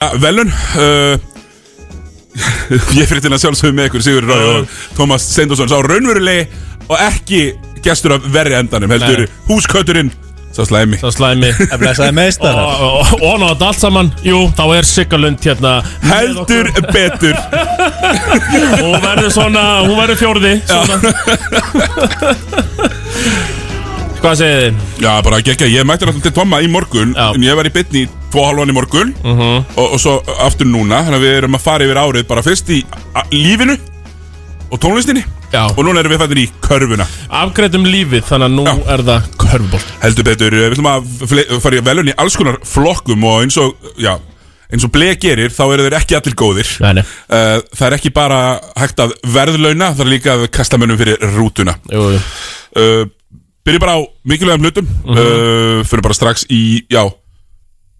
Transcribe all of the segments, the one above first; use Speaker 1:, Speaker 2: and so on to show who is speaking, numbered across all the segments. Speaker 1: Ja, velun Ah, uh, Ég fyrir til að sjálfsögum með ykkur Sigur Ráði og Tómas Steindorsson Sá raunverulegi og ekki gestur af verri endanum Heldur
Speaker 2: Nei.
Speaker 1: húskötturinn Sá slæmi
Speaker 2: Sá slæmi
Speaker 3: að blessaði meistarar
Speaker 2: Og- og- Og og nátt allt saman Jú, þá er Siggalund hérna með
Speaker 1: Heldur
Speaker 2: okkur.
Speaker 1: betur
Speaker 2: Hún verður svona, hún verður fjórði svona. Hvað segið þið?
Speaker 1: Já, bara gekkja, ég mætti náttúrulega til Tóma í morgun
Speaker 2: Já. Mhm.
Speaker 1: En ég var í bytni í tvo halvan í morgun og, og svo aftur núna Þannig að við erum að fara yfir árið bara fyrst í a- lífinu Og tónlistinni
Speaker 2: Já.
Speaker 1: Og núna erum við fættin í körfuna
Speaker 2: Afgreitum lífið, þannig að nú
Speaker 1: Já.
Speaker 2: er það körfubolt
Speaker 1: Heldur betur, eh, við ætlum að fle- fara í velun í alls konar flokkum og eins og, já, eins og blei gerir þá eru þeir ekki allir góðir.
Speaker 2: Nei, nei.
Speaker 1: Eh, það er ekki bara hægt að verðlauna, það er líka að kasta mönnum fyrir rútuna.
Speaker 2: Jú, jú.
Speaker 1: Uh, byrjum bara á mikilvægum hlutum,
Speaker 3: Mhm.
Speaker 1: uh fyrir bara strax í, já,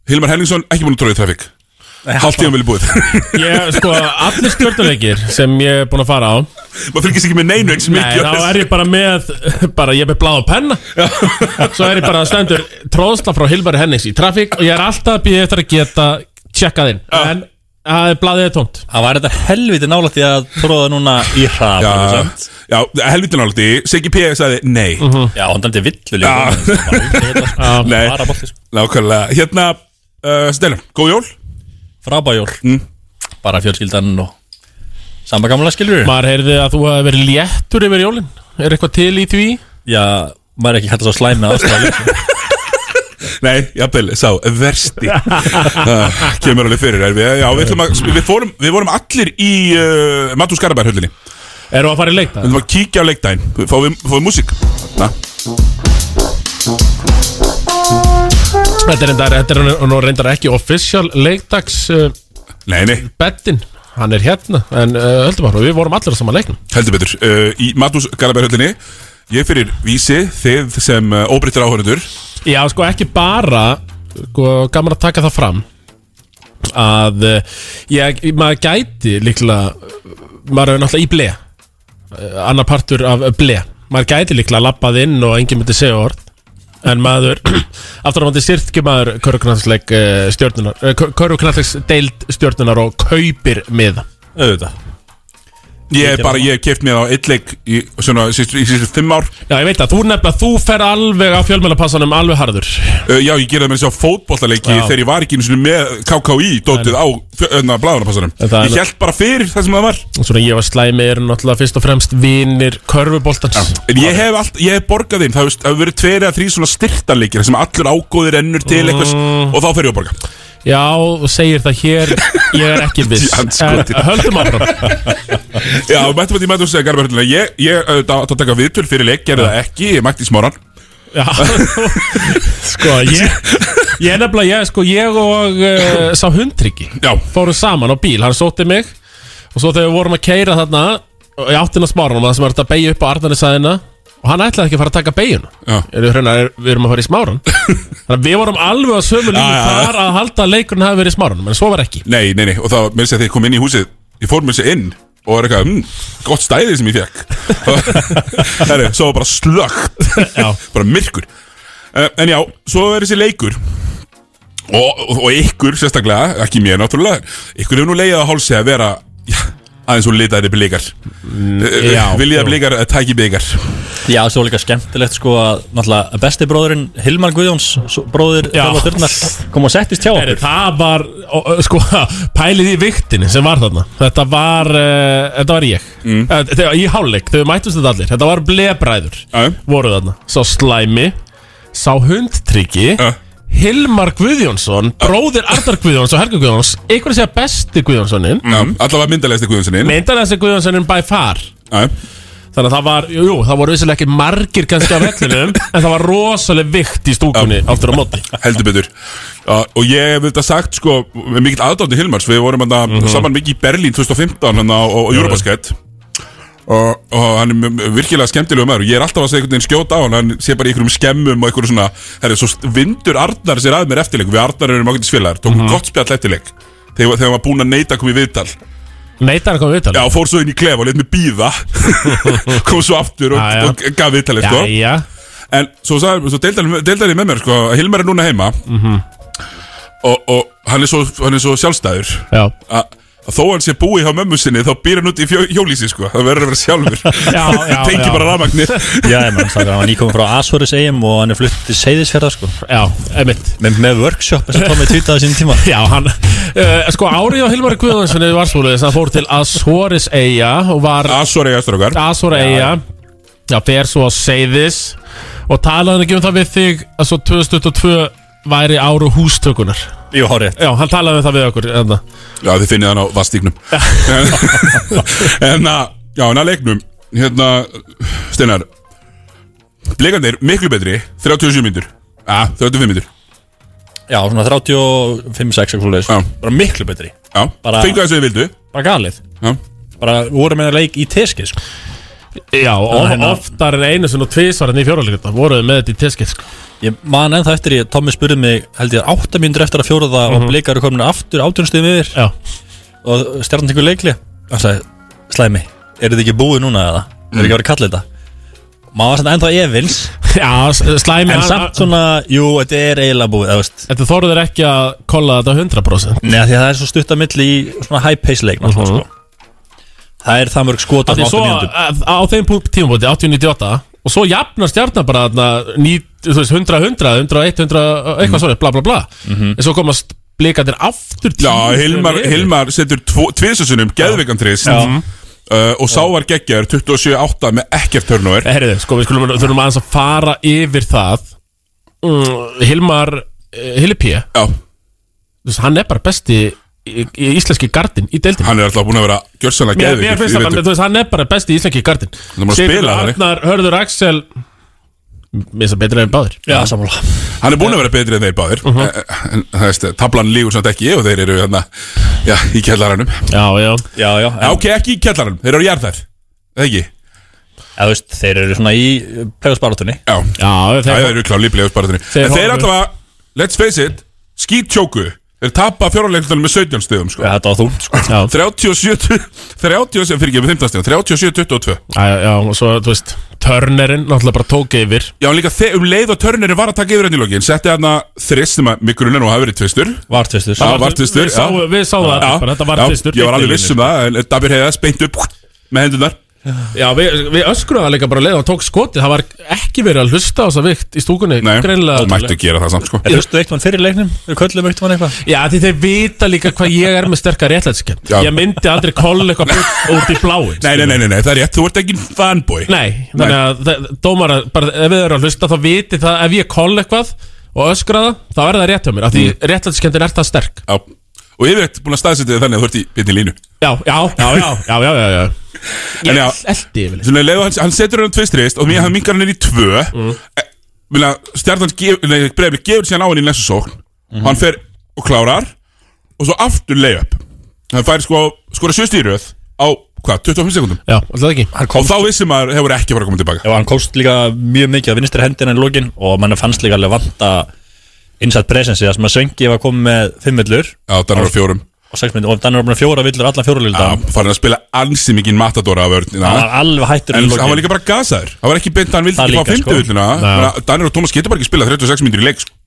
Speaker 1: Hilmar Henningsson, ekki búin að tróðið trafík. Hálft tíðan vilja búið.
Speaker 2: Ég, sko, allir stjórnuleikir sem ég er búin að fara á
Speaker 1: Maður fylgist ekki með neinu eins
Speaker 2: Nei,
Speaker 1: mikið.
Speaker 2: þá er ég bara með bara ég er með bláð og penna svo er ég bara að stendur tróðsla frá Hilmari Hennings í trafík og ég er alltaf að býða eftir að geta tjekkað inn en að blaðið er tómt
Speaker 3: Það var þetta helviti nálægt í að tróða núna í hrað
Speaker 1: Já, já helvitin áldi, Siggi P. sagði nei.
Speaker 3: Já, hún dæmdi
Speaker 1: Já.
Speaker 3: villu líka Það var aldrei hérna, sko.
Speaker 1: Nei.
Speaker 3: Mhm. Bara bolti, sko.
Speaker 1: Nákvæmlega, hérna, uh, Stellan, góð jól? Mm.
Speaker 3: Frábæjól Bara fjölskyldan og Samba gamla skilur
Speaker 2: maður heyrði að þú hafi verið léttur yfir jólin er eitthvað til í því?
Speaker 3: Já, maður er ekki hægt að svo slæmi aðstæða
Speaker 1: Nei, jafnvel, sá, versti Það Kemur alveg fyrir er við, já, við, ætlum að, við, fórum, við vorum allir í uh, Matú Skarabær höllinni Við
Speaker 2: Erum við að fara í leik það?
Speaker 1: ætlum að kíkja á leikdæn Fáum við, fáum við músík Na.
Speaker 2: Þetta er reyndar, þetta er nú reyndar ekki official leikdags uh,
Speaker 1: Nei, nei,
Speaker 2: bettin hann er hérna en uh, höldum bara, við vorum allir á sama leiknum
Speaker 1: heldur betur uh, Í Matú Skarabær höllinni Ég fyrir vísi, þið sem uh, óbreyttir áhörundur
Speaker 2: Já, sko ekki bara sko, gaman að taka það fram að eh, ég, maður gæti líklega maður er náttúrulega í ble eh, annar partur af ble maður gæti líklega lappað inn og enginn myndi segja orð en maður aftur á mandi sýrtki maður köruknallisleik stjórnunar köruknallisleiks eh, deild stjórnunar og kaupir miða
Speaker 3: Auðvitað
Speaker 1: Ég er bara, ég hef keft mér á eitt leik í svona, sístu, í sístu fimm ár
Speaker 2: Já, ég veit að þú nefnilega, þú fer alveg á fjölmjölapassanum alveg harður
Speaker 1: uh, Já, ég gerði það með þessi á fótbollaleiki
Speaker 2: Já.
Speaker 1: þegar ég var ekki einu sinni með KKÍ dótið á blæðunarpassanum
Speaker 2: En það er-
Speaker 1: Ég held bara fyrir það sem það var
Speaker 2: Svona ég var slæmi er náttúrulega fyrst og fremst vinir körfuboltans
Speaker 1: En ég hef, allt, ég hef borgað inn, það hefur- það hefur verið tveir eða þrý svona styrtanleikir sem allur ágóðir ennur til eitthvað og þá fer ég að borga.
Speaker 2: Já, þú segir það hér Ég er ekki viss En
Speaker 1: Andskotinn.
Speaker 2: höldum áfram
Speaker 1: Já, mættum að því mættum að segja Garðar Hörluna, ég, ég auðvitað átti að taka viðtöl fyrir leik, gerði það ekki, ég mætti í smáran.
Speaker 2: Já, Sko, ég Ég er nefnilega, ég, sko, ég og uh, Sá hundryggi
Speaker 1: Já,
Speaker 2: Fórum saman á bíl, hann sótti mig Og svo þegar við vorum að keira þarna Í áttina smáranum, það sem er þetta að beigja upp á Arðanisæðina Og hann ætlaði ekki að fara að taka beigjuna
Speaker 1: já,
Speaker 2: Eru hreina, er, við erum að fara í smáran Þannig að við vorum alveg á sömu línu
Speaker 1: Já, já, já.
Speaker 2: þar að halda að leikurinn hafi verið í smáranum En svo var ekki
Speaker 1: nei, nei, nei, og það með þess að þegar ég kom inn í húsið, ég fór með þess að inn og er eitthvað, mm, gott stæði sem ég fekk. Herri, svo var bara slögt,
Speaker 2: Já.
Speaker 1: bara myrkur. Uh, en já, svo er þessi leikur og, og, og ykkur sérstaklega, ekki mér náttúrulega, ykkur hefur nú leiðið á hálsi að vera já, aðeins og litaðri blíkar.
Speaker 2: já,
Speaker 1: Viljið að blíkar eh, tæki blíkar.
Speaker 3: Já, svo líka skemmtilegt sko að náttúrulega besti bróðurinn Hilmar Guðjóns svo- bróðir
Speaker 2: Já.
Speaker 3: Þorvar Þyrnar kom og settist hjá
Speaker 2: Heri,
Speaker 3: okkur
Speaker 2: það var, ó, ó, sko, pælið í viktinni sem var þarna Þetta var, uh, þetta var ég mm. Þegar í hálfleik, þegar við mættumst þetta allir Þetta var blebræður,
Speaker 1: Já.
Speaker 2: voru þarna Sá Slæmi, sá Hundtryggi
Speaker 1: Já.
Speaker 2: Hilmar Guðjónsson, bróðir Arnar Guðjóns og Helga Guðjóns Einhvern segja besti Guðjónssonin
Speaker 1: Já, allavega Eh, myndalegasti guðunsinni.
Speaker 2: Meindan þessi Guðjónssonin by far
Speaker 1: Já,
Speaker 2: Þannig að það var, jú, jú, það voru vissilega ekki margir kannski á vellinum En það var rosalega vikt í stúkunni aftur á móti
Speaker 1: heldur betur. Já, og ég hef þetta sagt, sko, með mikill aðdándi Hilmars, við vorum hana,
Speaker 2: Mhm.
Speaker 1: saman mikið í Berlín 2015 hana, og, og hérna, Europaskett. Og, og hann er mjög- virkilega skemmtilega maður og ég er alltaf að segja einhvern veginn skjóta á hann hann sé bara í einhverjum skemmum og einhverjum svona herri, svo vindur Arnar sér að mér eftirleik við Arnar erum ákveðin svilar, tókum
Speaker 2: Mhm.
Speaker 1: gott spjall eftirleik þegar, þegar hann var búin að neita að koma í viðtal
Speaker 2: Neitar að koma við
Speaker 1: já, fór svo inn í klefa og let mig býða kom svo aftur og,
Speaker 2: Já, já.
Speaker 1: og gaf viðtalið sko.
Speaker 2: Jæja Mhm.
Speaker 1: En svo, sagði- svo deildi hann- deildi hann með mér sko, að Hilmar er núna heima og, og hann er svo, hann er svo sjálfstæður
Speaker 2: Já,
Speaker 1: að að þó hann sé búið hjá mömmu sinni þá býr hann út í fjó, hjólísi sko það verður að vera sjálfur
Speaker 2: Já, já,
Speaker 1: tengi
Speaker 2: já.
Speaker 1: bara rafmagnir
Speaker 3: Já, ég menn, það var nýkominn frá Asforis eigum og hann er flutt til Seyðisfjörða sko
Speaker 2: já, einmitt
Speaker 3: með, með workshop sem Tommy tvítið á sín tíma
Speaker 2: Já, hann, uh, sko árið á Hilmari Guðjónssoni var svoleiðis, hann fór til Azores Eyja og var
Speaker 1: Asor eiga strókar
Speaker 2: Azores Eyja Já, fer svo að seiðis og talaði hann ekki um það við þig að svo 2022 væri áru hústökunar
Speaker 3: Jú, hárið
Speaker 2: Já, hann talaði um það við okkur enna.
Speaker 1: Já, þið finnið hann á vastíknum En að, já, en að leiknum Hérna, Steinar Leikandir, miklu betri 37 mínútur Ah, Já, 35 mínútur
Speaker 3: Já, svona 35-6 eitthvað leis
Speaker 1: Já.
Speaker 3: Bara miklu betri
Speaker 1: Já,
Speaker 3: Bara-
Speaker 1: fengu þessu þið vildu
Speaker 3: Bara galið
Speaker 1: Já,
Speaker 3: Bara voru með leik í teski sko
Speaker 2: Já, of,
Speaker 3: hérna-
Speaker 2: oftar en einu sinni og tvisvar en í fjóralíkata voruðu með þetta í teskið sko.
Speaker 3: Ég man ennþá eftir ég, Tommi spurði mig held ég 8 mínútur eftir að fjóraða mm -hmm. og blikar eru komin aftur átjónstuðum yfir
Speaker 2: Já,
Speaker 3: og stjarnan tekur leikli hann sagði, slæmi, eru þið ekki búið núna eða? Mm. Er ekki verið að kalla þetta? Maður var samt ennþá efins
Speaker 2: já s- slæmi
Speaker 3: En
Speaker 2: hann-
Speaker 3: samt svona, jú, þetta er eiginlega búið, það veist
Speaker 2: Þetta þóruður ekki að kolla þetta 100%
Speaker 3: Nei, af því að það er svo stutt að milli í svona high pace leik mm sko. Það er það mörg skota
Speaker 2: Því
Speaker 3: frá
Speaker 2: svo
Speaker 3: 8 mínútur
Speaker 2: að- á þeim punkt tímabóti 80-98 og svo jafnar stjarnar bara þarna, ný- þú veist, 100-100 101, 100, eitthvað svona, bla bla bla en svo komast blikandir aftur
Speaker 1: Mhm. já
Speaker 2: tíu
Speaker 1: Hilmar,
Speaker 2: fyrir yfir.
Speaker 1: Hilmar setur tviðsessunum Geðveikan trist uh, Og Sávar geggjar 27-8 með ekkert törnóver
Speaker 2: Herriði, sko, við skulum þurfum aðeins að fara yfir það mm, Hilmar eh, Hilli P,
Speaker 1: Já,
Speaker 2: þú veist, hann er bara besti í, í íslenski gardin í deildin
Speaker 1: hann er alltaf búin að vera gjörsanlega
Speaker 2: Mér, mér
Speaker 1: geðveikur
Speaker 2: finnst
Speaker 1: í
Speaker 2: að hann,
Speaker 1: vetur.
Speaker 2: þú veist, hann er bara besti í íslenski gardin
Speaker 1: er bara að spila þannig.
Speaker 2: Arnar, Hörður Axel Mér finnst það betra en báðir
Speaker 3: Já, sammála
Speaker 1: Hann er búin að vera betri en þeir báðir
Speaker 2: Mhm.
Speaker 1: uh En það veist, tablan lígur samt ekki Og þeir eru hérna, já, í kjallaranum
Speaker 2: Já, já
Speaker 3: Já,
Speaker 1: Já,
Speaker 3: já, en,
Speaker 1: ok, ekki í kjallarann, þeir eru á jarðar Eða ekki?
Speaker 3: já veist, þeir eru svona í plegasbarátunni
Speaker 1: Já,
Speaker 2: Já,
Speaker 1: það
Speaker 2: þeir,
Speaker 1: eru kláli í bleifsparatunni
Speaker 2: Þeir
Speaker 1: En þeir
Speaker 2: horfðu.
Speaker 1: allavega, let's face it, skítjóku Þeir tapa fjóralegntunum með 17 stegum sko.
Speaker 3: Já, þetta var þú, sko
Speaker 2: já.
Speaker 1: 37, 37, fyrir ekki með 15 stegum 37, 22
Speaker 2: Já, já, já, og svo, þú veist, Turnerinn náttúrulega bara tók yfir
Speaker 1: Já, en líka þeir, um leið og törnirinn var að taka yfir henni í lokin Setti hann að þrist sem að mig grunar nú hafa verið tvistur
Speaker 3: Vartvistur
Speaker 1: Það var tvistur
Speaker 2: Við sáum, við sáum það,
Speaker 1: Já,
Speaker 2: bara, þetta var
Speaker 1: já,
Speaker 2: tvistur
Speaker 1: Ég var alveg viss um það, en Dabir heiða speint upp með hendunar
Speaker 2: Já, við, við öskruðum það líka bara leið og tók skotið Það var ekki verið að hlusta á þessa vikt í stúkunni
Speaker 1: Nei,
Speaker 2: Greinlega
Speaker 1: mættu gera það samt sko
Speaker 3: Þú veistu eitt mann fyrir leiknum, við köllum eitt mann eitthvað
Speaker 2: Já, því þeir vita líka hvað ég er með sterkar réttlætskend
Speaker 1: Já.
Speaker 2: Ég myndi aldrei koll eitthvað bull út í bláin
Speaker 1: Nei, nei, nei, nei, nei, það er rétt, þú ert ekki fanboy
Speaker 2: Nei, þannig að þe- dómara, bara ef við erum að hlusta þá viti það ef ég koll eitthvað og öskra það, þá er það rétt hjá mér af því mm. réttlætskendin er það sterk
Speaker 1: Já, og yfirleitt búin að staðsetja þig þannig að þú ert í beinni línu
Speaker 2: Já, já, já, já, já, já, já, já.
Speaker 1: En já,
Speaker 2: Eldi yfirleitt
Speaker 1: svona leiðu hann, hann setur hann tvistrist og mér hann minkar hann er í tvö Eh, vilja, stjartan breyfli gefur síðan á hann í næstu sókn og hann fer og klárar og svo aftur leiðu upp hann fær sko, skora sjöstýröð á, hvað, 25 sekundum
Speaker 2: Já, alltaf ekki
Speaker 1: og þá vissi maður hefur ekki bara komið tilbaka
Speaker 3: Já, hann komst líka mjög mikið á vinstri hendina í lokin og mann fannst líka alveg vanta innsætt presensi, það sem að Svengi var komið með fimm villur
Speaker 1: Já, þannig á fjórum
Speaker 3: og sex myndir og þannig var bara fjóra villur allan fjóra lilda
Speaker 1: Já, farin að spila ansi mikið matadora af örn
Speaker 3: hann
Speaker 1: já.
Speaker 3: var alveg hættur í
Speaker 1: En
Speaker 3: lokin
Speaker 1: hann var líka bara gasaður Hann var ekki beint að hann vildi
Speaker 3: Það
Speaker 1: ekki fá
Speaker 3: líka, sko.
Speaker 1: 50 villina
Speaker 2: Já.
Speaker 1: Danir og Tómas getur bara ekki spila 36 mínútur í leik sko.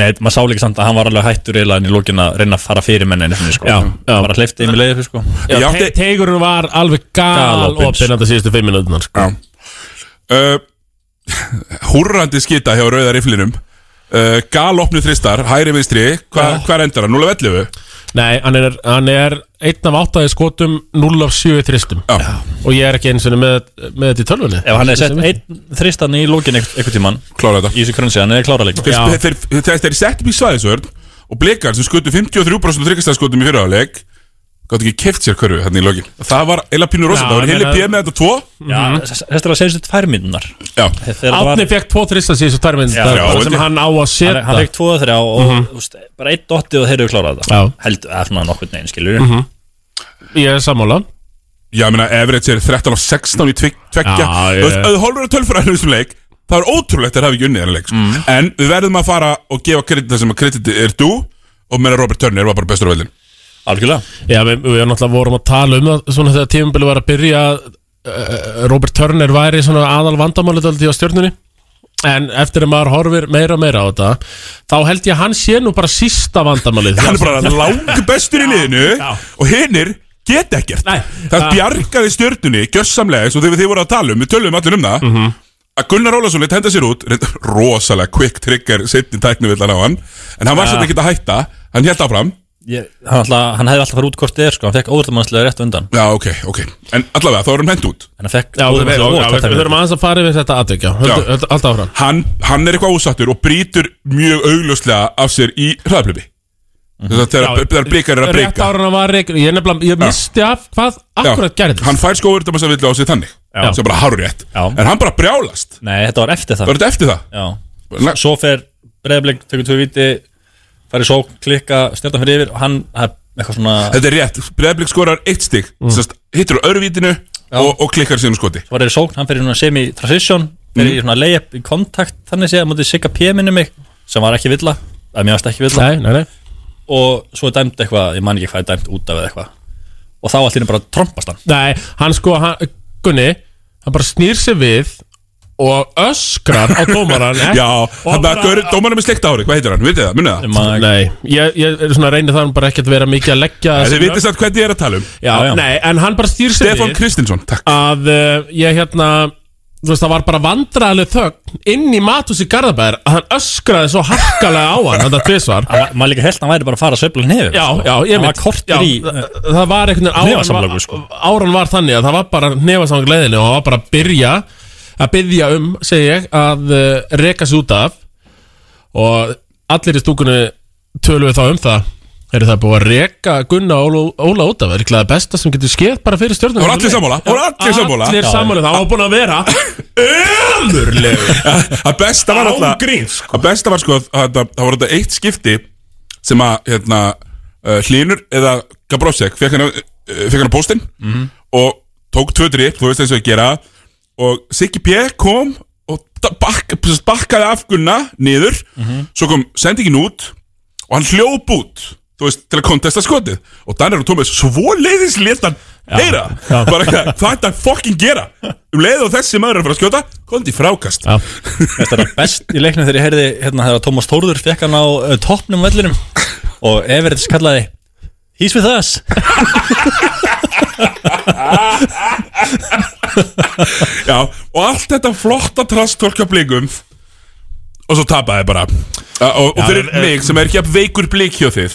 Speaker 3: Nei, maður sá líka samt að hann var alveg hættur eiginlega en í lokin að reyna að fara fyrir menni sinni, sko.
Speaker 2: Já, já.
Speaker 3: bara hleyfti þeim í leiði sko.
Speaker 1: Ég
Speaker 2: Já,
Speaker 1: átti-
Speaker 2: te Tegurinn var alveg sko. gal
Speaker 3: Galopins.
Speaker 2: opinn þetta síðustu fimm minútunar sko.
Speaker 1: Já uh, Húrrandi skita hjá rauða riflinum uh, Galopnu þristar, hæri vinstri Hva, Hvar endar hann? 0 af 11
Speaker 2: Nei, hann er, hann er einn af áttaði skotum 0 af 7 þristum
Speaker 1: Já.
Speaker 2: Og ég er ekki eins og með, með þetta í tölvunni
Speaker 3: ef hann hefði sett einn þristan í lokin einhvern einhver tíman
Speaker 1: Klára þetta
Speaker 3: í þessu krönsi, hann hefði klára leikin
Speaker 1: Þeir- þeir- þeir- Þegar þeir settum í svæðisvörn Og blikar sem skutu 53% þryggastæðskotum í fyrirháleik Gátt ekki keft sér hverju hérna í lokin Það var eila pínu rosa,
Speaker 2: Já,
Speaker 1: það var
Speaker 2: ég
Speaker 1: heili
Speaker 2: meina-
Speaker 1: pjö með þetta tvo
Speaker 3: þetta er að segja þetta tvær myndunar
Speaker 1: Já,
Speaker 2: Átni fekk 2 þrista síðustu tvær
Speaker 3: Já,
Speaker 2: minútunar
Speaker 1: já,
Speaker 2: bara Sem
Speaker 1: þetta-
Speaker 2: hann á að
Speaker 3: hann, hann
Speaker 2: setja
Speaker 3: fekk 2 og 3 og mm bara 1 dotti og þeir eru klárað
Speaker 2: Mhm. Já. Mhm.
Speaker 3: það held að svona nokkur neginn skilur mm -hmm.
Speaker 2: Ég er sammála
Speaker 1: já, ég meina, Everett er 13 af 16 í tvik- tveggja
Speaker 2: Já,
Speaker 1: Þú veist,
Speaker 2: ég-
Speaker 1: ef Þú horfur að tölfræðinu þessum leik Það er ótrúlegt að það hafi ekki unnið þennan leik sko.
Speaker 2: Mm.
Speaker 1: En við verðum að fara og gefa kredit það sem að kredit er þú Og meira Robert Turner var bara bestur á veldin
Speaker 3: algjörlega
Speaker 2: Já, við, við náttúrulega vorum að tala um það Svona þegar eh, tímabili var að byrja uh, Robert Turner væri svona aðal vandamálið Því á stjörnunni En eftir að maður horfir meira og meira á þetta Þá held ég að hann sé nú bara sísta vandamálið
Speaker 1: hann er bara lang bestur í liðinu
Speaker 2: já.
Speaker 1: og hinnir get ekkert
Speaker 2: Nei,
Speaker 1: það
Speaker 2: það-
Speaker 1: bjargaði stjörnunni gjössamlega eins og þegar þið voru að tala um við tölum allir um það
Speaker 2: Mhm.
Speaker 1: að Gunnar Ólafsson leitt henda sér út reyndar rosalega quick trigger setni tæknivillan á hann en hann var svolítið ekki að hætta hann held áfram
Speaker 3: ég, hann, alltaf, hann hefði alltaf farið út hvort þið er sko, hann fekk óðurmannslega rétt á undan
Speaker 1: já ok ok en allavega þá er hann hent út
Speaker 3: en hann fekk
Speaker 2: Já, við, við,
Speaker 3: óðurmannslega
Speaker 2: við, við þurfum aðeins að fara yfir þetta aðtökja
Speaker 1: Já.
Speaker 2: Alltaf áfram
Speaker 1: hann, hann er eitthvað ósattur og brýtur mjög augljóslega af sér í hraðaplöfi
Speaker 2: Mhm. Já,
Speaker 1: þegar þegar blikar er að
Speaker 2: Rétt
Speaker 1: breyka
Speaker 2: ára hann var reikin Ég nefnilega, ég misti af hvað akkurat gerðist
Speaker 1: hann fær skóður þetta maður sem vill á sig þannig
Speaker 3: Já.
Speaker 1: sem er bara hárétt
Speaker 3: Já.
Speaker 1: en hann bara brjálast
Speaker 3: nei, þetta var eftir það
Speaker 1: var þetta eftir það
Speaker 3: já.
Speaker 1: La-
Speaker 3: svo fer breyðblik, tökur tvö viti farið svo, klikka, stjórna fyrir yfir og hann, það er eitthvað svona
Speaker 1: Þetta er rétt, Breiðblik skorar eitt stig mm. Hittur á örvítinu og, og klikkar síðan úr skoti
Speaker 3: var þeir í sókn, hann fyrir svona semi-transition fyrir í svona layup í kontakt þannig séð, mútið sigga PM-inu mig sem var ekki villa, að mér varst ekki villa
Speaker 2: Nei, nei, nei
Speaker 3: og svo er dæmt eitthvað, ég man ekki hvað er dæmt út af eða eitthvað og þá allir bara trompast hann
Speaker 2: Nei, hann sko, hann, Gunni Hann bara snýr sig við Og öskrar á dómaran ekki?
Speaker 1: Já,
Speaker 2: Og
Speaker 1: hann
Speaker 2: bara-
Speaker 1: að dómarum er sleikt ári, hvað heitir hann, vitið það, munið það?
Speaker 3: Man,
Speaker 2: Nei, ég, ég er svona reynir þannig bara ekki að vera mikið að leggja
Speaker 1: En
Speaker 2: þessi
Speaker 1: Þið vitið samt hvernig ég er að tala um
Speaker 2: Já,
Speaker 3: Já, já.
Speaker 2: nei, en hann bara stýr sig
Speaker 1: Stefán
Speaker 2: við
Speaker 1: Kristinsson, takk
Speaker 2: að uh, ég hérna þú veist, það var bara vandræðileg þögn inn í Matús í Garðabæðir að hann öskraði svo harkalega á hann þetta tvisvar
Speaker 3: Hann var- maður líka held að hann væri bara að fara að sveifla sko. nefn
Speaker 2: Já, já, ég
Speaker 3: Hann
Speaker 2: mynd
Speaker 3: var kortur í
Speaker 1: eh,
Speaker 2: Það var einhvern veginn áran,
Speaker 3: Hnefasamlöku,
Speaker 2: var-
Speaker 3: sko.
Speaker 2: áran var þannig að það var bara nefasamlega leiðinu og hann var bara að byrja að byrja um, segi ég, að uh, reka sig út af og allir í stúkunni tölum við þá um það Er það búið að reka Gunna og Óla, Óla út af? Er ekki það besta sem getur skeið bara fyrir stjórnum?
Speaker 1: Það voru allir sammála, það voru allir sammála.
Speaker 2: Allir
Speaker 1: Já.
Speaker 2: sammála, það var búin að vera Ömurlegu
Speaker 1: Að besta var
Speaker 2: Án gríns,
Speaker 1: alltaf Að besta var sko, að þetta- það var þetta eitt skipti sem að, hérna uh, Hlynur eða Gabrovsek fekk hann, uh, fekk hann á póstinn og tók tvö drip, þú veist eins og ég gera og Siggi P. kom og da- bakk, sem sagt bakkaði af Gunna niður, svo kom sendingin út og hann hljóp út þú veist, til að kontesta skotið og Danir og Tómas svo leiðis léttan heyra, bara eitthvað, hvað ætti að fucking gera um leið og þessi maður er að fara að skjóta kontið frákast
Speaker 2: Já,
Speaker 3: Þetta er best í leiknum þegar ég heyrði hérna þegar Tómas Þórður fekk hann á uh, toppnum vellinum og Everett kallaði He's with us
Speaker 1: Já, og allt þetta flotta trastólka blikum og svo tapaði bara Uh, og, og fyrir
Speaker 2: en-
Speaker 1: mig sem er ekki að veikur blik hjá þið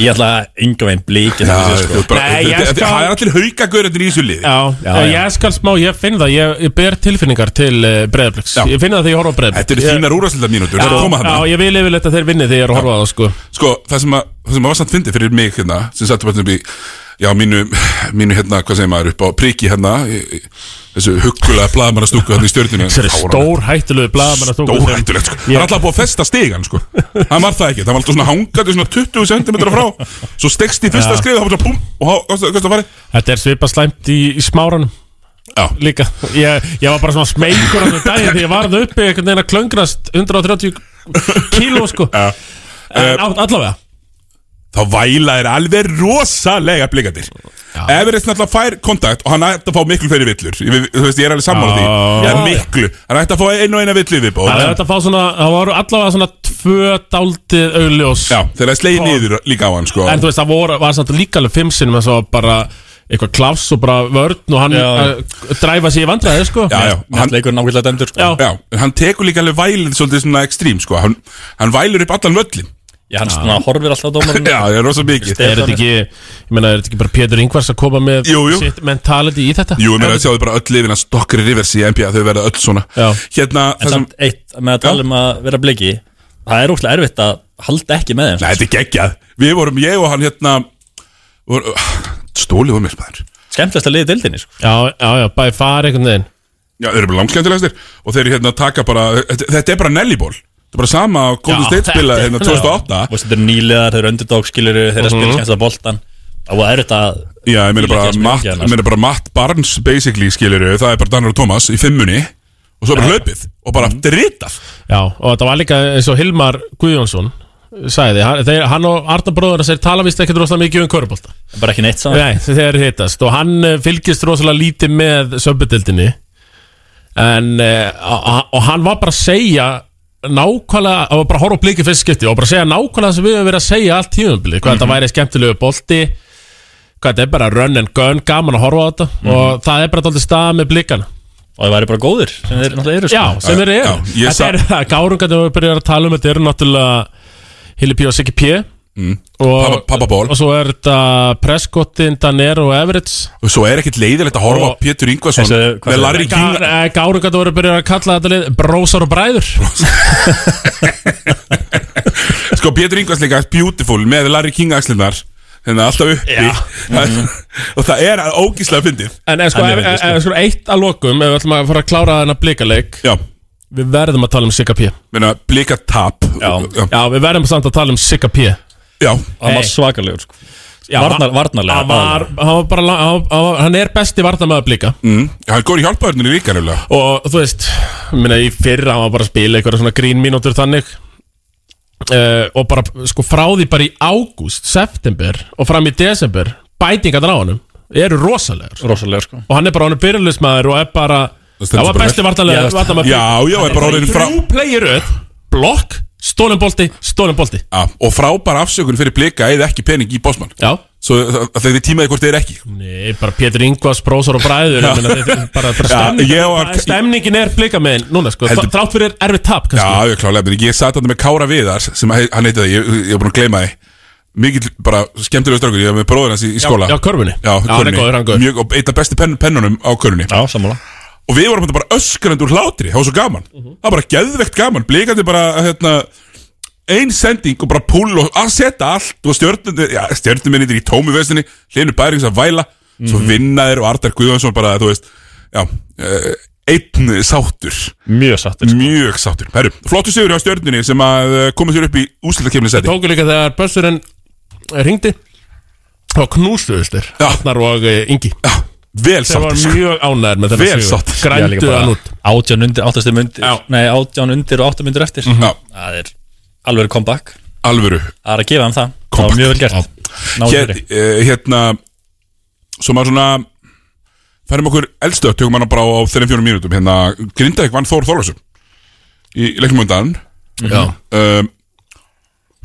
Speaker 3: Ég ætla að yngu veginn blíkja
Speaker 1: Já,
Speaker 3: þessu
Speaker 1: þú
Speaker 3: sko.
Speaker 1: ert bara-
Speaker 2: Nei, ég
Speaker 1: þetta- þetta-
Speaker 2: skal-
Speaker 1: það er allir haukagörðin í þessu liði
Speaker 2: já,
Speaker 3: Já,
Speaker 2: já,
Speaker 3: já.
Speaker 2: ég skal smá, ég finn það, ég, ég ber tilfinningar til uh, breyðabliks
Speaker 1: Já.
Speaker 2: Ég finn það þegar ég horfa á breyðabliks
Speaker 1: Þetta eru þínar úrvarsleita mínútur, það er að koma
Speaker 2: Já,
Speaker 1: þarna
Speaker 2: ég vil yfirleitt að þeir vinni þegar ég er að horfa á það sko
Speaker 1: Sko, það sem að, það sem að var samt fyndi fyrir mig hérna sem sattum bara upp í, já, mínu mínu hérna, hvað segir maður, upp á priki hérna í- í- þessu huggulega blaðmannastúku hérna í stjörnunni
Speaker 2: Þessari stór hættulegu blaðamann
Speaker 1: Stórhættulegt sko. Það er alltaf búið að festa stigan sko. Hann var það ekki, það var alltaf svona hangandi svona 20 cm frá Svo stekst í fyrsta skrið og það var svona búm og hvað er það farið?
Speaker 2: Þetta er svipað slæmt í, í smáranum
Speaker 1: Já,
Speaker 2: líka Ég, ég var bara svona smeykur á þessu daginn Þegar ég varð uppi einhvern veginn að klöngrast 130 kíló sko
Speaker 1: Já. Eh,
Speaker 2: En á, allavega
Speaker 1: þá væla er alveg rosalega blikandir Everett náttúrulega fær kontakt og hann ætti að fá miklu fyrir villur Ég- við- Þú veist, ég er alveg sammála því
Speaker 2: Já.
Speaker 1: En miklu, hann ætti að fá einu og eina villu viðbóð
Speaker 2: Það er þetta að fá svona, það voru allavega svona tvö dáltið augljós
Speaker 1: Já, þegar það slegið niður líka á hann sko.
Speaker 2: En þú veist, það voru, var samt líka alveg fimm sinum En svo bara eitthvað klaps og bara vörn Og hann
Speaker 3: Já.
Speaker 2: að dræfa sig í vandræði sko
Speaker 1: Já, já, hann,
Speaker 3: Hann leikur nákvæmlega dæmdur sko.
Speaker 2: Já.
Speaker 1: já, en hann tekur líka alveg vælið svolítið svona ekstrím sko. hann, hann vælur upp allan völlin
Speaker 3: Ég hann svona horfir alltaf á dómarinn
Speaker 1: Já, það er rosa mikið
Speaker 2: Er þetta ekki, ég meina, er þetta ekki bara Pétur Ingvars að koma með
Speaker 1: Jú, jú.
Speaker 2: sitt mentality í þetta?
Speaker 1: Jú, ég meina að sjáðu bara öll lifin að stokkri rivers í NBA þau verða öll svona
Speaker 2: Já.
Speaker 1: Hérna,
Speaker 3: En
Speaker 1: það sem,
Speaker 3: samt eitt með að tala um að vera blíki Það er óslega erfitt að halda ekki með þeim sko.
Speaker 1: nei, þetta er geggjað Við vorum, ég og hann hérna vor, Stólið var mér spæður
Speaker 3: Skemmtilegst að liði dildinni sko.
Speaker 2: Já, já, já, bæði fari einhvern veginn
Speaker 1: Já, þeir eru bara langskemmtilegastir Og þeir eru hérna að taka bara, þetta, þetta er bara nelliból Þetta er bara sama að Golden
Speaker 2: Já,
Speaker 1: State spila
Speaker 2: þetta-
Speaker 1: hérna 2008
Speaker 3: Þú veist, Þetta er nýlegar, þeir eru underdog skilur Þeir eru að
Speaker 2: Mhm.
Speaker 3: spila skemmtilega boltan Það var erfitt að
Speaker 1: Já, ég meina bara,
Speaker 3: Ég get
Speaker 1: Matt,
Speaker 3: ekki að
Speaker 1: ég meina bara Matt Barnes basically skilur Það er bara Daniel Thomas í fimmunni Og svo bara hlaupið og bara dritað
Speaker 2: Já, og þetta var líka eins og Hilmar Guðjónsson sagði, hann, þeir, hann og Arna bróður þeir tala vist ekkert rosalega mikið um körubólta
Speaker 3: Bara ekki neitt saman
Speaker 2: Nei, þeir hittast og hann eh, fylgist rosalega lítið með sömbudildinni en, eh, a- a- og hann var bara að segja nákvæmlega, hann var bara að horfa á blikið fyrst skipti og bara að segja nákvæmlega sem við höfum verið að segja allt tíðumbli, hvað þetta væri skemmtilegu bolti hvað þetta er bara run and gun gaman að horfa á þetta og það er bara alltaf stað með blikana
Speaker 3: Og það væri bara góðir sem þeir náttúrulega eru sko.
Speaker 2: Já, sem þeir eru
Speaker 1: já, ég
Speaker 2: Þetta
Speaker 1: sa-
Speaker 2: er það, gárungar þegar við byrjar að tala um Þetta eru náttúrulega Hilli P og Siggi P Mhm. og,
Speaker 1: Pabba- Pabba Ball.
Speaker 2: og svo er þetta Prescottin, Danero og Everits
Speaker 1: Og svo er ekkert leiðilegt að horfa á
Speaker 2: Og-
Speaker 1: Pétur Ingvarsson
Speaker 3: Þessi-
Speaker 1: með
Speaker 3: hvað sagði-
Speaker 1: Larry King
Speaker 2: Gárungar þegar við byrjar að kalla þetta lið Brósar og bræður
Speaker 1: Sko, Pétur Ingvarsson líka beautiful með Larry King axlinnar Þannig að alltaf uppi
Speaker 2: Já.
Speaker 1: Það- Og það er ógíslega fyndið
Speaker 2: En eða sko,
Speaker 3: Hann er
Speaker 2: ef,
Speaker 3: fyndið,
Speaker 2: ef,
Speaker 3: sko.
Speaker 2: ef, sko eitt að lokum Ef við ætlum að fara að klára þennan blikaleg
Speaker 1: Já,
Speaker 2: Við verðum að tala um Sigga P
Speaker 1: meina, blika tap
Speaker 3: Já.
Speaker 1: já,
Speaker 2: Já, við verðum samt að tala um Sigga P
Speaker 1: já.
Speaker 3: Og Hann var
Speaker 2: Hey.
Speaker 3: svakalegur sko.
Speaker 2: Já,
Speaker 3: Varnar- varnarlega,
Speaker 2: Hann var, hann var bara, la- hann, hann, hann er besti varnamöða blika
Speaker 1: Mm. Hann góður í hjálpaðurnir líka nefnilega
Speaker 2: Og þú veist, minna í fyrra hann var bara að spila eitthvað svona grínmínútur þannig uh, Og bara sko frá því bara í ágúst, september og fram í desember Bætingarnar á honum eru rosalegar
Speaker 3: Rosalega sko
Speaker 2: Og hann er bara honum byrjulismæður og er bara
Speaker 1: Það stendur
Speaker 2: Það var
Speaker 1: bara
Speaker 2: besti
Speaker 1: vel.
Speaker 2: vartanlega
Speaker 3: Já,
Speaker 2: vartanlega
Speaker 1: Já, já, er bara orðin frá
Speaker 2: Þrjú player öð, blokk, stólum bolti, stólum bolti
Speaker 1: Já, og frábær afsökun fyrir blika eða ekki pening í bósmann
Speaker 2: Já
Speaker 1: Svo það- það- þeir tímaði hvort þeir ekki
Speaker 2: Nei, bara Pétur Ingvars, Brósar og Bræður ég meina, þetta er bara, bara
Speaker 1: Já,
Speaker 2: stemningin,
Speaker 1: ég var-
Speaker 2: stemningin er blika með núna sko,
Speaker 1: Heldur-
Speaker 2: þrátt fyrir erfið tap kannski.
Speaker 1: Já, ég klálega, menn ég satt hann með Kára Viðar sem he- hann heiti það, ég, ég er búin að gleyma þið Mikið bara skemmtilega strákur, ég var með bróður hans í, í skóla
Speaker 2: Já, körfunni
Speaker 1: Já,
Speaker 2: hann er
Speaker 1: körfunni.
Speaker 2: góður, hann er góður
Speaker 1: Mjög, og eitt af bestu pen, pennunum á körunni
Speaker 3: Já, sammála
Speaker 1: Og við vorum þetta bara öskrandi úr hlátri, það var svo gaman Það var bara geðvegt gaman, blikandi bara hérna, Ein sending og bara púl og að setja allt Og stjörnum, já, stjörnum minni í tómi vestinni Hlynur bærings að væla Svo
Speaker 2: Mhm.
Speaker 1: vinnaðir og Arndar Guðjónsson bara, þú veist Já, eh, einn sáttur
Speaker 3: Mjög sattir
Speaker 1: Mjög sáttur Herru, flottu sigur hjá stjörnunni sem að uh, komið sér upp í úslitakefni seti
Speaker 2: Tóku líka þegar Bössurinn ringdi og knústuðust þér
Speaker 1: Já.
Speaker 2: Arnar og eh, Ingi
Speaker 1: Já, Ah, vel
Speaker 2: Þeir
Speaker 1: sáttur
Speaker 2: var
Speaker 1: sko.
Speaker 2: mjög ánæður
Speaker 1: Vel
Speaker 2: með þennan sigur
Speaker 1: sáttir.
Speaker 2: Grændu hann út
Speaker 3: Átján undir, áttastu myndir
Speaker 2: Já.
Speaker 3: Nei, átján undir og áttu myndir eftir
Speaker 1: Já,
Speaker 3: Það er alveg comeback
Speaker 1: alvöru
Speaker 3: Það er að gefa hann það Það
Speaker 1: Comeback.
Speaker 3: var mjög vel gert Náðu
Speaker 1: Hér,
Speaker 3: fyrir
Speaker 1: uh, Hérna Svo maður svona Færum okkur eldstöð, tökum hann bara á þeirra fjórum mínútum Hérna, Grindavík vann Þór Þorvarsson Í leiknum undan
Speaker 2: Já
Speaker 1: um,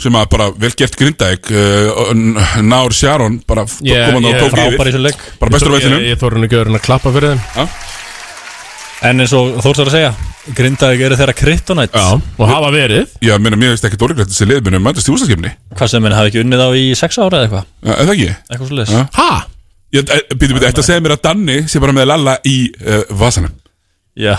Speaker 1: Sem að bara vel gert Grindavík uh, Náur Sjáron Bara
Speaker 2: Ég-
Speaker 1: kom hann
Speaker 2: ég-
Speaker 1: og tók
Speaker 3: Frábær í
Speaker 1: yfir
Speaker 3: þessu leik
Speaker 1: Bara bestur á vellinum
Speaker 2: Ég, ég þóra henni ekki öðrun að klappa fyrir þeim
Speaker 3: En eins og Þórs var að segja Grindavík eru þeirra kryptonætt
Speaker 2: Og hafa verið
Speaker 1: Já, meina, mér veist ekki dórleiklegt þessi liðbunum Mætast í úslitakefni,
Speaker 3: Hvað sem minn hafi ekki unnið á í sex ára eða eitthvað
Speaker 1: eða ekki?
Speaker 3: Eitthvað svo leiðis
Speaker 1: Já.
Speaker 2: Ha?
Speaker 1: Ég- e- Býtu, býtu, þetta segir mér að Danni sé bara með Lalla í uh, vasanum
Speaker 3: Já,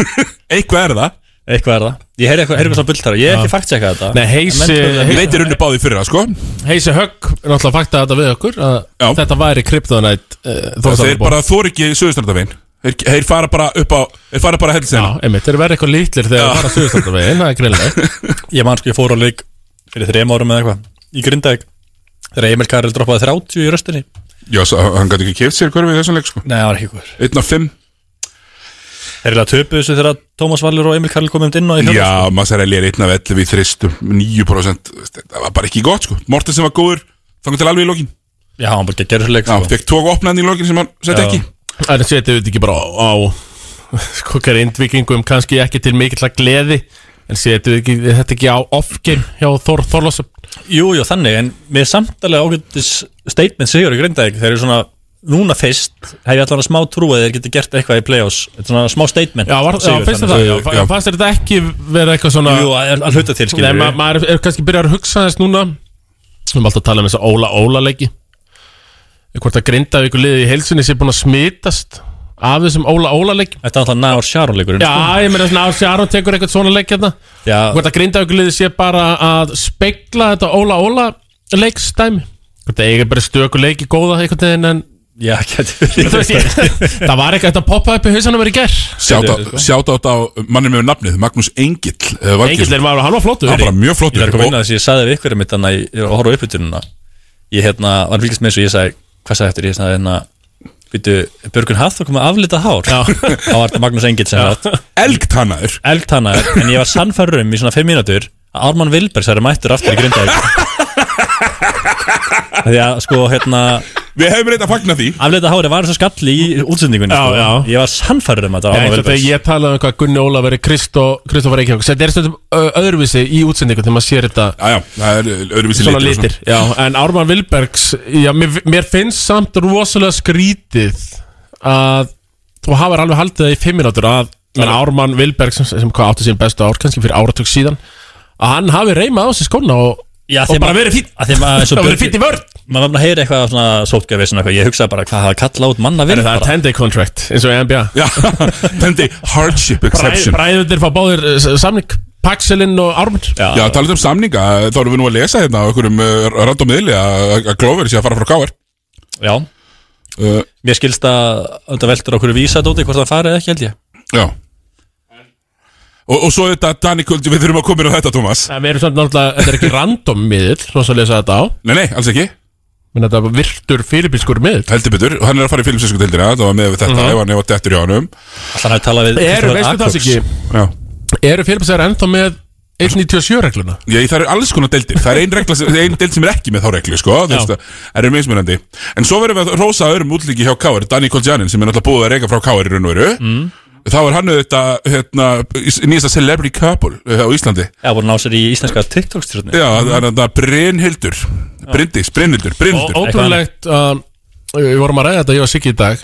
Speaker 1: Eitthvað er það
Speaker 3: eitthvað er það Ég heyri eitthvað, heyri eitthvað svona bull þar Ég er ekki fakt sekka þetta
Speaker 2: Nei, Heisi-
Speaker 3: En menn-
Speaker 1: Ég veitir unni báði fyrir það, sko
Speaker 2: Heisi Högg er náttúrulega fakta þetta við okkur að
Speaker 1: Já.
Speaker 2: þetta væri eh, kryptonætt
Speaker 1: Þeir bara þor ekki söðustrandavegin þeir, þeir fara bara upp á Þeir fara bara
Speaker 2: Já,
Speaker 1: hellisegna
Speaker 2: einmitt, þeir verið eitthvað lítlir þegar það fara suðustandavegin, það er greinlega
Speaker 3: Ég man sko, ég fór á leik Fyrir þreim árum eða eitthvað Í Grindavík Þegar Emil Karel droppaði 30 í röstinni
Speaker 1: Já, svo, hann gæti ekki keft sér hverfið í þessum leik, sko
Speaker 3: Nei, það var ekki ykkur
Speaker 1: Einn af fimm
Speaker 3: Þeir eru að töpu þessu þegar Tómas Valur og Emil Karel komum inn á í fjórða?
Speaker 1: Já, Massarelli er einn af ellu við þristum 9% Það var bara ekki gott, sko Mortensen var góður Þannig til alveg í lokin
Speaker 3: Já, hann bara gerði þessu leik
Speaker 1: Já,
Speaker 3: sko.
Speaker 1: fekk tók opnaðan í lokin sem hann sett
Speaker 3: Já.
Speaker 1: ekki
Speaker 2: Það er setið þetta ekki bara á sko grindvíkingum kannski ekki til mikill að gleði en setið við ekki, þetta ekki á off-game hjá Þór Þorlásson
Speaker 3: Jú, jú, þannig, en með samtalega ágættis statement sigur í Grindavík þeir eru svona, núna fyrst hef ég allan að smá trú að þeir geti gert eitthvað í play-offs Þetta er svona smá statement
Speaker 2: Já, var, já
Speaker 3: sigur,
Speaker 2: finnst þér það,
Speaker 3: þannig.
Speaker 2: já,
Speaker 1: Sigur,
Speaker 2: já.
Speaker 1: já.
Speaker 2: fannst þér þetta ekki vera eitthvað svona
Speaker 3: Jú, að, að hluta til
Speaker 2: Nei,
Speaker 3: skilur
Speaker 2: ma maður er, er kannski byrjar að hugsa þess núna við erum alltaf að tala um þess að Óla Óla leiki hvort að grinda ykkur liðið í heilsunni sé búin að smitast af þessum Óla Óla leik
Speaker 3: Þetta er alltaf náður sjárónleikurinn
Speaker 2: Já, ég meina svona að Sjáron tekur eitthvað svona leik hérna
Speaker 3: sko.
Speaker 1: Ah.
Speaker 3: já,
Speaker 2: hvort að grinda ykkur liðið sé bara að spegla þetta Óla Óla leikstæmi hvort að ég er bara stöku leiki góða einhvern veginn en
Speaker 3: já, getur
Speaker 2: Þú veist, ég- það var eitthvað að poppa upp í hausanum verið ger
Speaker 1: Sjáta átt á mannum með nafnið Magnús Engill eh, var ekki-
Speaker 2: Engillin var, hann var flottur
Speaker 1: Hann var bara mjög
Speaker 3: Ég
Speaker 1: flottur
Speaker 3: verði að koma inn að þess að ég sagði við ykkur um þetta þannig að ég var að horfa á uppbytununa Ég hérna, var fylgist með þessu ég sagði, hvað sagði eftir, ég sagði hérna Býtu, Björgun Hathor komið aflita hár Já Það var þetta Magnús Engill sem það
Speaker 1: Elgtannaður
Speaker 3: Elgt hana, en ég var sannfærður um í svona 5 mínútur að Ármann Vilbergs er mættur aftur í grindaði Því að sko, hérna
Speaker 1: Við hefum reynd að fagna því
Speaker 3: Afleita hárið var þessu skalli í útsendingunni
Speaker 2: Já,
Speaker 3: sko.
Speaker 2: já.
Speaker 3: Ég var sannfærður um að
Speaker 2: Já,
Speaker 3: þetta
Speaker 2: eins og þegar
Speaker 3: ég...
Speaker 2: ég talaði um hvað Gunni Ólafur er Kristó- Kristófar Eikjók Þetta er stundum ö, öðruvísi í útsendingu þegar maður sér þetta
Speaker 1: Já, já, það er eh, öðruvísi
Speaker 2: svona
Speaker 1: og
Speaker 2: litir já, En Ármann Vilbergs já, mér, mér finnst samt rosalega skrítið að þú hafur alveg haldið það í fimm mínútur að menn Ármann Vilbergs sem, sem hvað átti sín bestu ár kannski fyrir áratug síðan að hann hafi reymað á sig skóna og,
Speaker 3: Já,
Speaker 2: og
Speaker 3: þeim
Speaker 2: bara
Speaker 3: að-
Speaker 2: verið fínt
Speaker 3: að þeim að- eins og
Speaker 2: það verið
Speaker 3: Björn-
Speaker 2: fínt í vörð
Speaker 3: Maður var að heyra eitthvað af svona sótkjafis Ég hugsaði bara hvað hafa kalla út manna vinn
Speaker 2: Það er 10 day contract eins og í NBA
Speaker 1: Já, tendi hardship
Speaker 2: Bræ-
Speaker 1: exception
Speaker 2: Bræðurnir fá báðir eh, s- samning Paxelin og Ármann
Speaker 1: Já, talað um samninga, þá erum við nú að lesa hérna á einhverjum uh, random miðli að að Glover sé að fara frá Káar
Speaker 3: já,
Speaker 1: uh,
Speaker 3: mér skilst að þetta veldur okkur vísa dóti hvort það farið ekki held ég
Speaker 1: Já og, og svo þetta Danny Kuldi, við þurfum að koma inn á þetta, Thomas
Speaker 2: En við erum samt náttúrulega, þetta er ekki random miðill Svo að lesa þetta á
Speaker 1: Nei, nei, alls ekki,
Speaker 2: Menn þetta er virtur fyrirbískur miðill
Speaker 1: heldur betur Hann er að fara í filmsinsku deildina, það var með við þetta Ef hann er dettur í honum
Speaker 3: Þannig að tala við
Speaker 2: Eru,
Speaker 3: Kristoffer
Speaker 2: veistu það
Speaker 3: Akrux.
Speaker 2: ekki
Speaker 1: Já.
Speaker 2: Eru fyrirbæsar ennþá með 1.97 regluna?
Speaker 1: Ég, það er alls konar deildir, það er ein, regla, sem- ein deild sem er ekki með þá reglu, sko þú
Speaker 2: Já.
Speaker 1: veist að- Það er mismunandi En svo verðum við að rosa öðrum útlíki hjá Káar Danny Kuldianin sem er náttúrulega búið að reyka frá Káar í raun og veru mm. Þá er hann auðvitað hérna, nýjasta celebrity couple uh, á Íslandi
Speaker 3: Já, voru ná sér í íslenska TikTok-stjórni
Speaker 1: Já, það er þetta Brynhildur Bryndís, Brynhildur,
Speaker 2: Og
Speaker 1: Brynhildur
Speaker 2: ótrúlegt um, Við vorum að ræða þetta, ég og Siggi í dag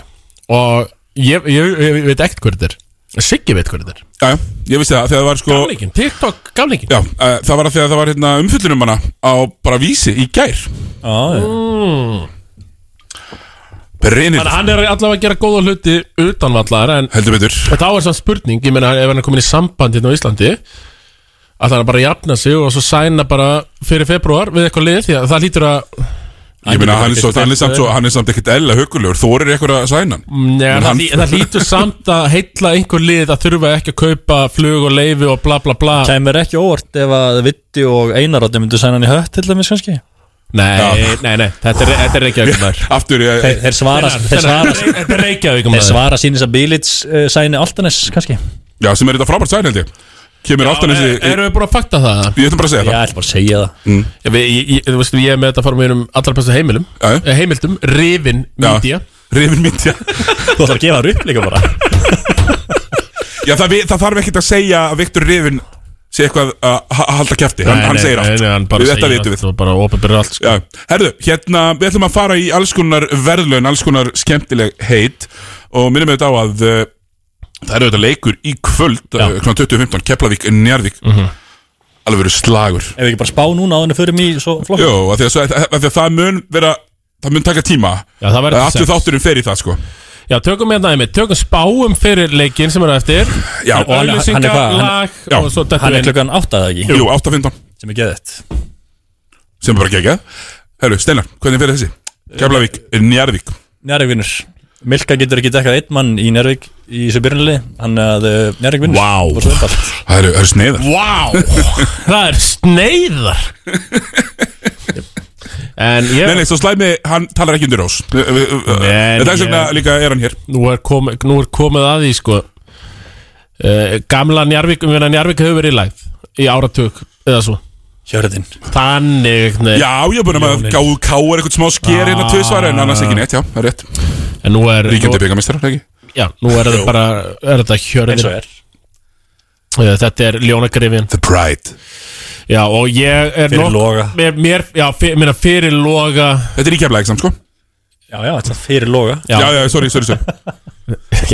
Speaker 2: Og ég, ég, ég, veit ekkert hver þetta er Siggi veit hver þetta er
Speaker 1: Já, já, ég vissi það, þegar það var sko
Speaker 2: Gamlingin, TikTok gamlingin
Speaker 1: Já, uh, það var að því að það var hérna umfyllunum hana á bara vísi í gær
Speaker 3: Já,
Speaker 2: Þannig
Speaker 1: Brynhildur,
Speaker 2: að hann er allavega að gera góða hluti utanvallar En
Speaker 1: heldur betur
Speaker 2: en þá er samt spurning, ég meina ef hann er komin í samband hérna á Íslandi Að hann bara að jafna sig og svo sæna bara fyrir februar Við eitthvað lið, því að það lítur að
Speaker 1: Ég meina, hann er,
Speaker 3: getur
Speaker 1: svo, hann,
Speaker 3: ekki
Speaker 1: er samt
Speaker 3: stefnt
Speaker 1: svo, hann er samt ekkert ella hugulegur Þú er eitthvað að sæna hann
Speaker 2: Nei,
Speaker 1: Men
Speaker 2: Mm, það,
Speaker 1: hann-
Speaker 2: lí- það lítur samt að heilla einhver lið að þurfa ekki að kaupa flug og leifi og bla bla bla
Speaker 3: Kæmur ekki óvart ef að Vitti og Einarátti myndu sæna hann í hött til dæmis kannski
Speaker 2: Nei,
Speaker 1: Já.
Speaker 2: nei, nei, þetta er, þetta er Reykjavík maður
Speaker 1: Aftur, ég,
Speaker 3: Þeir, þeir svara, þeir svara,
Speaker 2: Þetta er Reykjavík
Speaker 3: þeir
Speaker 2: maður
Speaker 3: svara sínis að Bílits uh, sæni Altanes kannski
Speaker 1: já, sem er þetta frábært sæn held ég Kemur alltaf
Speaker 2: Er-
Speaker 1: nessi
Speaker 2: e, Erum við búin að fakta það?
Speaker 1: Ég ætlum bara að segja
Speaker 3: Já, ég ætla bara að segja það
Speaker 2: Já, við, ég, ég, þú veist, ég er með þetta að fara með einum allra bestu heimilum
Speaker 1: Já.
Speaker 2: Eh, Heimildum, Rivin
Speaker 1: það
Speaker 2: Media
Speaker 1: Rifin mídja
Speaker 3: Þú ætla að gefa það upp líka bara
Speaker 1: Já, það, vi- það þarf ekkert að segja að Viktor Rifin sé eitthvað að ha- halda kæfti Hann, hann segir allt Við Þetta vitum við
Speaker 2: Það bara opinbyrður allt sko.
Speaker 1: Já, herðu, hérna, við ætlum að fara í alls konar verðlaun, alls konar skemmtileg heit og minnum við þetta á að uh, það eru auðvitað leikur í kvöld,
Speaker 3: Já.
Speaker 1: uh, kl. 20.15, Keflavík, Njarðvík,
Speaker 2: Mhm.
Speaker 1: alveg verið slagur.
Speaker 3: Ef við ekki bara spá núna á henni fyrir mig svo flokk
Speaker 1: Jó, af því að, svo- af því að það mun vera, það mun taka tíma,
Speaker 2: Já, það verður
Speaker 1: aftur
Speaker 2: sex.
Speaker 1: þátturinn fer í það, sko.
Speaker 2: Já, tökum með næmi, tökum spáum fyrir leikinn sem er á eftir
Speaker 1: Já,
Speaker 3: Og hann er- hann er
Speaker 2: Öllusinga,
Speaker 3: hvað? Hann-
Speaker 2: lag
Speaker 1: Já,
Speaker 2: og svo
Speaker 3: Hann
Speaker 2: dættum
Speaker 3: er
Speaker 2: við inn.
Speaker 3: klukkan átta eða ekki
Speaker 1: jú, 8.15,
Speaker 3: sem er geðið
Speaker 1: sem er bara geggjað. Herru, Steinar, hvernig fer þessi? Keflavík, Njarðvík.
Speaker 3: Njárvík vinnur Milka getur ekki dekkað einn mann í Njárvík í þessu byrjunli hann að Njárvík vinnur
Speaker 2: Vá.
Speaker 3: og svo einfalt
Speaker 1: Það eru, það eru sneiðar.
Speaker 2: Vá, það er sneiðar En ég
Speaker 1: Nei, nei, svo slæmi, hann talar ekki undir Eh, ós. Það er
Speaker 2: Nei, ég-
Speaker 1: svona líka er hann hér.
Speaker 2: nú, er komi, nú er komið að því sko uh, Gamla Njarvík Mjöna Njarvík hefur verið í læð Í áratug eða svo
Speaker 3: Hjörðin
Speaker 2: Þannig nei.
Speaker 1: Já, ég er búin að maður gáðu káar eitthvað smá sker hérna tvisvar en annars ekki neitt, já, það er rétt
Speaker 2: Ah. En nú er nú,
Speaker 1: Ríkjandi byggamistrar, ekki?
Speaker 2: já, nú er þetta bara er þetta
Speaker 3: eins og
Speaker 2: hjörðin
Speaker 3: er
Speaker 2: Eh, Þetta er ljónagrifin
Speaker 1: The Pride
Speaker 2: Já og ég er
Speaker 3: Fyrir
Speaker 2: nokk-
Speaker 3: Loga.
Speaker 2: mér, mér, Já, fyr, minna, fyrir loga
Speaker 1: Þetta er íkjaflega ekki samt, sko?
Speaker 3: Já, já, þetta er fyrir loga
Speaker 1: Já, já, sorry, sorry, sorry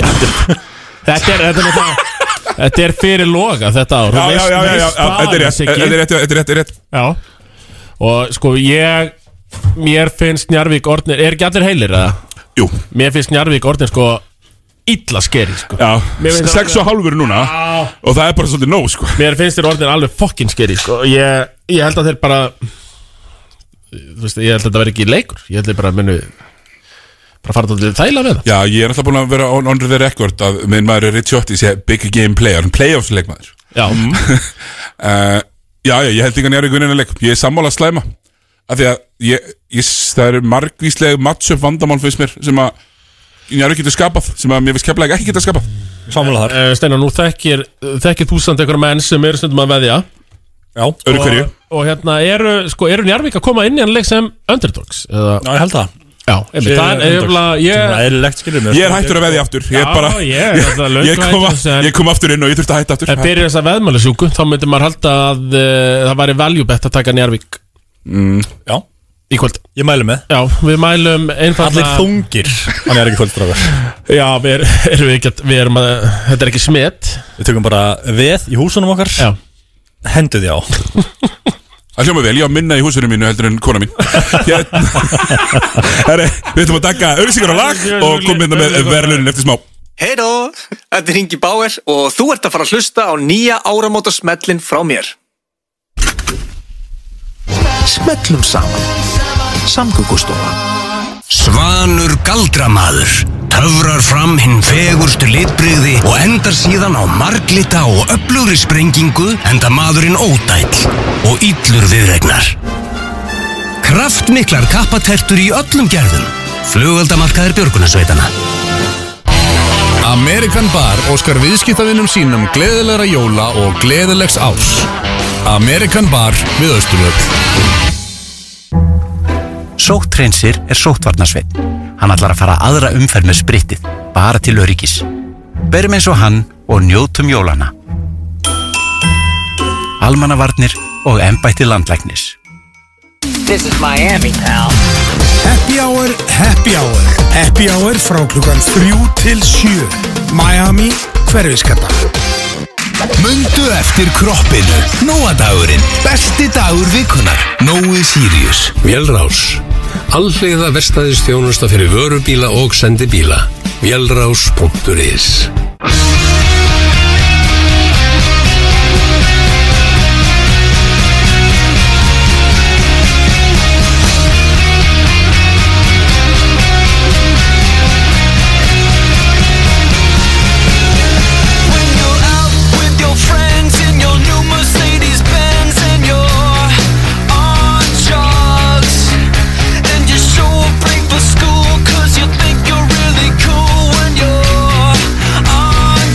Speaker 2: Þetta er, þetta er, þetta er, þetta er fyrir loga þetta ár
Speaker 1: Já, já,
Speaker 2: Þú veist-
Speaker 1: já, já, já,
Speaker 2: veist það,
Speaker 1: þetta er rétt,
Speaker 2: Siggi.
Speaker 1: þetta er rétt, þetta er rétt, þetta er rétt
Speaker 2: Já Og sko ég Mér finnst Njarvík orðnir Er ekki allir heilir eða?
Speaker 1: Jú,
Speaker 2: Mér finnst Njarvík orðnir sko Illa skeri sko Mér
Speaker 1: já,
Speaker 2: finnst
Speaker 1: sex og hálfur núna og það er bara svolítið nóg, sko
Speaker 2: Mér finnst þér orðnir alveg fokkin skeri sko Ég, ég held að þeir bara Þú veist ég held að þetta verði ekki leikur Ég held að þeir bara munu Bara fara þetta þæla með það
Speaker 1: Já, ég er alltaf búin að vera on, on the record að minn maður er Ricciotti sé big game player, hann playoffs leikmaður
Speaker 2: Já
Speaker 1: uh, Já, já, ég held ekki að nýjar ykkur leik Ég er sammála að slæma Af því að ég, ég, það eru margvíslega matchup vandamál finnst mér sem að nýjar getur skapað sem að mér finnst keflega ekki geta skapað
Speaker 3: Sammála þar
Speaker 2: Eh, Steinar nú þekkir Þekkir þú samt einhverja menn sem eru stundum að veðja
Speaker 3: Já
Speaker 1: Öru hverju
Speaker 2: Og hérna eru, sko, eru Njarvík að koma inn í hann leik sem underdogs eða,
Speaker 3: Já, ég held það
Speaker 2: Já, einmitt, það er eiginlega
Speaker 3: Sem er
Speaker 2: Ég
Speaker 3: eðlilegt skilur mér
Speaker 1: Ég er hættur að veðja aftur Ég er
Speaker 2: Já,
Speaker 1: bara
Speaker 2: ég er náttúrulega löngu
Speaker 1: ég kom,
Speaker 2: hættur að segja-
Speaker 1: ég kom aftur inn og ég þurfti að hætta aftur
Speaker 2: En fyrir þessa veðmálisjúku, þá myndi maður halda að uh, það væri value bet að taka Njarvík
Speaker 3: Já,
Speaker 2: í kvöld
Speaker 3: ég mælu með
Speaker 2: Já, við mælum einfallega
Speaker 3: Allir þungir Hann er ekki kvöldstráður
Speaker 2: Já, við, er, erum við, ekki, að- við erum að, þetta er ekki smet
Speaker 3: Við tökum bara veð í húsunum okkar
Speaker 2: Já,
Speaker 3: Hendu því á
Speaker 1: Það hljóma vel, ég á minna í húsinu mínu heldur en kona mín Hérna Herri, Við ætlum að taka auðvisingar á lag og komum hérna með verðlunin eftir smá
Speaker 4: Heyró, þetta er Ingi Bauer og þú ert að fara að hlusta á nýja áramóta smellin frá mér. Smellum saman. Samgöngustofa.
Speaker 5: Svanur galdramaður töfrar fram hinn fegurstu litbrigði og endar síðan á marglita og öflugri sprengingu enda maðurinn ódæll og illur viðregnar. Kraftmiklar kappatertur í öllum gerðum. Flugaldamarkaðir björgunarsveitana.
Speaker 6: Amerikan Bar óskar viðskiptavinnum sínum gleðilegra jóla og gleðilegs árs. Amerikan Bar við Östurlöf.
Speaker 5: Sóttreinsir er sóttvarnasveit. Hann ætlar að fara aðra umferð með spritið, bara til öryggis. Berum eins og hann og njótum jólana. Almannavarnir og embætti landlæknis.
Speaker 7: This is Miami, pal.
Speaker 8: Happy Hour, Happy Hour Happy Hour frá klukkan 3 til 7 Miami, hverfiskata
Speaker 5: Mundu eftir kroppinu. Nóadagurinn. Besti dagur vikunar. Nói Sirius.
Speaker 6: Vélrás. Alliða vestæðis þjónusta fyrir vörubíla og sendibíla. Vélrás.is
Speaker 9: When you're out with your friends in your new Mercedes Benz and you're on drugs, and you show break for school 'cause you think you're really cool when you're on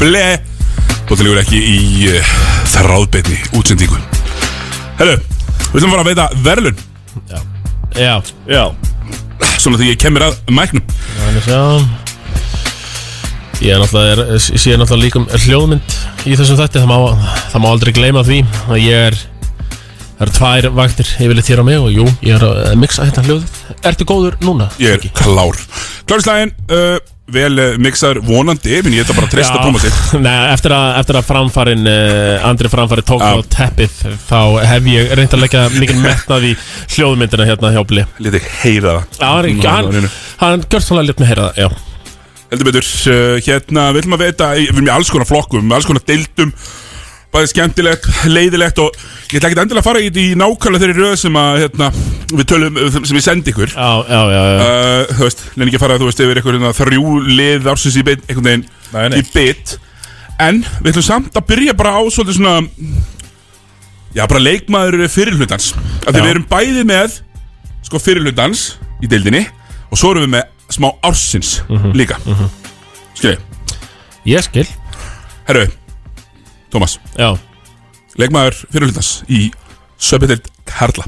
Speaker 1: ble og það lífur ekki í uh, þráðbeinni útsendingu Herru, við ætlum að fara að veita verðlun
Speaker 2: Já,
Speaker 3: Já,
Speaker 1: svona því ég kemur að mæknum
Speaker 2: þannig sjá Ég er náttúrulega, er, ég er náttúrulega líkum hljóðmynd í þessum þætti það má, það má aldrei gleyma því að ég er Það eru tvær vaktir yfirleitt hér á mig og jú, ég er að mixa hérna hljóðið Ertu góður núna?
Speaker 1: Ég er klár Klárislægin, uh, vel uh, mixar vonandi Minn ég ætla bara að treysta
Speaker 2: Já.
Speaker 1: Tómasi
Speaker 2: Nei, eftir að, eftir að framfarin uh, Andri framfari tók
Speaker 1: Já.
Speaker 2: á teppið Þá hef ég reynd að leggja mikið metnað í hljóðmyndina hérna hjá Bli
Speaker 1: Lítið heyra það
Speaker 2: Já, hann,
Speaker 1: Nú, það var
Speaker 2: hann,
Speaker 1: einu.
Speaker 2: hann gjörst hann að létt með heyra það, já
Speaker 1: Heldur betur, uh, hérna við ætlum að veita Við erum í alls konar flokkum, alls konar deildum Bæði skemmtilegt, leiðilegt Og ég ætla ekki endilega að fara í, í nákvæmlega þeirri röð Sem að, hérna, við tölum Sem ég sendi ykkur
Speaker 2: Já, já, já, já.
Speaker 1: Uh, þú veist, lenni ekki að fara þú veist yfir einhverjum þrjú lið ársins í bit, einhvern veginn
Speaker 3: Nei, nei.
Speaker 1: í bit en við ætlum samt að byrja bara á svolítið svona já, bara leikmaður fyrirhlutans af því við erum bæði með sko fyrirhlutans í deildinni og svo erum við með smá ársins líka mm -hmm. skilji,
Speaker 2: Ég skil
Speaker 1: herru Tómas,
Speaker 2: Já,
Speaker 1: leikmaður fyrirhlutans í söpindeld Karla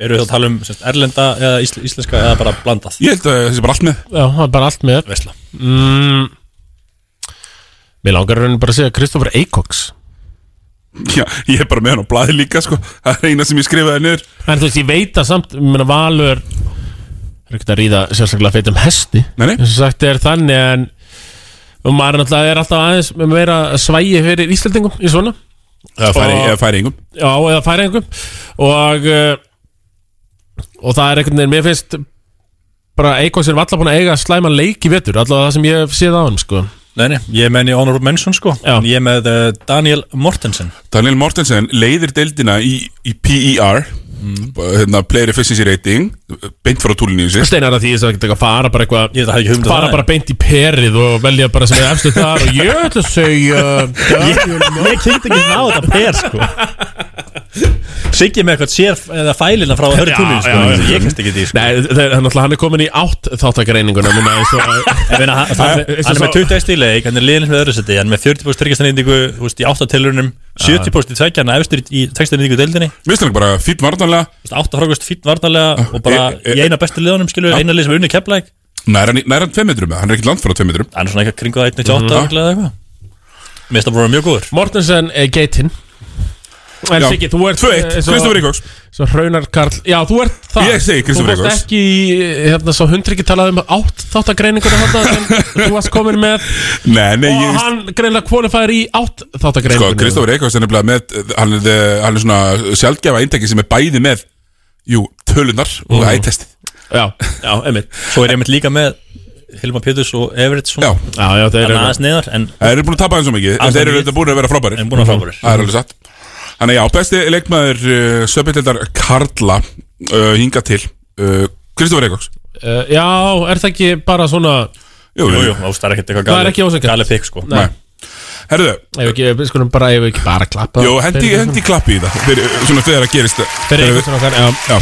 Speaker 3: eru við þá að tala um sérst, erlenda eða ísl, íslenska eða bara blandað
Speaker 1: ég held að þessi bara allt með
Speaker 2: já, hann er bara allt með þér
Speaker 3: Vesla
Speaker 2: mm, Mér langar raunin bara að segja Kristoffer Eikoks
Speaker 1: já, ég er bara með hann á blaði líka sko. það er eina sem ég skrifaði niður
Speaker 2: En þú veist, ég veit að samt, ég meina Valur er ekkert að ríða sérstaklega feitum hesti
Speaker 1: Nei, nei.
Speaker 2: Þess að sagt er þannig en og maður náttúrulega er alltaf aðeins með meira svægi fyrir Íslandingum í svona
Speaker 1: eða færi,
Speaker 2: Og-
Speaker 1: eða færi yngum
Speaker 2: Já, eða færingum og uh, og það er einhvern veginn, mér finnst bara Eikos er valla búin að eiga slæman leik í vetur, allavega það sem ég hef séð á hann sko.
Speaker 3: Nei, nei, ég er menn í Honorable Mention sko
Speaker 2: Já.
Speaker 3: En Ég er með uh, Daniel Mortensen
Speaker 1: Daniel Mortensen leiðir deildina í, í PER b- hérna, Player Efficiency Rating beint frá túlinni í sig
Speaker 2: Steinar að því þess að ekki fara bara eitthvað
Speaker 3: Ég hafði ekki hugmynd um
Speaker 2: fara
Speaker 3: það,
Speaker 2: bara beint í perið og velja bara sem er efstu þar og ég ætla að segja
Speaker 3: Ég kynnt ekki ná þetta per sko Siggi með eitthvað sér eða fælina frá
Speaker 2: Já,
Speaker 3: hörðu túlin sko
Speaker 2: já, já.
Speaker 3: Ég kynst ekki því sko
Speaker 2: Nei, það er náttúrulega hann er komin í átt þáttakareininguna núna eins og
Speaker 3: Ég meina, hann, hann,
Speaker 2: Það er-
Speaker 3: hann er
Speaker 2: svo-
Speaker 3: með 20 stíl leik, hann er liðin með öðru seti Hann er með 40 post tryggjastanýndingu, þú veist, í 8 tilurinnum 70 post í tveggjarna, efstur í tveggjastanýndingu deildinni
Speaker 1: Mér finnst hann bara fýtt vartanlega
Speaker 3: Þú veist, 8 frákvæmst fýtt varnarlega Og bara
Speaker 1: e- e-
Speaker 3: í eina bestu liðunum, skilur, eina lið sem er unni keplæk
Speaker 1: nær hann, nær hann 2 metrum, eða? hann er ekkert langt frá 2 metrum
Speaker 3: Hann er svona eitthvað kringu að 1.98 mm. eða eitthvað Mér finnst það bara mjög góður
Speaker 2: Mortensen er geitinn En
Speaker 1: Já.
Speaker 2: Siggi, þú ert
Speaker 1: 2-1,
Speaker 2: eh, svo-
Speaker 1: Kristofur Ríkóks
Speaker 2: Svo Hraunar Karl, já þú ert það
Speaker 1: Ég segi Kristoffer
Speaker 2: Þú
Speaker 1: Eikos.
Speaker 2: varst ekki, í, hérna svo hundri ekki talað um átt þáttagreininguna hérna sem þú varst komin með
Speaker 1: Nei, nei,
Speaker 2: Og
Speaker 1: ég veist
Speaker 2: hann greinlega kvólifæður í átt
Speaker 1: Sko,
Speaker 2: þáttagreininguna
Speaker 1: Kristofur Eikos er nefnilega með hann er, the- hann er svona sjálfgefa eintæki sem er bæði með Jú, tölunar og ættestið
Speaker 2: Já, já, einmitt
Speaker 3: Svo er ég mitt líka með Hilma Péturs og Everett
Speaker 1: Já,
Speaker 3: svona
Speaker 2: Já, já, það er
Speaker 3: Hann er aðeins neðar en
Speaker 1: þeir eru búin að tapa hans svo mikið En
Speaker 3: Alls
Speaker 1: þeir eru
Speaker 3: ekki.
Speaker 1: auðvitað búin að vera frábærir Mhm.
Speaker 3: en búin að frábærir
Speaker 1: Það er alveg satt Þannig já, besti leikmaður uh, Söpildildar Karla uh, hinga til uh, Kristofur Eikóks
Speaker 2: uh, Já, er það ekki bara svona
Speaker 1: Jú,
Speaker 3: Jú, jú, ást, það er ekkert eitthvað
Speaker 2: Það er
Speaker 3: galið-
Speaker 2: ekki ósanngjarnt.
Speaker 3: galið pikk, sko
Speaker 1: Nei. Herðu,
Speaker 2: Ef ekki, við skulum bara, ef ekki bara klappa
Speaker 1: jú, hendi, hendi klappi í það fyrir, Svona þegar það gerist eh, þegar
Speaker 2: Fyrir einhvern
Speaker 1: við-
Speaker 2: svona okkar, já
Speaker 1: Já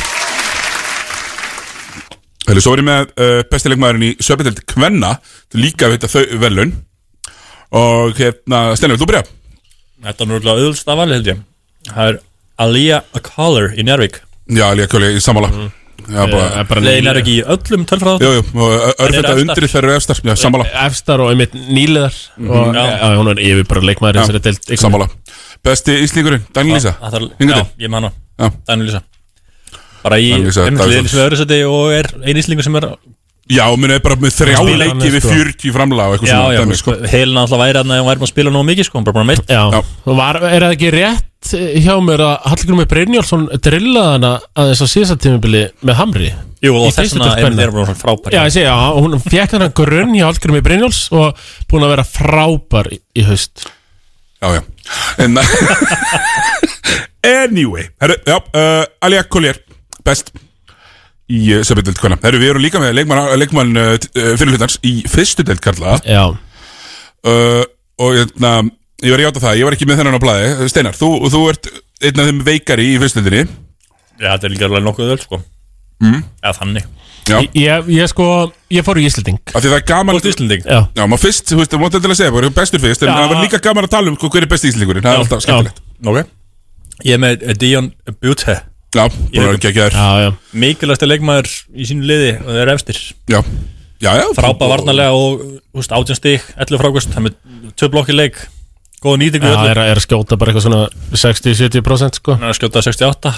Speaker 1: Herðu, svo er ég með uh, bestileikmaðurinn í Söpindeld Kvenna Líka við þetta þau velun Og hérna, Stenni, vil þú byrja?
Speaker 3: Þetta er núrlega auðvöldst af alveg held ég Það er Alia Collar í Njárvík
Speaker 1: Já, líka kjóli í sammála Já,
Speaker 2: Eh,
Speaker 1: bara
Speaker 3: Nei, Njárvík í öllum tölfræðum
Speaker 1: Jú, jú, og örfenda
Speaker 3: efstar.
Speaker 1: undir þegar eru efstar Já,
Speaker 2: eh,
Speaker 1: sammála,
Speaker 2: Efstar og einmitt nýliðar og,
Speaker 3: Já.
Speaker 2: já. hún er yfir bara leikmaður í þessari deild einhvern veginn.
Speaker 1: Mhm. sammála Besti íslingurinn, Daniel Lísa
Speaker 3: Það þarf-
Speaker 1: Hinga
Speaker 3: Já,
Speaker 1: til
Speaker 3: ég man
Speaker 1: Já.
Speaker 3: hana Daniel Lýsa Bara í
Speaker 1: Daniel Lýsa,
Speaker 3: einmitt
Speaker 1: Davíðsson.
Speaker 3: liðin sem er öðru seti og er einn íslingu sem er
Speaker 1: Já, minn er bara með þrjá
Speaker 2: Spilar hann,
Speaker 1: leiki við
Speaker 2: sko.
Speaker 1: 40 framlega og eitthvað
Speaker 3: Já,
Speaker 1: svona
Speaker 3: já,
Speaker 1: dæmi, sko.
Speaker 3: heilin alltaf væri að hún væri búin að spila nógu mikið sko, hún bara bara meitt
Speaker 2: Já,
Speaker 1: Já.
Speaker 2: og var, er það ekki rétt eh, hjá mér að Hallgrími Brynjálsson drillaði hana aðeins á síðasta tímubili með Hamri
Speaker 3: Jú, og
Speaker 2: Í
Speaker 3: þess
Speaker 2: fyrstu deild
Speaker 3: vegna er
Speaker 2: kvenna.
Speaker 3: hún bara svona frábær
Speaker 2: Já, ég segi, já, hún fekk hennar grunn hjá Hallgrími Brynjáls og búin að vera frábær í, í haust
Speaker 1: Já, já En Anyway Herru, já, uh, Alia Collier Best Í uh, söpindeld hvernig Herru, við erum líka með leikmann, leikmann uh, t- uh, fyrirhlutans Í fyrstu delt karla
Speaker 2: Já,
Speaker 1: uh, Og hérna Ég var að játa það, ég var ekki með þennan á blaði Steinar, þú, þú ert einn af þeim veikari í fyrstundinni Mm.
Speaker 3: Já, þetta er líka alveg nokkuð öll sko Já, þannig
Speaker 1: Já.
Speaker 2: Ég, ég, ég sko, ég fór í Íslending
Speaker 1: Af því það er gaman
Speaker 3: Fórstu Íslending?
Speaker 2: Já,
Speaker 1: Já, maður fyrst, þú veist, það er mótið til að segja bara bestur fyrst, en
Speaker 2: Já.
Speaker 1: það var líka gaman að tala um hver er besti íslendingurinn, það er alltaf skemmtilegt
Speaker 3: Ok Ég er með eh, Dion Bute
Speaker 1: Já, bara ekki að gera
Speaker 2: já, já
Speaker 3: Mikilvægsta leikmaður í sínu liði og það er efstir
Speaker 1: Já, já, já
Speaker 3: Frápa varnarlega og húst, átján stík 11 frákvöst, það er með tvö blokki leik Góða nýtingu í
Speaker 2: Það
Speaker 3: öllu.
Speaker 2: er, að- er að skjóta bara eitthvað svona 60-70% sko
Speaker 3: Hann er að skjóta 68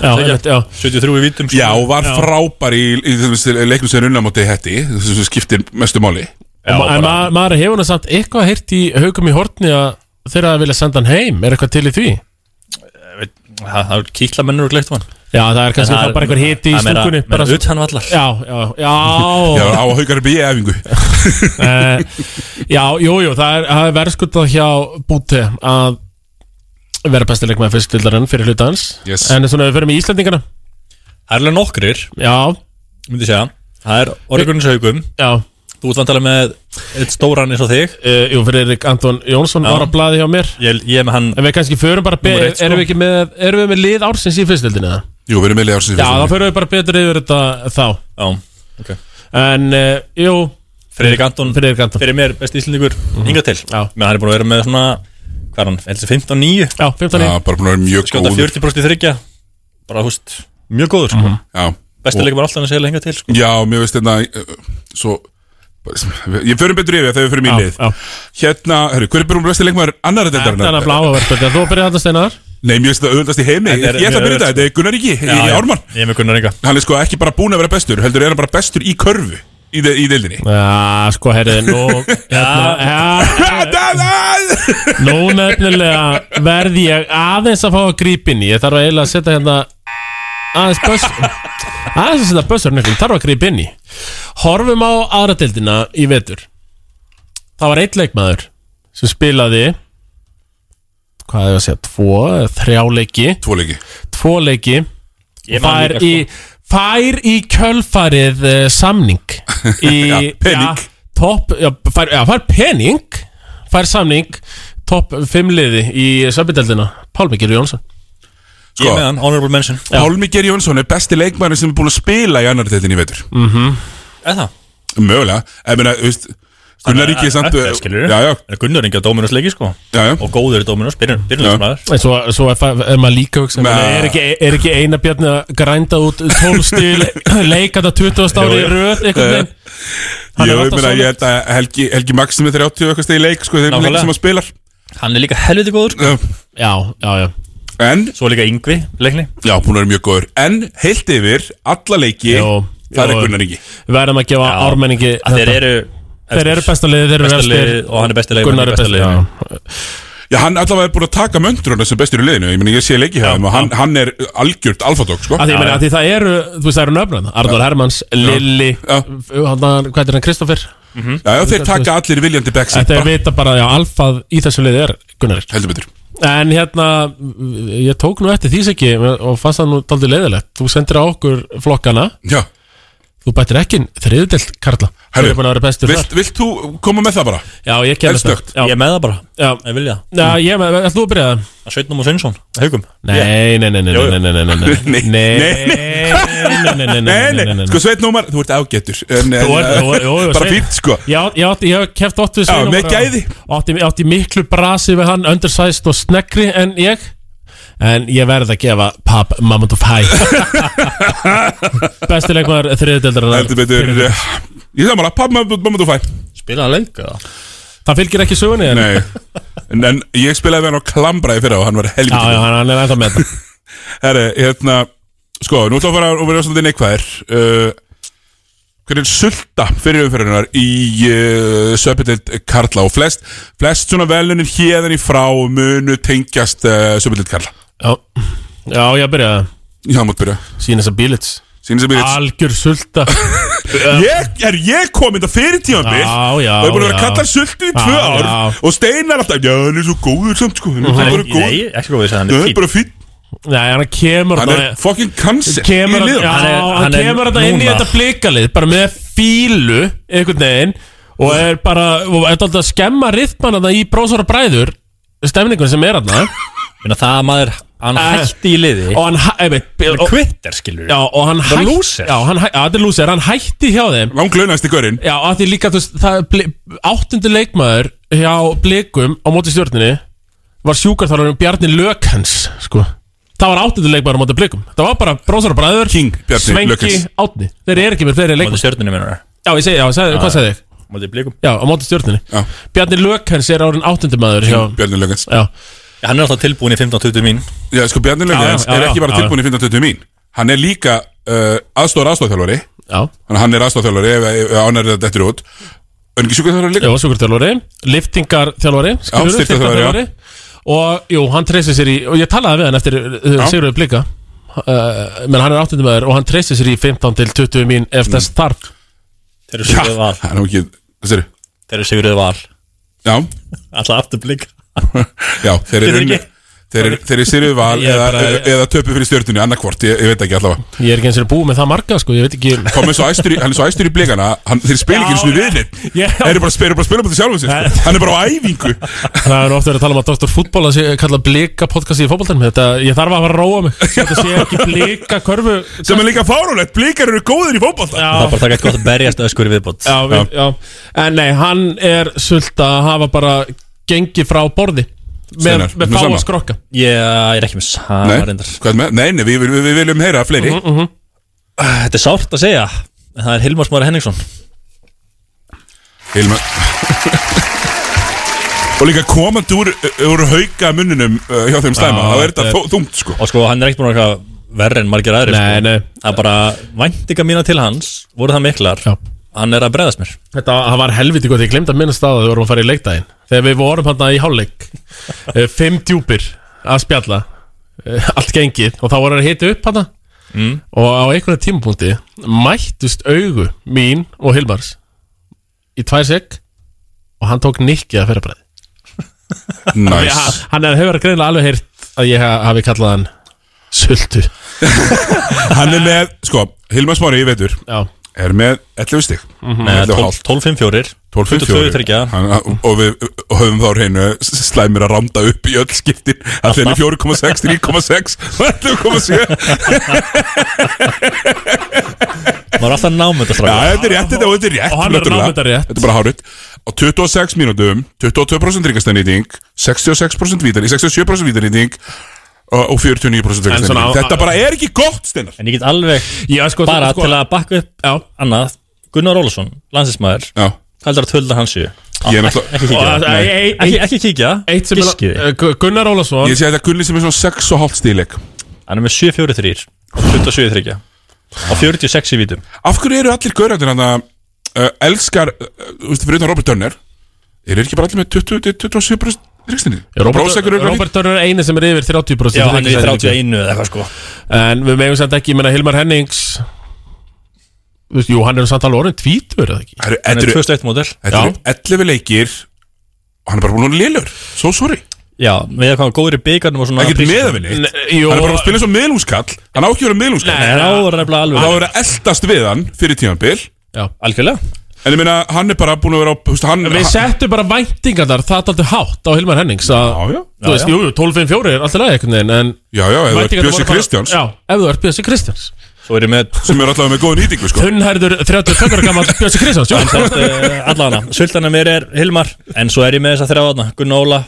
Speaker 2: Já,
Speaker 3: það er
Speaker 2: einmitt,
Speaker 3: ekki?
Speaker 2: já.
Speaker 3: 73 í vítum sko.
Speaker 1: Já, og var frábær í, í, í leiknum sem runna móti hetti, sem skiptir mestu máli
Speaker 2: Já, ma en ma maður hefur hann samt eitthvað heyrt í haugum í hortni að þeirra vilja senda hann heim, er eitthvað til í því?
Speaker 3: Það það er kíkla mennur og gleikt á hann
Speaker 2: Já, það er kannski það bara eitthvað hiti í stúkunni
Speaker 3: bara
Speaker 2: bara svo-
Speaker 3: utan vallar
Speaker 2: Já, já, já
Speaker 1: Já, á að haukar upp í efingu
Speaker 2: Eh, Já, jú, jú, það er, það er verðskuldað hjá Búti að vera bestileik með fyrstildarinn fyrir hluta hans
Speaker 1: Yes.
Speaker 2: En svona við fyrir með Íslandingana
Speaker 3: Það er alveg nokkrir,
Speaker 2: Já,
Speaker 3: myndi ég segja Það er Orgunnins haugum
Speaker 2: já
Speaker 3: Þú ert vantilega með eitt stóran eins og þig
Speaker 2: uh, Jú, Friðrik Anton Jónsson
Speaker 3: Já.
Speaker 2: var á blaði hjá mér
Speaker 3: Ég, ég er með hann
Speaker 2: En við kannski förum bara be-
Speaker 3: Númer eitt, sko.
Speaker 2: erum, við ekki með, erum við með lið ársins í fyrstildinu það?
Speaker 1: Jú, við erum með leiðarsins
Speaker 2: Já, þá förum við bara betur yfir þetta þá
Speaker 3: Já, ok
Speaker 2: En, uh, jú,
Speaker 3: Fredrik Anton
Speaker 2: Friðrik Anton Mhm.
Speaker 3: fyrir mér besti íslendingur hingað til
Speaker 2: Já.
Speaker 3: menn hann er búin að vera með svona hvað er hann, heldur 15 og 9
Speaker 2: Já, 15
Speaker 1: Já, bara búin að vera mjög
Speaker 3: skjóta
Speaker 1: góður
Speaker 3: 40% í þryggja bara húst, mjög góður
Speaker 2: Mhm.
Speaker 3: sko.
Speaker 1: Já.
Speaker 3: besti
Speaker 1: Og-
Speaker 3: leikum er alltaf hann að segja hingað til sko.
Speaker 1: Já, mér veist þetta uh, Svo bara- Ég förum betur yfir þegar við förum í
Speaker 2: Já,
Speaker 1: lið
Speaker 2: já.
Speaker 1: Hérna, herru, hver er búin besti leikmaður annara
Speaker 2: Þetta er
Speaker 1: deildarinnar?
Speaker 2: að bláa verðböldi Þú byrjar þetta steinar
Speaker 1: Nei, mér finnst það auðvitaðst í heimi Ég
Speaker 3: Þetta er
Speaker 1: ég ætla að
Speaker 3: mjög
Speaker 1: byrja þetta, þetta er Gunnar Ríki í í Ármann
Speaker 3: ég er með Gunnar Inga
Speaker 1: Hann er sko ekki bara búin að vera bestur Heldur er hann bara bestur í körfu Í, de, í deildinni
Speaker 2: Já, sko, herriði, nú hérna, ja, Nú nefnilega verð ég aðeins að fá að grípa inn í Ég þarf að eiginlega að setja hérna aðeins böss aðeins að setja bössur nefnilega, ég þarf að grípa inn í Horfum á aðra deildina í vetur Það var eitt leikmaður sem spilaði hvað hefur að segja, tvo, eða þrjá leiki
Speaker 1: Tvo leiki
Speaker 2: tvo leiki
Speaker 3: Ég man
Speaker 2: fær
Speaker 3: líka, sko.
Speaker 2: í, fær í kjölfarið uh, samning í,
Speaker 1: Já, pening.
Speaker 2: já, topp- já, fær, já, fær pening fær samning topp fimmliði í söpindeldina Pálmi Gilvi Jónsson
Speaker 1: Sko,
Speaker 3: ég er með hann, honorable mention
Speaker 1: Pálmi Geir Jónsson er besti leikmaður sem er búin að spila í annar deildinni í vetur
Speaker 3: eða
Speaker 1: Mögulega, ef meina, þú veist Gunnar Ríki er samt
Speaker 3: það skilur
Speaker 1: Já, já,
Speaker 3: Gunnar Inga Dóminus leiki sko
Speaker 1: já, já.
Speaker 3: og góður í Dóminus, byrjunleismæður
Speaker 2: En svo, svo er, fa- er maður líka að hugsa
Speaker 1: Nei.
Speaker 2: Er ekki, er ekki eina bjarni að grænda út 12 stíl leika þetta 20 ári í röð einhvern veginn
Speaker 1: Ég,
Speaker 2: Hann er
Speaker 1: ég
Speaker 2: alltaf
Speaker 1: meina,
Speaker 2: svona.
Speaker 1: ég held að Helgi, Helgi Maxim er 30 eitthvað stegi leik, sko, þeir eru
Speaker 3: Nákvæmlega.
Speaker 1: leik sem að spilar
Speaker 3: hann er líka helviti góður sko.
Speaker 1: Já.
Speaker 2: Já, já, já
Speaker 1: En,
Speaker 3: svo líka Yngvi, leikni
Speaker 1: já, búin að vera mjög góður En, heilt yfir, alla leiki
Speaker 2: Jó,
Speaker 1: Það
Speaker 2: jó.
Speaker 1: er Gunnar Ingi
Speaker 2: Við verðum að gefa
Speaker 3: Já.
Speaker 2: ármenningi
Speaker 3: að þeir
Speaker 2: þetta.
Speaker 3: eru
Speaker 2: þeir eru besta liðið, þeir eru
Speaker 3: Besta
Speaker 2: efstir
Speaker 3: liðið og hann er besti leikmaður
Speaker 2: Gunnar
Speaker 3: í
Speaker 2: er
Speaker 3: besta
Speaker 2: besta
Speaker 3: liðinu.
Speaker 2: liðið
Speaker 1: Já, hann allavega er búin að taka möndruna sem bestur í liðinu Ég meina, ég sé leiki hjá þeim og hann, hann er algjört alfadók, sko
Speaker 2: Af því, ég meina,
Speaker 3: Já,
Speaker 2: af því það eru, þú veist það eru nöfnum Arnur Hermanns, Lilli
Speaker 1: Já.
Speaker 2: f- hann- Hvað er hann, Kristoffer?
Speaker 1: Já, já, þeir taka allir viljandi back
Speaker 2: Þetta
Speaker 1: bara,
Speaker 2: er vita bara, já, alfað í þessu liði er Gunnar
Speaker 1: Heldur betur
Speaker 2: En hérna, ég tók nú eftir því segi Og fannst það nú daldið leiðilegt Þú sendir á okkur flokkana
Speaker 1: Já,
Speaker 2: Þú bætir ekki þriðdelt, Karla Þú
Speaker 1: Herru,
Speaker 2: er búin að vera bestur
Speaker 1: vilt, vilt þú koma með það bara?
Speaker 2: þar Já, ég kemur
Speaker 1: Eldsnöggt.
Speaker 2: Já,
Speaker 3: ég er með það bara,
Speaker 2: já
Speaker 3: ég vilja
Speaker 2: Já, ég, ætlum þú að byrja það?
Speaker 3: að Sveitnum og Sveinsson, haugum
Speaker 2: Nei, nei, nei, nei,
Speaker 3: Jú, jú.
Speaker 2: nei, nei, nei, nei, nei, nei,
Speaker 1: Nei, nei,
Speaker 2: nei, nei, nei,
Speaker 1: Nei,
Speaker 2: nei, nei, nei.
Speaker 1: nei, sko Sveit Nómar, þú ert ágættur en, en, eh,
Speaker 2: Þú ert- þú- jú, jú,
Speaker 1: Bara
Speaker 2: Sveinn.
Speaker 1: fínt, sko
Speaker 2: Ég átti- ég átti- ég hef keft óttu
Speaker 1: Já, með gæði.
Speaker 2: átti, ég átti miklu brasi við hann Undersized og sneggri en ég En ég verð að gefa Pab Mamund of High Besti
Speaker 1: Heldur
Speaker 2: leikmaður þriðdeldar
Speaker 1: betur eh, Ég samanlega, pappa, mamma, þú fæ
Speaker 3: spilaði leik eða?
Speaker 2: Það fylgir ekki sögunni en
Speaker 1: Nei En, en ég spilaði við hann á klambraði fyrir og hann var helviti
Speaker 2: Já, já,
Speaker 1: góður.
Speaker 2: hann hann er ennþá með þetta
Speaker 1: Herri, hérna Sko, nú ætlum við að fara og vera svolítið neikvæðir uh, Hvernig sulta fyrir umferðunar í uh, Söpildild Karla og flest, flest svona velunin hérðan í frá munu tengjast uh, Söpildild Karla
Speaker 2: Já, já ég byrja
Speaker 1: Já, mátt byrja
Speaker 2: Sýnins að bílits
Speaker 1: Sýnir sem ég
Speaker 2: Algjör sulta
Speaker 1: Ég er ég kom þetta fyrir tímanbíl
Speaker 2: Um, Já, já,
Speaker 1: Það er búin að vera
Speaker 2: já.
Speaker 1: kallar sultu í tvö
Speaker 2: Já,
Speaker 1: ár
Speaker 2: já.
Speaker 1: Og steinar alltaf Já, hann er svo góður samt sko Hann er
Speaker 3: Nei,
Speaker 1: bara góður
Speaker 3: nei, ekki góð við þess að hann
Speaker 1: Það
Speaker 3: er
Speaker 1: er
Speaker 3: fín
Speaker 1: bara fín
Speaker 2: Nei, hann kemur
Speaker 1: Hann er
Speaker 2: þarna-
Speaker 1: fucking cancer í
Speaker 2: kemur,
Speaker 1: liðum
Speaker 2: já,
Speaker 3: Hann
Speaker 2: hann,
Speaker 3: er- hann er
Speaker 2: kemur þetta inn í
Speaker 3: núna.
Speaker 2: þetta blikalið bara með fílu einhvern veginn og er bara og er alltaf að skemma rithman þetta í brósar og bræður stemningun sem er hann
Speaker 3: Minna, það að maður Hann hætti í liði
Speaker 2: og hann, hæ- einmitt,
Speaker 3: Hann
Speaker 2: og,
Speaker 3: er kvittar skilur
Speaker 2: já, og hann
Speaker 3: var
Speaker 2: hætti
Speaker 3: loser.
Speaker 2: já, hann, hæ- já, þetta er lúsir, hann hætti hjá þeim
Speaker 1: Langlunast í görinn
Speaker 2: já, að því líka, þú veist, það er bli- áttundi leikmaður hjá blikum á móti stjórninni var sjúkarþálarinn Bjarni Lökens sko Það var áttundu leikmaður á móti blikum Það var bara brósar og bræður
Speaker 1: King Bjarni
Speaker 2: Svenki
Speaker 1: Lökens.
Speaker 2: Átni Þeir eru ekki með fleiri
Speaker 3: Móti
Speaker 2: leikmaður
Speaker 3: stjörnunum minnar
Speaker 2: Já, ég segi, já, segi, hvað segði ég?
Speaker 3: Móti blikum
Speaker 2: Já, á móti stjórninni
Speaker 1: Já.
Speaker 2: Bjarni Lökens er árin áttundumæður hjá
Speaker 1: Bjarni Löggans
Speaker 2: Já,
Speaker 3: Já, Hann er alltaf tilbúin í 15-20 mín
Speaker 1: Já, sko Bjarni Löggans
Speaker 2: já,
Speaker 1: er
Speaker 2: já,
Speaker 1: ekki bara
Speaker 2: já,
Speaker 1: tilbúin í 15-20 mín Hann er líka uh, aðstóður aðstóðþjálfari
Speaker 2: já
Speaker 1: Þannig að hann er aðstóðþjálfari ef, ef, ef hann er þetta eftir út En ekki sjúkaþjálfari líka
Speaker 2: Jó, sjúkurþjálfari, liftingarþjálfari skilurðu,
Speaker 1: styrktarþjálfari, já.
Speaker 2: styrktarþjálfari. Og jú, hann treysti sér í Og ég talaði við hann eftir uh, Sigurður Blika uh, Menn hann er áttundumæður og hann treysti sér í 15 til 20 mín ef
Speaker 1: Mm.
Speaker 2: þess þarf
Speaker 3: Þeir eru sigurðið val
Speaker 1: Það er nú ekki Þessi eru
Speaker 3: Þeir eru sigurðið val
Speaker 1: Já
Speaker 3: Alltaf aftur blik
Speaker 1: Já, þeir
Speaker 3: Þeir
Speaker 1: eru
Speaker 3: eru
Speaker 1: unni
Speaker 3: ekki-
Speaker 1: Þeir eru, þeir eru sýrið val
Speaker 2: Ég er
Speaker 1: eða,
Speaker 2: bara-
Speaker 1: eða, eða töpu fyrir stjörnunni annarkvort, ég, ég veit ekki allavega
Speaker 2: Ég er ekki eins og búið með það marga, sko, ég veit ekki
Speaker 1: Kom er svo æstur í, hann er svo æstur í blikana hann, Þeir spil ekki eins og við neitt
Speaker 2: Já.
Speaker 1: Þeir eru bara að spila, bara að spila búin til sjálfum sér sko. Hann er bara á æfingu
Speaker 2: Það er ofta verið að tala um að Dr. Fútbol að sé kalla blika podcasti í fótboltanum Þetta, ég þarf að fara að róa mig Svo Þetta sé ekki blika körfu
Speaker 1: Sem er líka fáránlegt, blikar eru góðir í fótbolta
Speaker 3: Það er bara það gætt gott að berjast öskur í viðbót
Speaker 2: já, við, já. En nei, hann er sult að hafa bara gengið frá borði Með,
Speaker 1: Steinar,
Speaker 2: með
Speaker 1: með
Speaker 2: fá að
Speaker 1: sama?
Speaker 2: skrokka
Speaker 3: Ég er ekki með sama
Speaker 1: Nei,
Speaker 3: reyndar
Speaker 1: hvað með? Nei, nei, við, við, við viljum heyra fleiri
Speaker 2: Mm,
Speaker 3: Þetta er sárt að segja En það er Hilmar Smári Henningsson
Speaker 1: Hilmar Og líka komandi úr, úr hauka munninum uh, hjá þeim stæma
Speaker 2: Já,
Speaker 1: þá er þetta
Speaker 2: þetta-
Speaker 1: þó- þungt sko
Speaker 3: Og sko, hann er ekkert búin að vera eitthvað verri en margir aðrir
Speaker 2: Nei,
Speaker 3: sko.
Speaker 2: nei.
Speaker 3: Það er bara væntinga mína til hans Voru það miklar
Speaker 2: Já.
Speaker 3: Hann er að bregðast mér
Speaker 2: Þetta það var helviti gott, ég glemd að minna staða Þegar við vorum að fara í leikdægin Þegar við vorum hann í hálfleik eh, Fimm djúpir að spjalla eh, Allt gengið og þá voru að hita upp hann
Speaker 1: Mm.
Speaker 2: Og á einhverjum tímapunkti Mættust augu mín og Hilmars Í tvær sek Og hann tók nikkið að ferra
Speaker 1: Næs
Speaker 2: Já, hann er- hefur greinlega alveg heyrt að ég ha- hafi kallað hann Sultu
Speaker 1: Hann er með, sko, Hilmar Smári í veitur
Speaker 2: Já,
Speaker 1: er með 11 stig
Speaker 2: Mhm.
Speaker 3: Nei,
Speaker 1: 11 og hálft.
Speaker 3: 12-5-4
Speaker 1: 12-5-4.
Speaker 3: 22-3
Speaker 1: Hann- og við og höfum þá á hreinu s- slæmir að randa upp í öll skiptin allir henni 4,6, 3,6 11,7
Speaker 3: Maður er alltaf námönda
Speaker 1: Já,
Speaker 3: strákar
Speaker 1: þetta er rétt, þetta þetta er rétt
Speaker 2: Og hann er að
Speaker 1: náttúrulega.
Speaker 2: ná þetta rétt.
Speaker 1: Þetta er bara hárið Á 26 mínútum, 22% ríkastænýting 66% vítar, 67% vítarnýting og og 49%
Speaker 2: En svona á-
Speaker 1: ríkastænýting Þetta bara er ekki gott, Steinar
Speaker 3: En ég get alveg
Speaker 2: Já, sko,
Speaker 3: bara
Speaker 2: sko-
Speaker 3: til að bakka upp
Speaker 2: já
Speaker 3: annað Gunnar Ólason, landsinsmaður
Speaker 1: Já,
Speaker 3: Hvað heldur að tölda hans séu?
Speaker 1: Ég er
Speaker 3: Ekki
Speaker 1: náttúrulega-
Speaker 3: ekki kíkja
Speaker 2: Og-
Speaker 3: Nei.
Speaker 2: ei- ei-
Speaker 3: Ekki- Ekki kíkja
Speaker 2: Eitt sem
Speaker 3: Giskið
Speaker 2: er eh, Gu- Gunnar Ólason
Speaker 1: ég sé að þetta gulli sem er svona 6,5 stíleik
Speaker 3: Hann er með 7-4-3 og 27-3 og 46 í vítum
Speaker 1: Af hverju eru allir gaurarnir hann að uh, elskar, uh, þú veist, fyrir utan Robert Turner Eru ekki bara allir með 20-27% ríkastænýting?
Speaker 2: Robert Dörr er eini sem er yfir 30%
Speaker 3: Já, hann er í
Speaker 2: Þetta
Speaker 3: 31 eða eitthvað sko
Speaker 2: En við megum samt ekki, ég menna Hilmar Hennings Þú veist, Jú, hann er nú samt alveg orðin tvítur eða ekki
Speaker 3: Hann er
Speaker 1: Þetta eru-
Speaker 3: 21 módel
Speaker 1: þetta eru 11 leikir og hann er bara búin að lélur So sorry
Speaker 3: Já, við erum góður í byggarnum og svona
Speaker 1: Ekkert
Speaker 3: prísum.
Speaker 1: meðavinni Hann
Speaker 2: Nei, jú,
Speaker 1: er bara að spila eins og meðlungskall Hann á ekki að vera meðlungskall
Speaker 3: Nei, þá er hann nefnilega
Speaker 1: Þá
Speaker 3: alveg
Speaker 1: er að eldast við hann fyrir tímanbil
Speaker 2: já.
Speaker 3: Algjörlega
Speaker 1: En ég meina, hann er bara búin að vera á þú veist, hann,
Speaker 2: Við settum bara væntingar þar, það er alltaf hátt á Hilmar Hennings að,
Speaker 1: Já, já.
Speaker 2: Þú veist, jú, jú, 12-5-4 er alltaf leið einhvern veginn En
Speaker 1: Já, já, eða
Speaker 2: væntingarnar voru
Speaker 1: Bjössi
Speaker 2: bara-
Speaker 1: Kristjáns
Speaker 2: Já, ef þú ert Bjössi Kristjáns
Speaker 3: Svo erum við
Speaker 1: Sem er allavega með góða nýtingu, sko
Speaker 2: Þunnherður 32 ára gammal Bjössi Kristjáns jú.
Speaker 3: allana eh, Sultana mér er Hilmar En svo er ég með þess að þrjá aðna Gunnar Óla,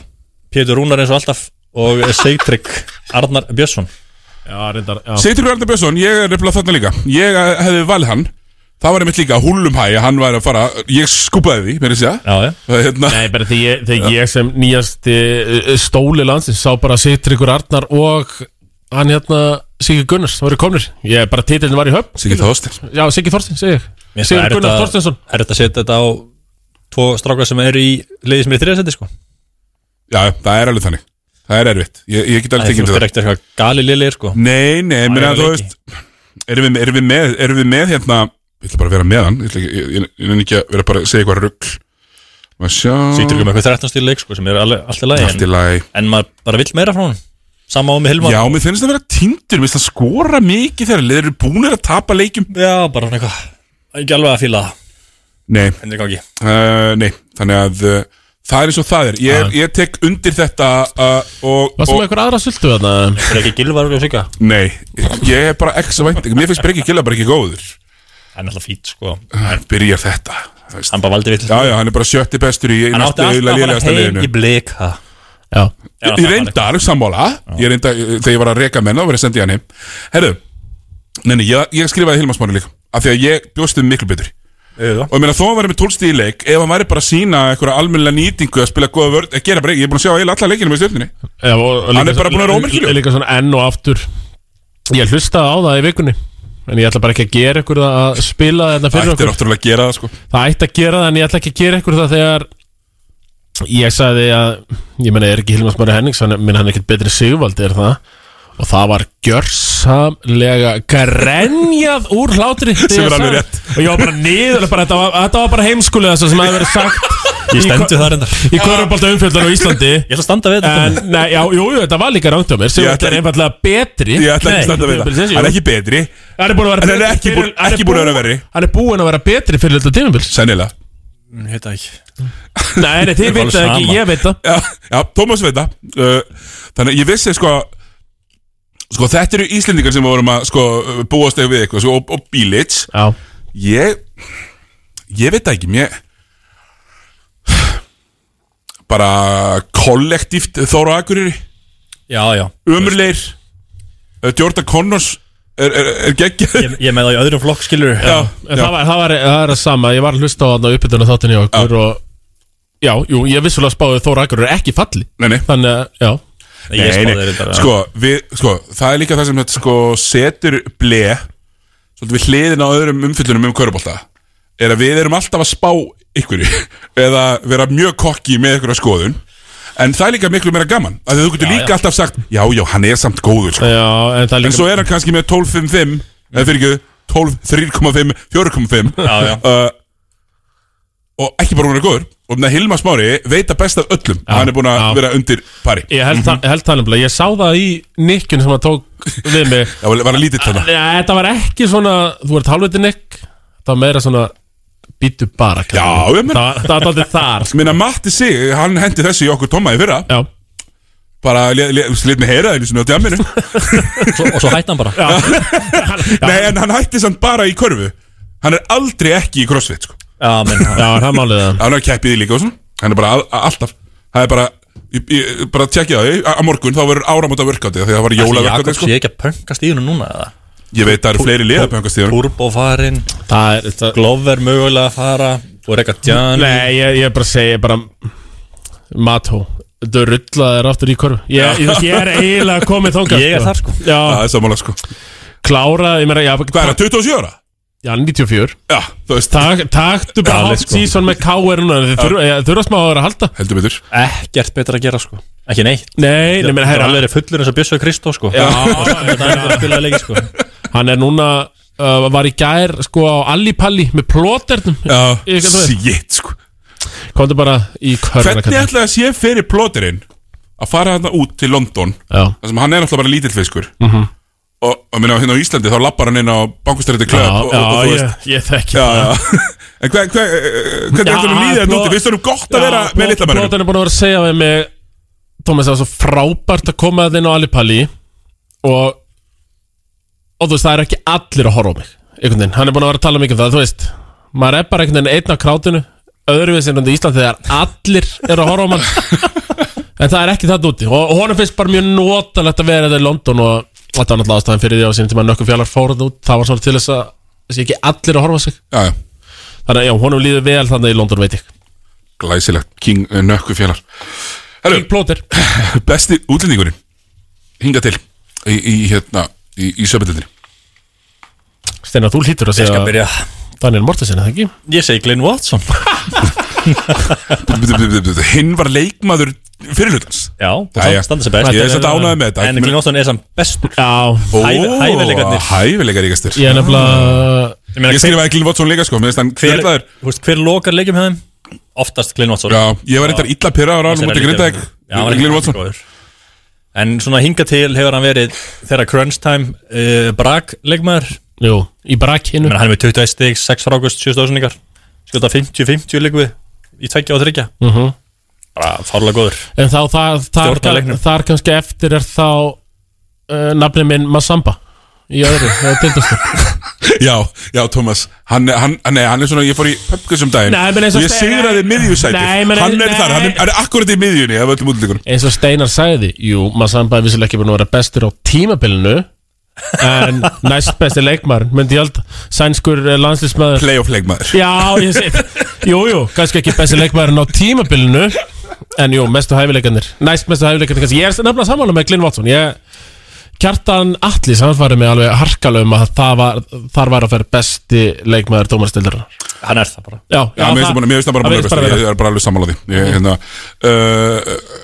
Speaker 3: Pétur Rúnar eins og alltaf Og Seytrygg Arnar Björnsson
Speaker 2: Já, reyndar, já
Speaker 1: Seytur Arnar Björnsson, ég er nefnilega þarna líka Ég eh, hefði valið hann Það var einmitt líka húlum hæ Hann var að fara, ég skúpaði því, mér að segja
Speaker 3: Já, já
Speaker 1: Það er hérna
Speaker 2: Nei, bara þegar ég, þegar ég sem nýjast eh, stóli landsins sá bara Sittryggur Arnar og hann hérna Sigur Gunnars, það voru komnir Ég bara titilin var í höfn
Speaker 1: Siggi Þóðstil
Speaker 2: Já, Sigur Þorstein, segi ég
Speaker 3: Mér finnst það
Speaker 2: Sigur
Speaker 3: erfitt
Speaker 2: Gunnar
Speaker 3: að-
Speaker 2: Þorsteinsson
Speaker 3: Erfitt að setja þetta á Tvo strákar sem eru í Leiði sem er í þriðasetti sko
Speaker 1: Já, það er alveg þannig Það er erfitt, ég, ég get
Speaker 3: Það
Speaker 1: alveg
Speaker 3: er
Speaker 1: tekið undir það
Speaker 3: fyrir ekkert eitthvað gali liðir sko
Speaker 1: Nei, nei, mér
Speaker 3: ég
Speaker 1: að þú
Speaker 3: veit
Speaker 1: veist erum við, erum, við með, erum við með hérna Ég ætla bara að vera með hann Ég ætla ekki- ég- ég- ég nenni ekki að vera bara að segja eitthvað rugl Má sjá
Speaker 3: Seytrygg með eitthvað 13 stíl leik sko Sem er alveg allt í lagi
Speaker 1: Allt í
Speaker 3: en-
Speaker 1: lagi
Speaker 3: En maður bara vill meira frá hann Samma á með Hilmar
Speaker 1: Já, mér finnst það að vera tindur Mér finnst það skora mikið þegar Þeir eru búinir að tapa leikjum
Speaker 3: Já, bara svona eitthvað Ekki alveg að fíla það
Speaker 1: Nei,
Speaker 3: Henrik Áki
Speaker 1: uh, nei Eh, Þannig að uh, Það er eins og það er
Speaker 3: Ah.
Speaker 1: Ég,
Speaker 2: Já.
Speaker 1: ég tek undir þetta uh, og,
Speaker 2: Varstu með
Speaker 1: og
Speaker 2: einhver aðra sultu þarna?
Speaker 3: Er ekki gilvar og sigga?
Speaker 1: Nei, ég hef bara ekki svo vænt Mér finnst Breki Gilla bara ekki góður
Speaker 3: Það er náttúrulega fít sko
Speaker 1: Hann byrjar þetta þú veist.
Speaker 3: Hann bara valdi vill
Speaker 1: Já, já, hann er bara sjötti bestur í
Speaker 3: Hann
Speaker 1: næstu
Speaker 3: átti alltaf
Speaker 1: eiginlega
Speaker 3: að
Speaker 1: lélegasta
Speaker 3: fara heim
Speaker 1: liðinu
Speaker 3: í blika
Speaker 2: Já
Speaker 3: Já,
Speaker 1: Ég
Speaker 3: það var
Speaker 1: reyndar sammála Ég reyndar, eh, þegar ég var að reka menn þá var ég að senda í hann heim Herðu, neini, ég, ég skrifaði Hilmar Smári líka Af því að ég bjóst þið miklu betur Og ég meina þó að hann væri með 12 stíð í leik Ef hann væri bara að sína einhverja almennilega nýtingu Að spila góða vörð, að gera bara Ég er búin að sjá eiginlega alla leikinu með stjórninni
Speaker 2: Já, og- og
Speaker 1: Hann
Speaker 2: líka
Speaker 1: er bara
Speaker 2: svo-
Speaker 1: búinn að vera ómerkilegur.
Speaker 2: Líka svona enn og aftur Ég hlustaði á það í vikunni En ég ætla bara ekki að gera ykkur það að spila þetta
Speaker 1: Það
Speaker 2: fyrir
Speaker 1: ættir
Speaker 2: okkur
Speaker 1: náttúrulega að gera það sko
Speaker 2: Það ætti að gera það en ég ætla ekki að gera ykkur það þegar Ég sagði að Ég meina er ekki Hilmars Mári Hennings Hann, minn hann er ekkert betri sigvaldi er það Og það var gjörsamlega Grenjað úr hlátri þegar
Speaker 1: Sem er
Speaker 2: ég
Speaker 1: alveg
Speaker 2: sagði.
Speaker 1: rétt.
Speaker 2: Og ég var bara niður bara, þetta, var, þetta var bara heimskulega sem hafði verið sagt
Speaker 3: Ég
Speaker 2: í-
Speaker 3: stendur það reyndar
Speaker 2: Í korfbalta umfjöldan á Íslandi
Speaker 3: Ég ætla að standa við
Speaker 2: En,
Speaker 3: þetta
Speaker 2: nei, já, jú, jú, þetta var líka rangt á mér
Speaker 1: Ég
Speaker 2: Sigurður
Speaker 1: ætla-
Speaker 2: er einfallega betri
Speaker 1: Ég ætla ekki að
Speaker 2: Nei,
Speaker 1: standa við það
Speaker 2: tímabilsins, jú.
Speaker 1: Hann er ekki betri
Speaker 2: Hann er búin að
Speaker 1: En
Speaker 2: vera
Speaker 1: hann er
Speaker 2: betri
Speaker 1: ekki
Speaker 2: fyrir-
Speaker 1: búinn-
Speaker 2: hann er
Speaker 1: ekki búinn að vera
Speaker 2: búinn-
Speaker 1: verri.
Speaker 2: Hann er búin að vera betri fyrir þetta tímabils
Speaker 1: Sennilega
Speaker 3: Ég veit það ekki
Speaker 2: Nei, nei, þið
Speaker 3: er
Speaker 2: veit það
Speaker 3: alveg
Speaker 2: ekki,
Speaker 3: sama.
Speaker 2: ég veit það
Speaker 1: Já, já Tómas veit það uh, Þannig að ég vissi sko Sko þetta eru Íslendingar sem vorum að sko Búast eða við eitthvað sko, og, og bílits
Speaker 2: Já,
Speaker 1: Ég Ég veit það ekki Mér Bara kollektíft Þóra Akureyri
Speaker 3: Já, já
Speaker 1: Ömurleir uh, Jordan Connors Er, er, er geggjað
Speaker 3: Ég, ég með það í öðrum flokk skilur
Speaker 1: Já,
Speaker 2: en það var, það var, það var að sama Ég var að hlusta á þarna uppbytuna þáttinni okkur og Já, jú, ég vissulega spáði Þóra Akur er ekki falli
Speaker 1: Nei, nei
Speaker 2: Þannig að, já
Speaker 3: Ég
Speaker 1: Nei,
Speaker 3: spáði
Speaker 1: nei,
Speaker 3: þeir bara
Speaker 1: sko, við, sko, það er líka það sem þetta, sko, setur ble svolítið við hliðin á öðrum umfyllunum um körubólta er að við erum alltaf að spá ykkur eða vera mjög kokki með ykkur að skoðun en það er líka miklu meira gaman af því þú getur líka alltaf sagt já, já, hann er samt góður sko.
Speaker 2: Já, en það er
Speaker 1: en
Speaker 2: líka
Speaker 1: svo er hann kannski með 12.55 eða fyrir ekki 12, 3.5, 4.5
Speaker 3: Já, já.
Speaker 1: uh, og ekki bara hún er góður og með Hilma Smári veit að best af öllum hann er búin að
Speaker 2: já.
Speaker 1: vera undir pari
Speaker 2: Ég held, mm -hmm. held það nefnilega, ég sá það í nikkun sem að tók við mig
Speaker 1: Já, var að lítið þarna
Speaker 2: Nei, þetta var ekki svona, þú ert halvviti Nick Það var meira svona Býtu bara
Speaker 1: Já,
Speaker 2: kallar.
Speaker 1: ég meina-
Speaker 2: Það var- það var aldrei þar sko.
Speaker 1: Minna Matti sig, hann hendi þessu í okkur Tomma í fyrra
Speaker 2: Já,
Speaker 1: Bara slit með heyra einu sinni á djamminu
Speaker 3: Svo- Og svo hætti hann bara
Speaker 2: já.
Speaker 1: Nei, en hann hætti samt bara í körfu Hann er aldrei ekki í crossfit sko.
Speaker 3: Já, menn
Speaker 2: já það er málið það
Speaker 1: Hann er keppið í líka og svona Hann er bara all, alltaf Það er bara, ég, ég, bara tjekkið á því Á á morgun þá verður áramóta verkandi Þegar það var jóla verkandi
Speaker 3: Jakob
Speaker 1: sko.
Speaker 3: sé ekki að pönka stíðunum núna eða?
Speaker 1: Ég veit það eru fleiri liðapöngastíður
Speaker 3: Turbo farin
Speaker 2: Það er, það
Speaker 3: Glover mögulega að fara Og Rekka Djan
Speaker 2: Nei, ég, ég bara segi, bara Mató, þú rullaðir aftur í korfu Ég, ég, veist, ég er eiginlega komið þóngað
Speaker 3: Ég er þar, sko.
Speaker 2: Já,
Speaker 1: Það er sammála sko
Speaker 2: kláraði, ég meira, já,
Speaker 1: Hvað er það, 27 ára?
Speaker 2: já 94
Speaker 1: Já, þú veist,
Speaker 2: Tak, Taktu
Speaker 3: Já,
Speaker 2: bara hot
Speaker 3: let's
Speaker 1: sko.
Speaker 3: go.
Speaker 2: season með KR núna Þið þurfa- ég- þurfa smá að vera að halda
Speaker 1: heldur betur
Speaker 3: Ekkert betra að gera sko Ekki neitt
Speaker 2: Nei, nei,
Speaker 3: Ég
Speaker 2: menn,
Speaker 3: meina,
Speaker 2: herra
Speaker 3: alveg verið fullur eins og Bjössu og Kristó sko
Speaker 2: Já,
Speaker 3: Það er að spila leiki sko
Speaker 2: Hann er núna uh, Var í gær sko á Allipalli Með plóternum
Speaker 1: Já,
Speaker 2: Ég- þú veist.
Speaker 1: shit sko
Speaker 2: Komdu bara í körna
Speaker 1: Hvernig ætlaði að sé fyrir plóterinn Að fara þarna út til London
Speaker 2: Já
Speaker 1: Það sem hann er náttúrulega bara lítill fiskur -hmm. Og, og minna, hérna á Íslandi þá lappar hann inn á bankustrætti
Speaker 2: Já,
Speaker 1: klöp og, og, og
Speaker 2: já
Speaker 1: þú
Speaker 2: ég,
Speaker 1: veist
Speaker 2: ég þekki
Speaker 1: Já,
Speaker 2: það.
Speaker 1: já En hver, hver, eh, hvernig
Speaker 2: Já,
Speaker 1: er þetta líðið að
Speaker 2: pló-
Speaker 1: núti? Við stöðum gott að vera
Speaker 2: Já,
Speaker 1: með litla mörgum
Speaker 2: Plótern er búin að vera að segja við mig Tómas, það var svo frábært að koma að inn á Allipalli Og Og þú veist, það er ekki allir að horfa á mig Einhvern veginn, hann er búin að vera að tala mikið um það Þú veist, maður er bara einhvern veginn einn á krátinu Öðruvísi en í Ísland þegar allir eru að horfa á mann En það er ekki það úti Og og honum finnst bara mjög notalegt að vera þetta í London Og þetta var náttúrulega ástæðan fyrir því á sínum tíma Nökkum fjallar fórað út, það var svona til þess að Þessi ekki allir að horfa á sig
Speaker 1: Já, já,
Speaker 2: Þannig að já, honum líður vel þannig í London veit ég
Speaker 1: glæsilegt King eh, Nökku fjallar Herru,
Speaker 2: Plóter
Speaker 1: besti útlendingurinn Hinga til Í, í hérna, í, í söpindildinni
Speaker 2: Steinar, þú hlýtur að
Speaker 3: Ég skal
Speaker 2: segja
Speaker 3: byrja
Speaker 2: Daniel Mortensen, eða ekki?
Speaker 3: Ég segi Glenn Watson
Speaker 1: Hinn var leikmaður fyrirlutans
Speaker 3: Já, og
Speaker 1: Jæja.
Speaker 3: samt standa sem best
Speaker 1: Ég er samt ánægður með þetta.
Speaker 3: En Glenn Watson er samt bestur
Speaker 2: Já,
Speaker 3: Hæfi- hæfileikarnir.
Speaker 1: Hæfileikaríkastur
Speaker 2: ég er nefnilega
Speaker 3: Ég
Speaker 1: Ég
Speaker 3: meina, hver-
Speaker 1: skrifaði Glyn Watson líka sko Mér finnst hann
Speaker 3: hver,
Speaker 1: kverlaður
Speaker 3: þú veist, hver lokar leikjum hjá þeim? Oftast Glenn Watson
Speaker 1: Já, ég var reyndar illa pyrraður á hann Mútið grindaðeg
Speaker 3: Já, hann er
Speaker 1: Glyn
Speaker 3: ekki
Speaker 1: Watson
Speaker 3: góður. En svona hinga til hefur hann verið þegar crunch time uh, brak leikmaður Menn,
Speaker 2: Jú, í brakkinu
Speaker 3: hann er með 21 stig, 6 frágust, 7000 ykkar skjóta 50-50 líku við í tveggja og þryggja
Speaker 2: Mhm.
Speaker 3: bara fárlega góður
Speaker 2: En þá þar, þar,
Speaker 3: Stjórna leiknum.
Speaker 2: þar kannski eftir er þá uh, nafni minn Masamba Í öðru, eða tildastur
Speaker 1: Já, já, Thomas Hann, hann, hann, nei, hann er svona, ég fór í pöpkus um daginn
Speaker 2: Nei, menn eins
Speaker 1: og
Speaker 2: og
Speaker 1: Ég
Speaker 2: Steinar-
Speaker 1: sigraði miðjusætið
Speaker 2: Nei, menn-
Speaker 1: Hann er
Speaker 2: nei.
Speaker 1: þar, hann er, hann er akkurat í miðjunni af öllum útlíkur
Speaker 2: Eins og Steinar sagði, jú, Masamba er vissilega ekki búin að vera bestur á tímabilinu En næst besti leikmar Myndi ég held sænskur eh, landslísmaður
Speaker 1: Playoff leikmaður
Speaker 2: Já, ég sé Jú, jú, kannski ekki besti leikmaðurinn á tímabilinu En jú, mestu hæfileikarnir Næst mestu hæfileikarnir kannski Ég er nefnilega sammála með Glyn Watson Ég, Kjartan Atli samfarið með alveg harkalum að það var, þar var að fer besti leikmaður dómarastildur
Speaker 3: hann er það bara
Speaker 2: Já,
Speaker 1: Já, mér finnst
Speaker 2: það-
Speaker 1: það bara, mér finnst það bara
Speaker 2: það
Speaker 1: búin að
Speaker 2: virðist
Speaker 1: besta
Speaker 2: vera.
Speaker 1: Ég er bara alveg sammála því ég, hérna, uh,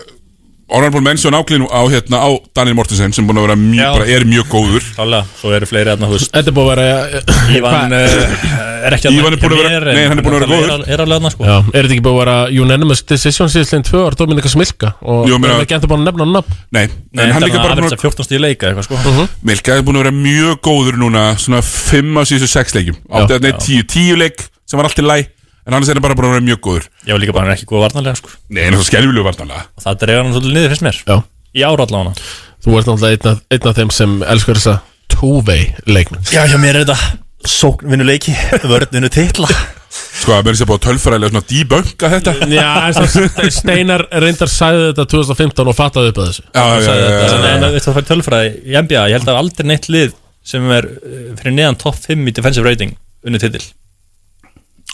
Speaker 1: Honorable mention áklinu á, hérna, á Daniel Mortensen sem búin að vera
Speaker 3: Já.
Speaker 1: mjög, bara, er mjög góður
Speaker 3: Klálega, svo eru fleiri þarna, þú veist
Speaker 2: Þetta er búið að vera
Speaker 3: Ívan
Speaker 2: Hvað?
Speaker 3: eh, er ekki
Speaker 1: Ívan er búinn að vera-
Speaker 3: Mér
Speaker 1: nei, hann er búinn að vera
Speaker 3: er- Er alveg aðna, sko
Speaker 2: Já, er þetta ekki búið að vera unanimous decision síðastlegin tvö ár Dominika Smilka og
Speaker 1: Jú,
Speaker 2: við
Speaker 1: meina-
Speaker 2: erum ekki enda búin að nefna hann nafn Mhm.
Speaker 1: Nei, en hann líka bara búin að
Speaker 3: 14 stíð leika eitthvað, sko
Speaker 1: Milka er búin að vera mjög góður núna Svona 5 af síðustu 6 leikjum Átti að neitt 10, 10 leik sem var allt í læ En hann er bara búin að vera mjög góður
Speaker 3: Ég var líka bara hann er ekki góð varnarlega, sko
Speaker 1: Nei, en það er skelvilegu vartanlega
Speaker 3: Og það dregar hann svolítið niður, finnst mér
Speaker 2: Já,
Speaker 3: Í ára allavega
Speaker 2: þú ert náttúrulega einn af- einn af þeim sem elskar þessa two-way leikmenn
Speaker 3: Já, já, mér er þetta Sókn vinnu leiki, vörn vinnu titla
Speaker 1: Sko, að mér sé búið að tölfræðilega svona debunka þetta Já,
Speaker 2: Já, en svo Steinar reyndar sæði þetta 2015 og fattaði upp að þessu
Speaker 1: já, já, já, já, já.
Speaker 3: En veistu, það fær tölfræði í NBA Ég held að aldrei neitt lið sem er eh, fyrir neðan topp 5 í defensive rating unnu titil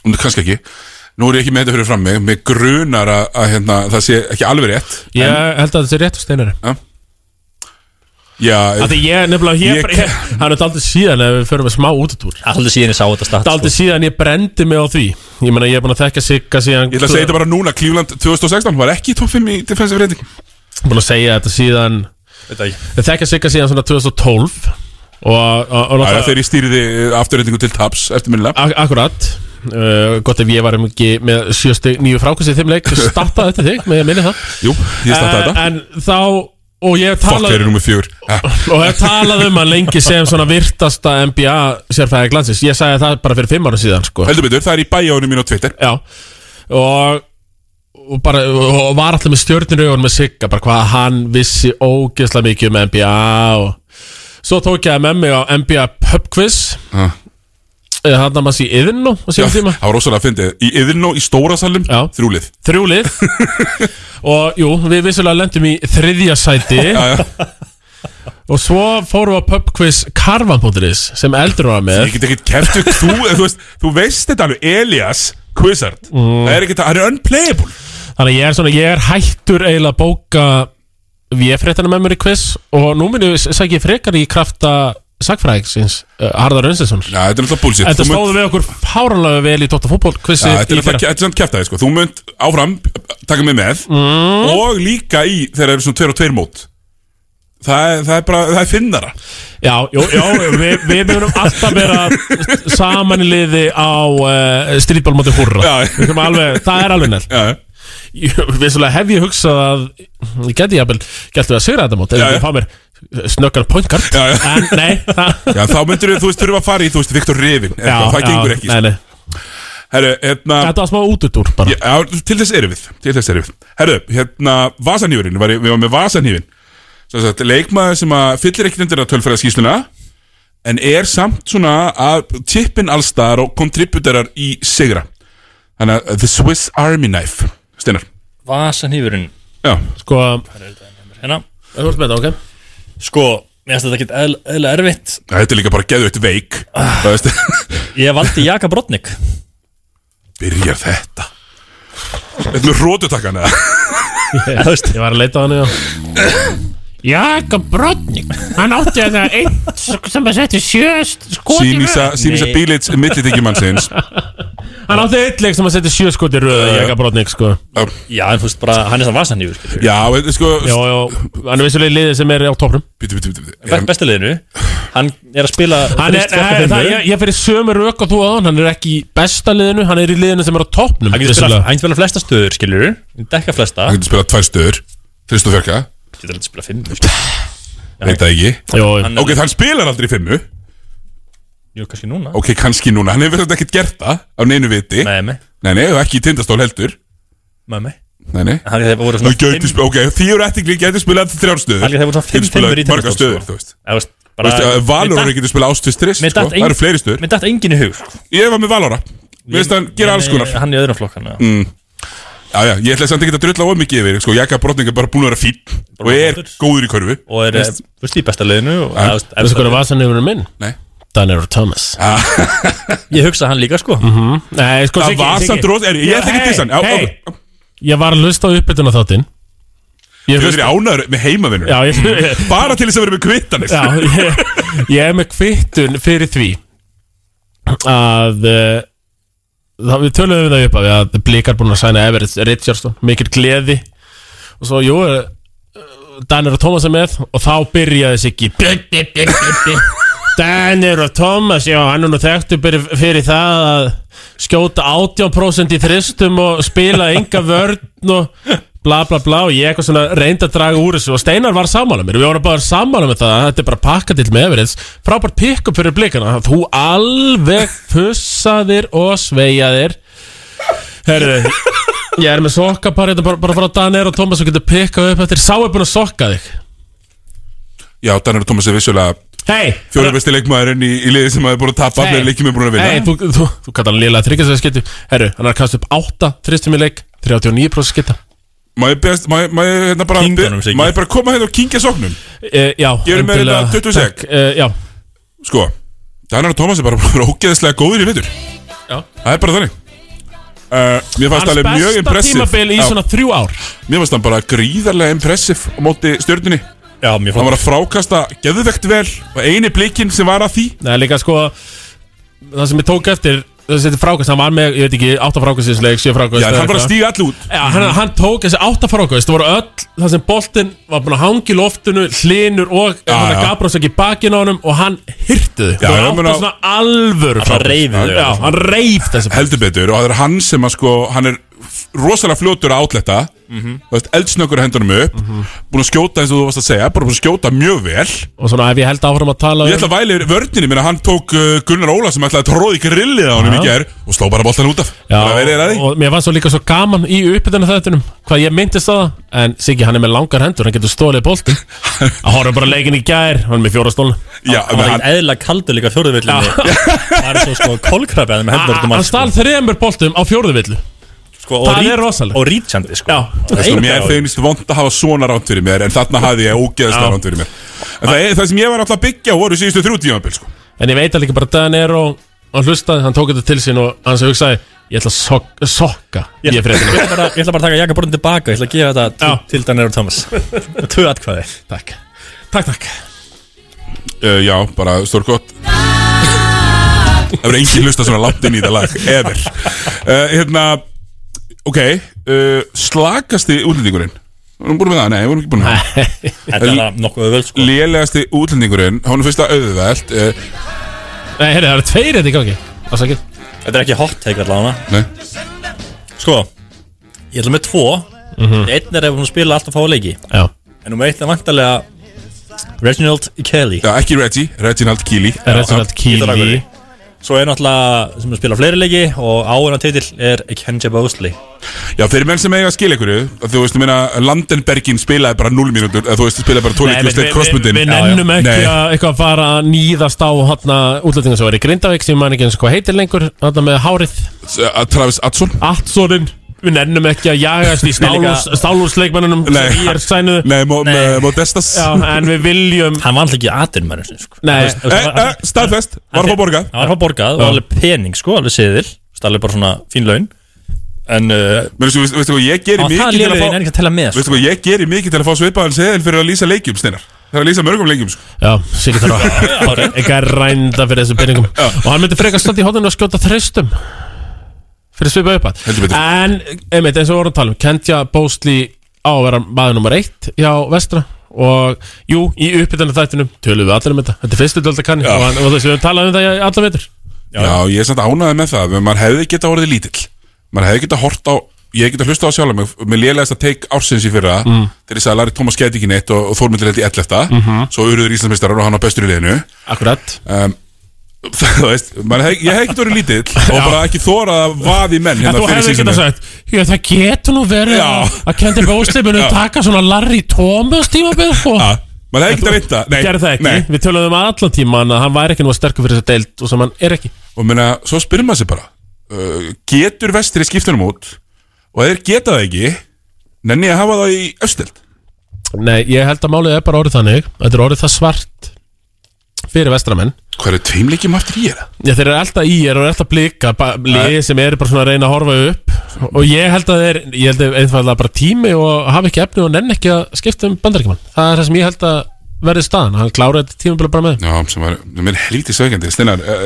Speaker 1: Nú, Kannski ekki Nú er ég ekki með þetta fyrir fram mig Mér grunar að, að hérna, það sé ekki alveg rétt
Speaker 2: Ég held að þetta er rétt á Steinari
Speaker 1: Já,
Speaker 2: Því ég nefnilega, ég,
Speaker 1: Ég- Sko.
Speaker 2: ég, hann er daldið síðan ef við förum með smá útutúr
Speaker 3: Aldrei síðan ég sá þetta stað
Speaker 2: Daldið síðan ég brendi mig á því Ég meina ég er búin að þekka Sigga síðan
Speaker 1: ég ætla að segja þetta bara núna Cleveland 2016 var ekki í top 5 í defensive rating
Speaker 2: Búin að segja þetta síðan
Speaker 3: Þetta sko. ekki
Speaker 2: Ég þekka Sigga síðan svona 2012 Og, og, og, og
Speaker 1: Það er þegar ég stýriði afturreitingu til taps eftir minnilega
Speaker 2: ak Akkurat uh, Gott ef ég var um ekki með sjösti nýju frákvæmsi í þeim leik Startaði þetta þig, með minni það
Speaker 1: Jú, ég starta
Speaker 2: Eh,
Speaker 1: þetta
Speaker 2: En þá, og ég
Speaker 1: Fokk,
Speaker 2: talaði
Speaker 1: þeir eru nummer fjögur Eh,
Speaker 2: og hef talað um hann lengi sem svona virtasta NBA sérfæði glansins ég sagði það bara fyrir fimm ára síðan sko.
Speaker 1: Heldur betur, það er í bæjáinu mín á Twitter
Speaker 2: já og, og bara og var alltaf með stjörnir augunum með Sigga bara hvað hann vissi ógeðslega mikið um NBA og svo tók ég það með mig á NBA pub quiz
Speaker 1: Ah.
Speaker 2: Eh, hann að maður sé yðin nú á
Speaker 1: Já,
Speaker 2: síðan tíma
Speaker 1: Það var rosalega að fyndið Í Yðurnó í stóra salum,
Speaker 2: Já.
Speaker 1: þrjúlið
Speaker 2: þrjúlið og jú, við vissulega lendum í þriðja sæti
Speaker 1: já.
Speaker 2: og svo fórum við á pubquiz karvan.is sem eldur var með
Speaker 1: Ég get ekki keft upp þú, eh, þú, veist, þú veist þetta alveg Elias Quizard Það er ekki það, hann er unplayable
Speaker 2: Þannig að ég er svona, ég er hættur eiginlega að bóka VF-réttana með mér í quiz og nú minn ég sækja frekar í krafta sagfræðingsins, uh, Harðar Rönsinsson
Speaker 1: Já, þetta er náttúrulega bullshit
Speaker 2: Þetta
Speaker 1: Þú munt-
Speaker 2: stóðu við okkur fáranlega vel í Dóttar fútból quizi
Speaker 1: Já, Þetta er náttúrulega- þetta er samt kæftæði sko Þú munt áfram taka mig með
Speaker 2: Mm.
Speaker 1: Og líka í þegar það eru svona tveir og tveir mót Það er, það er bara, það er finnara
Speaker 2: Já, jú, já, við, við munum alltaf vera saman í liði á uh, strítbálmóti hurra
Speaker 1: Já.
Speaker 2: Við munum alveg, Það er alveg nell
Speaker 1: Já,
Speaker 2: Vissulega hef ég hugsað að ég geti jafnvel, gæti við að sigra þetta mót
Speaker 1: Já,
Speaker 2: eða
Speaker 1: já.
Speaker 2: ég fá mér snöggan point card
Speaker 1: Já, já.
Speaker 2: en nei, það
Speaker 1: já þá myndir þú, þú veist, þurfa að fara í, þú veist, Viktor Revin eitthvað, Það gengur ekki
Speaker 2: nei,
Speaker 1: sko.
Speaker 2: nei.
Speaker 1: Herru, hérna
Speaker 2: Þetta var smá útutúr bara
Speaker 1: já, já, Til þess erum við, til þess erum við Herru, hérna, Vasanhífurinn var, í- Við varum með Vasanhífinn Svo sagt, leikmaður sem að fyllir ekki undir að tölfæra skýsluna En er samt svona að tippin allstar og kontributerar í sigra Þannig að The Swiss Army Knife Steinar
Speaker 3: Vasanhýfurinn
Speaker 1: Já,
Speaker 2: Sko,
Speaker 3: Hérna
Speaker 2: þú ert með þetta, ok?
Speaker 3: Sko, mér finnst þetta ekki eðl- eðlilega erfitt
Speaker 1: Ja, Þetta er líka bara geðveitt veik Það veist,
Speaker 3: Ég valdi Jaka Brotnik
Speaker 1: Byrjar þetta Þetta er með rótutakkan eða
Speaker 3: Þú veist,
Speaker 2: Ég var að leita á hann, já Jakob Brodnik Hann átti að það einn sem að setja sjö skot í röð
Speaker 1: Sýnisa, sýnisa
Speaker 3: Nei.
Speaker 1: bílits millitíkjumannsins
Speaker 2: Hann átti einn leik sem að setja sjö skot í röð Jakob Brodnik, sko
Speaker 3: já, en þú veist bara, hann er það Vasanhýfur skilur
Speaker 1: Já, veit, sko
Speaker 2: Já, já, hann er vissulega í liði sem er á topprum
Speaker 1: Bítu, bítu, bítu
Speaker 3: Be-
Speaker 1: Er hann,
Speaker 3: Besta liðinu, hann er að spila
Speaker 2: Hann er,
Speaker 3: fyrst tveggja
Speaker 2: nei,
Speaker 3: fimm
Speaker 2: það,
Speaker 3: liðum.
Speaker 2: ég, ég fyrir sömu rök og þú á hann Hann er ekki í besta liðinu, hann er í liðinu sem er á toppnum
Speaker 3: Hann getur spila, hann getur spila flesta stöður, skilur Dekka flesta,
Speaker 1: hann getur spilað tvær stöður Þrist og fjörka
Speaker 3: getur hann spila fimm skilurðu.
Speaker 1: Veit það ekki
Speaker 2: Jó,
Speaker 3: Hann-
Speaker 1: Ok, hann spilar aldrei í fimmu
Speaker 3: Jú, kannski núna
Speaker 1: Ok, kannski núna Hann hefur þetta ekkert gert það Á neinu viti
Speaker 3: Nei, nei,
Speaker 1: nei, nei og ekki í tindastól heldur
Speaker 3: nei, nei
Speaker 1: Nei, nei
Speaker 3: Þannig að þeir voru
Speaker 1: Þau
Speaker 3: svona
Speaker 1: gæti spila, ok, theoretically gæti spila eftir þrjár stöður
Speaker 3: Þannig að þeir voru svona
Speaker 1: Gætu
Speaker 3: fimm fimmur í sko.
Speaker 1: spilað margar stöður, þú veist
Speaker 3: Þú veist,
Speaker 1: Þú veist,
Speaker 3: bara
Speaker 1: að Valor sko. er ekki að spila ástist þrist,
Speaker 3: Mér
Speaker 1: sko
Speaker 3: datt
Speaker 1: Það
Speaker 3: engin-
Speaker 1: eru fleiri stöður
Speaker 3: Mér dætt enginn í hug sko. eh,
Speaker 1: Ég var með Valora Mér veist hann gera alls konar
Speaker 3: Hann í öðrum flokkan mm.
Speaker 1: Já, já, ég ætla samt ekki að drulla of mikið yfir, sko Jaka Brotning er bara búin að vera fín Og er
Speaker 3: flottur.
Speaker 1: góður í körfu
Speaker 3: Og er, eh, þú veist, í besta liðinu og-
Speaker 1: Já.
Speaker 3: eða, þú
Speaker 2: Þessu
Speaker 3: veist,
Speaker 2: hvernig var sann yfirinn minn?
Speaker 1: Nei
Speaker 2: Daniel Thomas
Speaker 3: Ég hugsa hann líka, sko
Speaker 1: Mhm.
Speaker 2: Nei, sko,
Speaker 1: Það var samt rót, er- ég ætla ekki að dissa hann Já,
Speaker 2: Hei,
Speaker 1: ok.
Speaker 2: hei Ég var að hlusta á uppbytuna þáttinn Ég
Speaker 1: Þú veist,
Speaker 2: hlusta
Speaker 1: ég ánæður með heimavinnur
Speaker 2: Já, ég
Speaker 1: Bara til þess að vera með kvittanir
Speaker 2: Já, ég, ég er með kvittun fyrir því að eh, þá við töluðum við það upp af því að blikar búin að sæna Everett Richardson, mikil gleði og svo, jú eh, Danir og Thomas er með og þá byrjaði Siggi björn, björn, björn, björn, björn Danir og Thomas, já, hann er nú þekktu fyrir, fyrir það að skjóta 18% í þristum og spila enga vörn og bla bla bla og ég eitthvað svona reyndi að draga úr þessu og Steinar var sammála mér, við vorum bara sammála með það að þetta er bara pakkadill með Everins frábært pikk upp fyrir blikana, þú alveg fussaðir og sveiaðir Herðu, ég er með sokkapar Þetta er bara, bara frá Danir og Tómas og getur pikkað upp eftir Sá er búin að sokka þig
Speaker 1: Já, Danir og Thomas er vissulega
Speaker 2: Hei,
Speaker 1: fjóri besti leikmaðurinn í, í liði sem er búin að tapa
Speaker 2: Hey.
Speaker 1: Allir leikjum er búin að vinna
Speaker 2: hei þú, þú, þú kallar hann lélega þryggjastæðskittu Herru, hann er að kasta upp 8 þristum í leik 39% skitta
Speaker 1: Má ég beðast- má ég- má ég hérna bara
Speaker 3: Kinga honum, Siggi.
Speaker 1: Má ég bara koma hérna og kingja sóknum
Speaker 2: e, Já,
Speaker 1: Gefur mér
Speaker 2: endilega,
Speaker 1: hérna 20
Speaker 2: takk,
Speaker 1: sek.
Speaker 2: eh, Já,
Speaker 1: Sko, Danar og Tómas er bara búin að vera ógeðslega góður í vittur
Speaker 2: Já.
Speaker 1: Það er bara þannig Uh, mér fannst
Speaker 2: hans
Speaker 1: alveg mjög
Speaker 2: besta
Speaker 1: impressiv
Speaker 2: tímabil í svona 3 ár
Speaker 1: Mér fannst hann bara gríðarlega impressiv á móti stjörnunni Hann
Speaker 3: Já, mér fór
Speaker 1: var að frákasta geðvegt vel og eini blikinn sem var að því
Speaker 2: Það er líka sko Það sem ég tók eftir Þetta frákast, hann var með, ég veit ekki, 8 frákast í þessu leik, 7 frákast
Speaker 1: Já, hann bara stíga all út
Speaker 2: Já, hann, hann tók þessi átta frákvæðist Það voru öll, það sem boltinn var búin að hanga í loftinu Hlinur og já, hann
Speaker 1: já.
Speaker 2: Gabrós ekki í bakinn á honum Og hann hyrtið
Speaker 1: Já,
Speaker 2: Það
Speaker 1: ég
Speaker 2: voru átta
Speaker 1: meina-
Speaker 2: svona alvöru frákvæðist.
Speaker 3: reif þau,
Speaker 2: Já,
Speaker 3: já.
Speaker 2: hann reif þessi
Speaker 1: heldur betur og það er hann sem að sko hann er f- rosalega fljótur að átletta
Speaker 2: Mhm.
Speaker 1: þú veist, eldsnökkur hendunum upp búin að skjóta eins og þú varst að segja bara búin að skjóta mjög vel
Speaker 2: Og svona ef ég held áfram að tala um-
Speaker 1: ég ætla að væli vörninu minna hann tók uh, Gunnar Óla sem ætlaði að tróði grillið á hann í gær og sló bara boltan út af Bara verið er að
Speaker 2: Já,
Speaker 1: því.
Speaker 2: og mér var svo líka svo gaman í uppbytuna þettunum Hvað ég myndist á það En Siggi, hann er með langar hendur, hann getur stólið boltinn Hann horfum bara á leikinn í gær Hann er með fjóra stólna
Speaker 1: Já,
Speaker 3: Hann var
Speaker 1: menn
Speaker 3: ekkert eðla kaldur líka fjórðu villinni Það er svo sko kolkrabbi að
Speaker 1: Ah,
Speaker 3: þeim hendur út um
Speaker 2: Hann stál þremur boltum á fjórðu villu
Speaker 3: sko,
Speaker 2: það
Speaker 3: og
Speaker 2: er
Speaker 3: reach-
Speaker 2: rosalegt.
Speaker 3: Og rítjandi sko
Speaker 2: Já.
Speaker 3: Það
Speaker 1: Sko,
Speaker 3: einu
Speaker 1: mér er
Speaker 3: gráður.
Speaker 1: þeimist vond að hafa svona ránt fyrir mér en þarna hafði ég ógeðslega ránt fyrir mér en það, er- það sem ég var alltaf að byggja voru síðustu þrjú tímabil sko.
Speaker 2: En ég veit að líka bara Dan er og hann hlustaði, hann tók þetta til sín og hann sem hugsaði ég ætla að sok sokka ég
Speaker 3: Ég
Speaker 2: fréttina
Speaker 3: ætla bara- ég ætla bara að taka Jaka Born tilbaka Ég ætla að gefa þetta
Speaker 2: Já.
Speaker 3: til- til Daniel Thomas Tvö atkvæði
Speaker 2: Takk, takk, takk
Speaker 1: uh, Já, bara stórkott Það verður engin hlusta svona langt inn í þetta lag Ever uh, Hérna, ok uh, Slakasti útlendingurinn Vorum búin með það? Nei, vorum ekki búin með það
Speaker 3: Þetta er alveg nokkuð völd sko
Speaker 1: Lélegasti útlendingurinn, hún er fyrsta auðvelt uh,
Speaker 2: Nei, heyrðu, það eru tveir þetta í gangi Ásakið
Speaker 3: Þetta er ekki hot take allavega
Speaker 1: Nei,
Speaker 3: Sko Ég ætla með tvo
Speaker 2: Mhm.
Speaker 3: Einn er ef hún spila alltaf fá leiki
Speaker 2: Já,
Speaker 3: En nummer eitt er vantarlega Reginald Kelly
Speaker 1: já, ekki Reggie, Reginald Keely
Speaker 2: það er þetta allt
Speaker 3: Ég þarf að
Speaker 2: kýli
Speaker 3: vera. Svo er náttúrulega sem spila fleiri leiki Og áinnan titill er Kenja Bosley
Speaker 1: Já, fyrir menn sem eiga að skilja ykkur Þú veist, ég meina, Landenbergin spilaði bara 0 mínútur eða Þú veist, spilaði bara 12
Speaker 2: Nei,
Speaker 1: mínútur
Speaker 2: við-
Speaker 1: stedt
Speaker 2: við-
Speaker 1: crossbundin
Speaker 2: Við nennum
Speaker 1: Já, já.
Speaker 2: ekki
Speaker 1: Nei.
Speaker 2: að eitthvað að fara að nýðast á hátna útlendingar sem var í Grindavík sem ég man ekki eins og hvað heitir lengur hátna með hárið
Speaker 1: Að Travis Adson
Speaker 2: Attsónin Við nennum ekki að jagast í
Speaker 3: líka-
Speaker 2: stálúrsleikmannunum
Speaker 1: Nei.
Speaker 2: sem ég er sænuðu
Speaker 1: Nei, Mo-
Speaker 3: Nei.
Speaker 1: Modestas
Speaker 2: Já, en við viljum
Speaker 3: Hann var alltaf ekki atinn mennur sko.
Speaker 2: Nei.
Speaker 3: Þú veist, þú veist,
Speaker 1: Eh, eh,
Speaker 3: hann-
Speaker 1: Staðfest, var að fá borgað
Speaker 3: Hann var frá borgað og alveg pening sko, alveg siðil Alveg bara svona fín laun En uh,
Speaker 1: Mér veistu, veistu, veistu, hvað, ég gerir
Speaker 3: á
Speaker 1: mikið
Speaker 3: það
Speaker 1: til að
Speaker 3: lefið ég er
Speaker 1: fá
Speaker 3: ekki að tella með
Speaker 1: Veistu
Speaker 3: sko.
Speaker 1: hvað, ég gerir mikið til að fá svipaðan seðil fyrir að lýsa leikjum, Steinar Það er að lýsa mörgum leikjum, sko
Speaker 2: Já, Sigur þarf að eitthvað er rænda fyrir þessum peningum og hann myndi frekar standa í hóðinu og skjóta þreistum fyrir svipa upp
Speaker 1: Heldur betur.
Speaker 2: en, einmitt, eins og við vorum að tala um Kentja Bósli á að vera maður nummer eitt hjá Vestra og jú, í uppbytana þættinum tölum við allir um þetta, þetta er fyrstu döldakanni og, hann- og þessi við höfum talað um þetta í allar vetur
Speaker 1: Já, ég er samt ánæði með það, menn maður hefði geta orðið lítill Maður hefði geta hort á, ég geta hlusta á sjálf mig Mér lélegast að teik ársins í fyrra mm. Þegar ég sagði að Larry Thomas gæti ekki
Speaker 2: Mhm.
Speaker 1: neitt og, og Þórmyndir held í 11 Svo urður Íslandsmeistarar og hann á bestur í liðinu
Speaker 2: Akkurat
Speaker 1: um, þú veist, man, hef, ég hef ekkert verið lítill og bara ekki þórað að vaði menn
Speaker 2: En
Speaker 1: hérna
Speaker 2: þú
Speaker 1: fyrir
Speaker 2: hefði
Speaker 1: sísunni.
Speaker 2: geta sagt Já, það getur nú verið
Speaker 1: Já.
Speaker 2: að að kendir bóðsleifinu
Speaker 1: Já.
Speaker 2: taka svona Larry Thomas tímabil sko
Speaker 1: Já, maður hefði ekkert að vita Nei,
Speaker 2: Gerði það ekki,
Speaker 1: nei.
Speaker 2: við töluðum um allan tíman að hann væri ekki nú að sterkur fyrir þessa deild og sem hann er ekki
Speaker 1: og meina, svo spyrir maður sér bara uh, getur vestri skiptunum út og ef þeir geta það ekki nenni ég að hafa það í östild
Speaker 2: Nei, ég held að málið er bara orðið þannig Þetta er orðið það svart fyrir vestramenn
Speaker 1: hvað eru tveimleikjum aftur í það?
Speaker 2: Já, þeir eru alltaf í, þeir eru alltaf blika Liði sem eru bara svona að reyna að horfa upp Og ég held að þeir, ég held að einfallega bara tími Og hafa ekki efni og nenn ekki að skipta um bandaríkjumann Það er það sem ég held að verði staðan Hann klára þetta tímabila bara með þeim.
Speaker 1: Já, sem var, sem er helítið sveikandi Steinar, uh,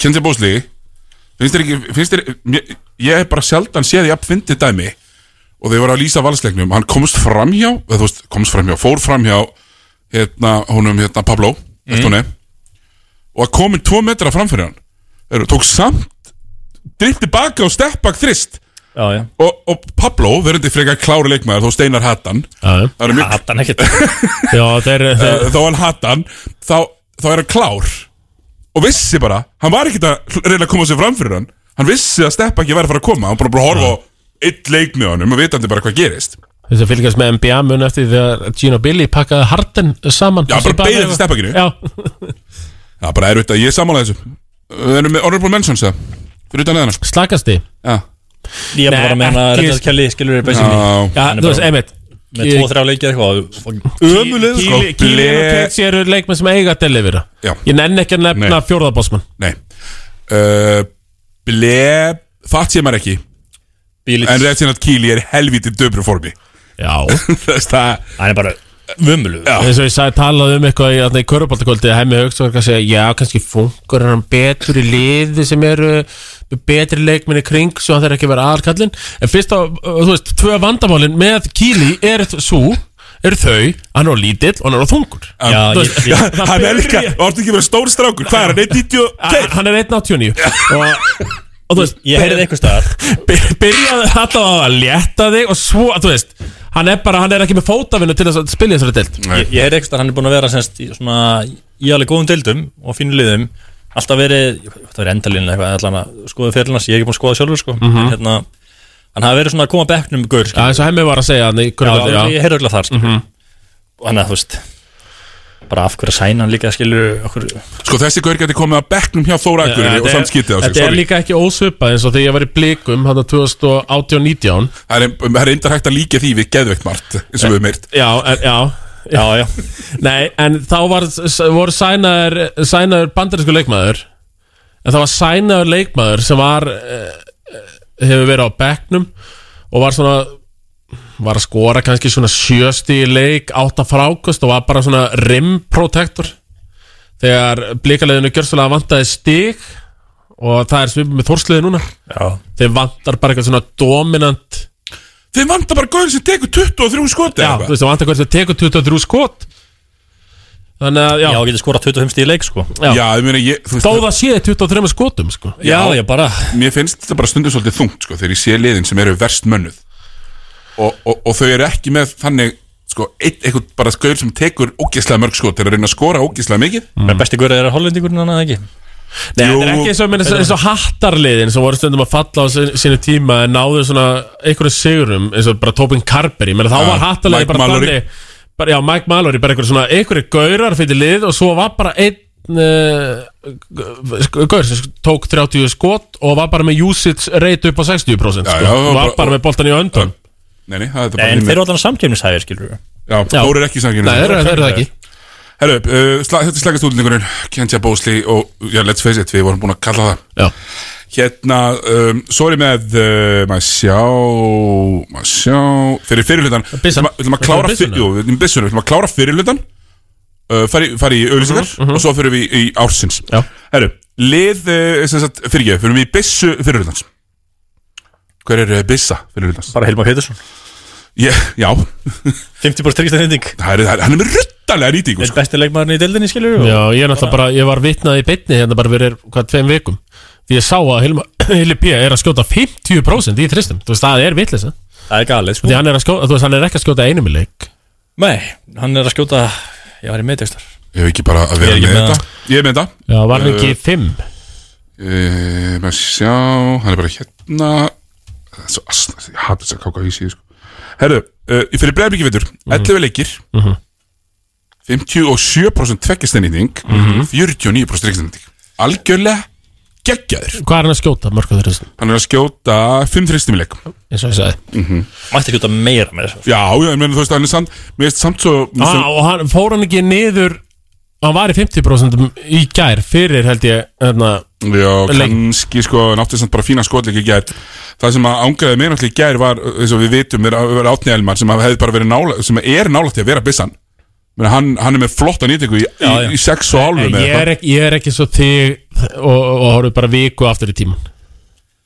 Speaker 1: Kenzie Bósli finnst þér ekki, finnst þér mér- ég hef bara sjaldan séð jafn fyndið dæmi og þau voru að lýsa valsleiknum hann komst framhjá, eða þú veist, komst framhjá fór framhjá, hérna honum, hérna Pablo,
Speaker 2: Mhm.
Speaker 1: eftir hún er og að komin tvo metra framfyrir hann þeir tók samt dritt tilbaka og steppbak þrist
Speaker 3: já, já
Speaker 1: og, og Pablo, verðandi frekar klári leikmaður þó Steinar Hattan
Speaker 2: Já, já.
Speaker 1: það er mjög
Speaker 3: Hattan ekkert Já,
Speaker 2: Já, þeir, þeir,
Speaker 1: Eh, þó hann hatt hann þá, þá er hann klár og vissi bara, hann var ekkert að hl- reyna að koma sér fram fyrir hann hann vissi að steppa ekki væri að fara að koma hann bara bara að horfa á eitt leik með honum og vitandi bara hvað gerist já,
Speaker 2: þeir sem fylgjast með NBA mun eftir þegar Gino Billy pakkaði Harden saman
Speaker 1: Já, bara
Speaker 2: Sem
Speaker 1: beið eftir steppakinu.
Speaker 2: Já,
Speaker 1: bara er auðvitað, ég er sammála þessu við erum með honorable mentions það fyrir utan eðan
Speaker 2: slakasti
Speaker 1: já,
Speaker 3: Ég
Speaker 2: Nei,
Speaker 3: bara meina að
Speaker 2: ekki-
Speaker 3: Reddit Kelly skilur við
Speaker 1: Já.
Speaker 2: Já,
Speaker 3: Hann er
Speaker 2: þú veist, eh,
Speaker 3: bara
Speaker 2: einmitt
Speaker 3: Með tvo, þrjá leikið eitthvað
Speaker 1: Ömulegur, sko.
Speaker 2: Kíli- Kílin og
Speaker 1: Ble-
Speaker 2: Keitsi eru leikmenn sem eiga að delivera
Speaker 1: Já.
Speaker 2: Ég nenn ekki að nefna
Speaker 1: Nei.
Speaker 2: fjórðabásmann
Speaker 1: nei uh, ble, fatt sé maður ekki
Speaker 3: Bílík
Speaker 1: en rétt sinna að Kíli er helvítið döbru formi
Speaker 2: Já
Speaker 1: þess það,
Speaker 3: Hann er bara Vömmulug
Speaker 1: Já.
Speaker 2: eins og ég sagði talað um eitthvað í, þarna í köruboltakvöldi að hemmi hugst og kannski að já, kannski fungur hann betur í liði sem eru með betri leikminni kring svo hann þarf ekki að vera aðalkallin en fyrst á, uh, þú veist, tvö vandamálin með Kíli er svo eru þau, að hann er á lítill og hann er á þungur Þú
Speaker 3: Já, ég,
Speaker 2: veist,
Speaker 3: ég,
Speaker 2: það
Speaker 1: hann er
Speaker 2: byrja-
Speaker 1: líka, orðið ekki verið stór strákur hvað er hann, 1.92?
Speaker 2: A- hann er 1.89 og, og þú veist,
Speaker 3: ég heyrði eitthvað staðar
Speaker 2: by- byrjaði alltaf að létta þig og svo, þú veist hann er bara, hann er ekki með fótafinu til þess að spila í þessari delt
Speaker 3: Ég, ég heyrði eitthvað staðar Hann er búin að vera semst í svona Í alveg góðum deildum Og fínu liðum Alltaf verið Það er endalinn eitthvað Allan að skoða fyrirlans Ég er ekki búin að skoða sjálfur sko En hérna Hann hafi verið svona að koma bekknum gaur
Speaker 2: Já,
Speaker 3: skilur.
Speaker 2: eins og hemmi var að segja hann í
Speaker 3: Já, Mhm.
Speaker 2: körubolta
Speaker 3: ég heyrði eitthvað þar skilur. Og Þannig að þú veist Bara af hverju að sæna hann líka skilur okkur
Speaker 1: sko þessi gaur geti komið að bekknum hjá Þóra Akureyri og
Speaker 2: Þetta er-
Speaker 1: samt skítið á sig,
Speaker 2: Þetta er líka ekki ósvipað eins og þegar ég var í blikum hann 2018-19
Speaker 1: Það er, það er eindar hægt að líka því við geðveikt margt eins og við meirt
Speaker 2: Já, en, já
Speaker 3: Já, já
Speaker 2: Nei, en þá var, s- voru sænaður sænaður bandarísku leikmaður en það var sænaður leikmaður sem var eh, eh, hefur verið á bekknum og var svona var að skora kannski svona sjösti í leik átta frákust og var bara svona rimprotektor þegar blikaleginu gjörstulega vantaði stig og það er svipið með þórsliði núna
Speaker 3: Já
Speaker 2: þeir vantar bara eitthvað svona dominant
Speaker 1: Þeir vantar bara gaur sem tekur 23 skoti
Speaker 2: já,
Speaker 1: eða
Speaker 2: þú
Speaker 1: eitthvað.
Speaker 2: veist, þeir vantar hvert þeir tekur 23 skot þannig að, já,
Speaker 3: Já, getur skorað 25 stíð leik sko
Speaker 2: já.
Speaker 1: já ég meina ég þú
Speaker 2: þó
Speaker 1: veist,
Speaker 2: það sé 23 skotum, sko
Speaker 3: Já, ég bara
Speaker 1: Mér finnst þetta bara stundum svolítið þungt sko, þegar ég sé liðin sem eru verst mönnuð og, og, og þau eru ekki með þannig sko, eitt, eitthvað bara gaur sem tekur ógeðslega mörg skot þeir eru að reyna að skora ógeðslega mikið
Speaker 3: mm. Besti guður er hollendingurinn hann eða ekki
Speaker 2: Nei,
Speaker 1: Jú.
Speaker 2: þetta er ekki eins og, minna, eins og hattarliðin sem voru stundum að falla á sin- sínu tíma en náðu svona einhverju sigurum eins og bara Tobin Carberry, menn þá
Speaker 1: Já,
Speaker 2: var hattarliðin
Speaker 1: Mike
Speaker 2: bara
Speaker 1: Mallory.
Speaker 2: þannig bara, já, Mike Mallory, bara einhverju svona einhverju gaurar fyrir lið og svo var bara einn uh, gaur sem sk- tók 30 skot og var bara með usage rate upp á 60%
Speaker 1: Já,
Speaker 2: sko,
Speaker 1: já,
Speaker 2: og var
Speaker 1: bara-
Speaker 2: bara með boltan í öndun
Speaker 1: Nei, nei, það er þetta
Speaker 3: En þeir
Speaker 1: bara
Speaker 3: eru allan samkefnishæðir, skilur við
Speaker 1: Já, Þóra er ekki
Speaker 2: Nei, þeir
Speaker 1: sanginu
Speaker 2: eru þeir eru það ekki
Speaker 1: Herru, uh, sla, þetta er slagast útlendingurinn Kentja Bósli og, já, let's face it, við vorum búin að kalla það
Speaker 2: Já,
Speaker 1: Hérna, um, sorry með uh, maður sjá maður sjá, fyrir fyrirlutan við ætlum
Speaker 2: byssan.
Speaker 1: að- við ætlum að
Speaker 2: Þetta
Speaker 1: klára
Speaker 2: er byssan,
Speaker 1: fyr- jú, við ætlum byssunni, við ætlum að klára fyrirlutan uh, fari, fari í auðlýsingar og svo fyrir við í ársins
Speaker 2: Já.
Speaker 1: Herru, lið, uh, sem sagt, fyrir ég fyrir við í byssu fyrirlutans Hver er uh, byssa fyrirlutans?
Speaker 3: Bara Hilmar Pétursson
Speaker 1: Ég, já,
Speaker 3: 50 bara tryggsta hending
Speaker 1: það er, það er, hann er með ruttalega nýtingu
Speaker 3: Er
Speaker 1: sko.
Speaker 3: besti leikmaðurinn í deildinni, skilur við
Speaker 2: já ég er náttúrulega bara, ég var vitnað í beinni hérna bara fyrir hvað tveim vikum því ég sá að Hilma, Hilmi P. er að skjóta 50% í tristum, þú veist, það er vitleysa
Speaker 3: Það er galið, sko
Speaker 2: Því hann er, að skjóta, þú veist, hann er ekki að skjóta einum í leik
Speaker 3: Nei, hann er að skjóta Ég var í meðtekstar
Speaker 1: Ég hef ekki bara að vera
Speaker 3: Ég er ekki
Speaker 1: með þetta Ég er
Speaker 3: með
Speaker 1: með þetta
Speaker 2: Já, var hann ekki fimm?
Speaker 1: Eh, maður sjá, hann er bara hérna Það er svo asna, ég hata þess að káka í síðu sko. Herru, uh, fyrir breyðarbyggi veitur 11 leikir 57% tveggjastending 49% reikstending Algjörlega geggjaður
Speaker 2: Hvað er hann að skjóta, mörgum þeirra?
Speaker 1: Hann er að skjóta 5 þristum í leik
Speaker 2: Eins og ég sagði
Speaker 3: Mætti ekki út að meira með þessu
Speaker 1: Já, já, ég meina þú veist að hann er samt Mér veist samt svo mér
Speaker 2: ah,
Speaker 1: finnst
Speaker 2: Og hann fór hann ekki niður Hann var í 50% í gær Fyrir held ég hérna,
Speaker 1: svo- Já,
Speaker 2: leik.
Speaker 1: kannski sko En átti samt bara fína skotleik í gær Það sem að ángraði mér náttúrulega í gær var eins og við vitum er að vera átni elmar sem að hefði bara verið nála sem að er nálægt í að vera byssan Menni, hann, hann er með flotta nýtingu í, já, í,
Speaker 3: já.
Speaker 1: í sex og hálfu
Speaker 2: ég,
Speaker 1: með
Speaker 2: er
Speaker 1: þetta
Speaker 2: ekki, ég er ekki svo þig Og, og horfðu bara viku aftur í tíman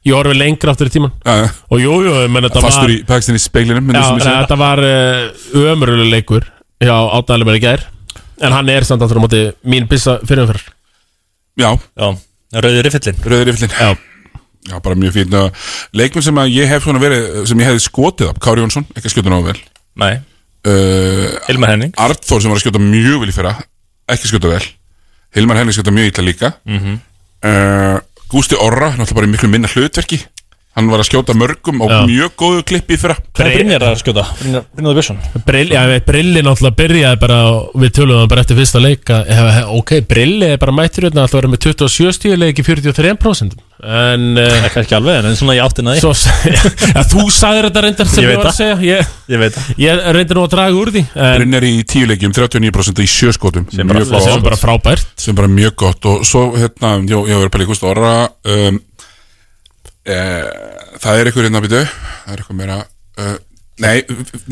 Speaker 2: Ég horfðu lengra aftur í tíman
Speaker 1: Já, já.
Speaker 2: Og jú, jú, menn þetta
Speaker 1: Fastur
Speaker 2: var
Speaker 1: í pakistin í speiglinum
Speaker 2: Já,
Speaker 1: myndi sem ég segi.
Speaker 2: þetta var uh, ömurlega leikur hjá átnælum er í gær en hann er samt aftur á móti mín byssa fyrir umferð
Speaker 1: já
Speaker 3: Já, rauði riffillin
Speaker 1: rauður yfirlinn
Speaker 2: Já.
Speaker 1: já, bara mjög fín Leikmenn sem að ég hef svona verið sem ég hefði skotið af, Kári Jónsson, ekki að skjóta náðu vel
Speaker 3: Nei,
Speaker 1: uh,
Speaker 3: Hilmar Henning
Speaker 1: Arnþór sem var að skjóta mjög vel í fyrra ekki skjóta vel Hilmar Henning skjóta mjög illa líka mm
Speaker 3: Mhm.
Speaker 1: Gústi Orra, náttúrulega bara í miklu minna hlutverki hann var að skjóta mörgum á
Speaker 2: Já.
Speaker 1: mjög góðu klippi í fyrra
Speaker 3: Hvað er Brynjar að skjóta? Brynjar Brynjar Björnsson
Speaker 2: Brill, já, ég veit, Brilli náttúrulega byrjaði bara og við töluðum um bara eftir fyrsta leik að, hef, hef, ok, Brilli er bara mættur hérna alltaf að vera með 27 stíu leik í 43% en uh,
Speaker 3: Ekki, ekki alveg, en svona í áttina því
Speaker 2: svo, ja, þú sagðir þetta reyndar sem
Speaker 3: Ég
Speaker 2: ég,
Speaker 3: veit
Speaker 2: var að segja ég,
Speaker 3: Ég veit það
Speaker 2: ég reyndi nú að draga úr því en
Speaker 1: Brynjar í tíu leikjum, 39% í sjö skotum
Speaker 3: Sem bara
Speaker 1: Mjög
Speaker 3: flott.
Speaker 2: það
Speaker 1: gott.
Speaker 2: er bara frábært
Speaker 1: sem bara mjög gott og svo hérna, já, ég var að pæla í Gústa Orra um, e, það er eitthvað hérna býtu það er eitthvað meira uh, nei,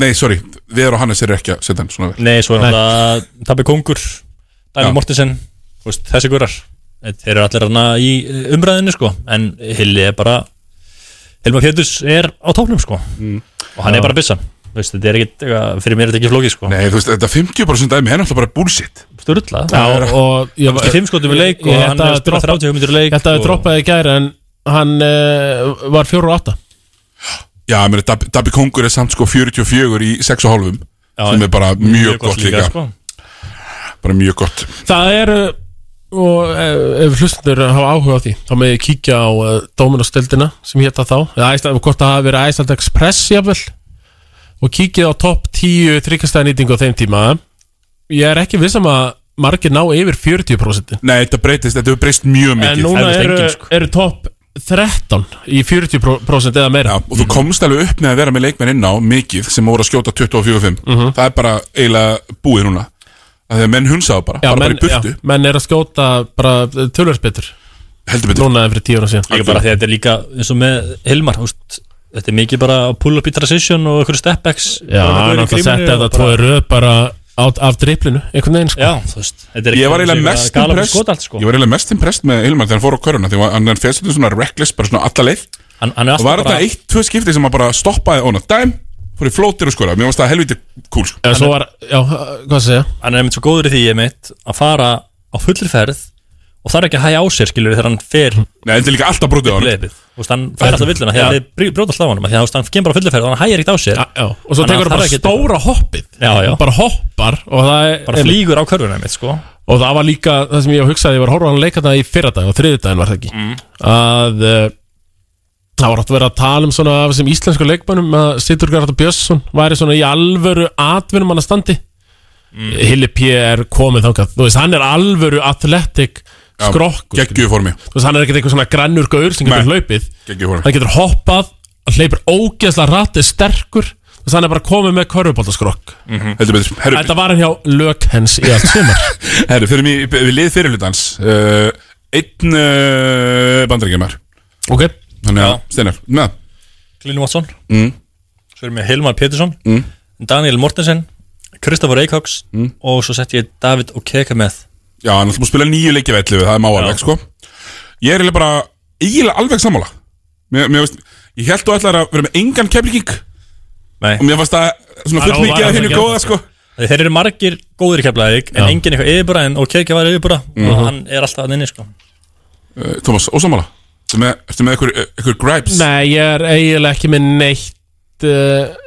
Speaker 1: nei, sorry, við erum á Hannes er ekki að setja hann svona vel
Speaker 3: Nei, svo er náttúrulega Tabi Kongur
Speaker 1: Já.
Speaker 3: Dæmi Mortensen þú veist, Þessi gurar Þeir eru allir hana í eh, umræðinu sko En Hilli er bara Hilmar Fjöldus er á tóknum sko
Speaker 2: Mm.
Speaker 3: Og hann er bara byssan Þú veist, Þetta er ekkit, eitthvað- fyrir mér er þetta ekki flókið sko
Speaker 1: nei, þú veist, þetta 50% dæmi er náttúrulega bara bullshit
Speaker 3: Sturla
Speaker 2: já, og ég,
Speaker 3: Í fimm skotum í leik og
Speaker 2: Ég held
Speaker 3: hann er
Speaker 2: að
Speaker 3: að spila
Speaker 2: droppa-
Speaker 3: 30 myndir í leik
Speaker 2: þetta
Speaker 3: og-
Speaker 2: er droppaði í gær en hann uh, var 4 og 8
Speaker 1: já, mér er Dabbi Kongur er samt sko 44 í 6,5 sem er bara mjög, gott, líka,
Speaker 3: sko.
Speaker 1: bara mjög gott
Speaker 2: Það eru og eh, ef hlustendur hafa áhuga á því þá með ég kíkja á uh, Dominos-deildina sem hétta þá, eða Æsland, hvort það hafi verið Æsland Express jafnvel og kíkið á topp 10 þryggastæða nýtingu á þeim tíma ég er ekki vissam að margir ná yfir 40%
Speaker 1: nei, þetta breytist, þetta hefur breyst mjög
Speaker 2: en
Speaker 1: mikið
Speaker 2: núna
Speaker 3: eflaust
Speaker 2: eru,
Speaker 3: engin, sko.
Speaker 2: eru topp 13 í 40% eða
Speaker 1: Já,
Speaker 2: meira
Speaker 1: og þú komst alveg upp með að vera með leikmenn inn á mikið sem voru að skjóta 24-5 það er bara eiginlega búið núna að því að menn hunsaðu bara, bara, bara í burtu
Speaker 2: já, menn er að skjóta bara tölversbyttur
Speaker 1: heldur betur
Speaker 2: núna en fyrir 10 ára síðan
Speaker 3: Líka bara því að þetta er líka eins og með Hilmar úst, Þetta er mikið bara pull-up í transition og einhverju stepbacks
Speaker 2: Já, hann átti að setja þetta tvoði röð bara á, af driplinu, einhvern veginn sko.
Speaker 3: Já, þú veist þetta er ekki
Speaker 1: Ég var eiginlega
Speaker 3: sem
Speaker 1: mest
Speaker 3: gala fyrir
Speaker 1: impressed
Speaker 3: skotalt, sko.
Speaker 1: Ég var eiginlega mest impressed með Hilmar þegar hann fór á köruna því að hann fyrst þetta svona reckless bara svona alla leið
Speaker 3: hann, hann
Speaker 1: og
Speaker 3: er alltaf
Speaker 1: var
Speaker 3: bara
Speaker 1: þetta eitt, tvö skipti sem hann bara stoppaði og hann dæm, fór í flótir og skora mér varst það helviti cool sko.
Speaker 2: En svo var, já, hvað að segja
Speaker 3: Hann er einmitt svo góður í því ég mitt að fara á fullri ferð og þarf ekki að hæja á sér skilur þegar hann fer
Speaker 1: Nei, þetta er líka alltaf brotið á hann
Speaker 3: leipið Þú veist, hann fær alltaf villuna þegar
Speaker 2: Já.
Speaker 3: þið bróta alltaf á honum af því að þú veist, hann kemur bara á fullri ferð og hann hæjar ekkert á sér
Speaker 2: já, já. Og svo
Speaker 3: Þannig að
Speaker 2: tekur hann
Speaker 3: það
Speaker 2: bara
Speaker 3: er ekki-
Speaker 2: stóra hoppið
Speaker 3: Já, já.
Speaker 2: Bara hoppar og það, er-
Speaker 3: bara flýgur á körfuna mitt sko
Speaker 2: og það var líka það sem ég hugsaði, ég var að horfa á hann leika það í fyrradaginn og þriðudaginn var það ekki mm. Að uh, það var átt að vera að tala um svona af þessum íslensku leikmönnum að Sittur Garðar Björnsson væri svona í alvöru atvinnum hann að standi
Speaker 3: Mm.
Speaker 2: Hilli P. er komið þangað Þú veist, hann er alvöru atletik skrokkur
Speaker 1: Geggju formi,
Speaker 2: Þú veist, hann er ekkert eitthvað svona grannur gaur sem getur
Speaker 1: Nei.
Speaker 2: hlaupið
Speaker 1: geggju formi
Speaker 2: Hann getur hoppað, hann hleypur ógeðslega rætt, er sterkur Þú veist, hann er bara komið með körfuboltaskrokk
Speaker 1: Heldur betur, herru,
Speaker 2: Mm. Þetta var hann hjá lök hens í allt sumar
Speaker 1: herru fyrir mig, við lið fyrirlutans uh, Einn uh, bandaríkjumar
Speaker 2: Ok
Speaker 1: Þannig að, Steinar, með
Speaker 3: Glynn Watson
Speaker 1: Mm.
Speaker 3: Svo erum við Hilmar Pétursson Daniel Mortensen Kristoffer Eikhox
Speaker 1: Mm.
Speaker 3: og svo sett ég David Okeka með
Speaker 1: Já, hann ætlum að spila nýju leikja við ellu, það er máalveg, sko Ég er eiginlega bara, eiginlega alveg sammála Mér, mér veist, ég held þú ætlar að vera með engan keflíking
Speaker 3: Nei.
Speaker 1: Og mér fannst það svona
Speaker 2: Hann á
Speaker 1: full mikið
Speaker 2: bara
Speaker 1: af
Speaker 2: að
Speaker 1: hennu
Speaker 2: gera
Speaker 1: góða,
Speaker 2: það,
Speaker 1: sko
Speaker 3: Þeir eru margir góðir í keflaðið en enginn eitthvað yfirbúra en Okeka var yfirbúra
Speaker 1: Mhm.
Speaker 3: og hann er alltaf að nynni sko
Speaker 1: Eh, Tómas, ósamála Ertu með, ertu með einhver, einhver gripes?
Speaker 2: Nei, ég er eiginlega ekki með neitt uh,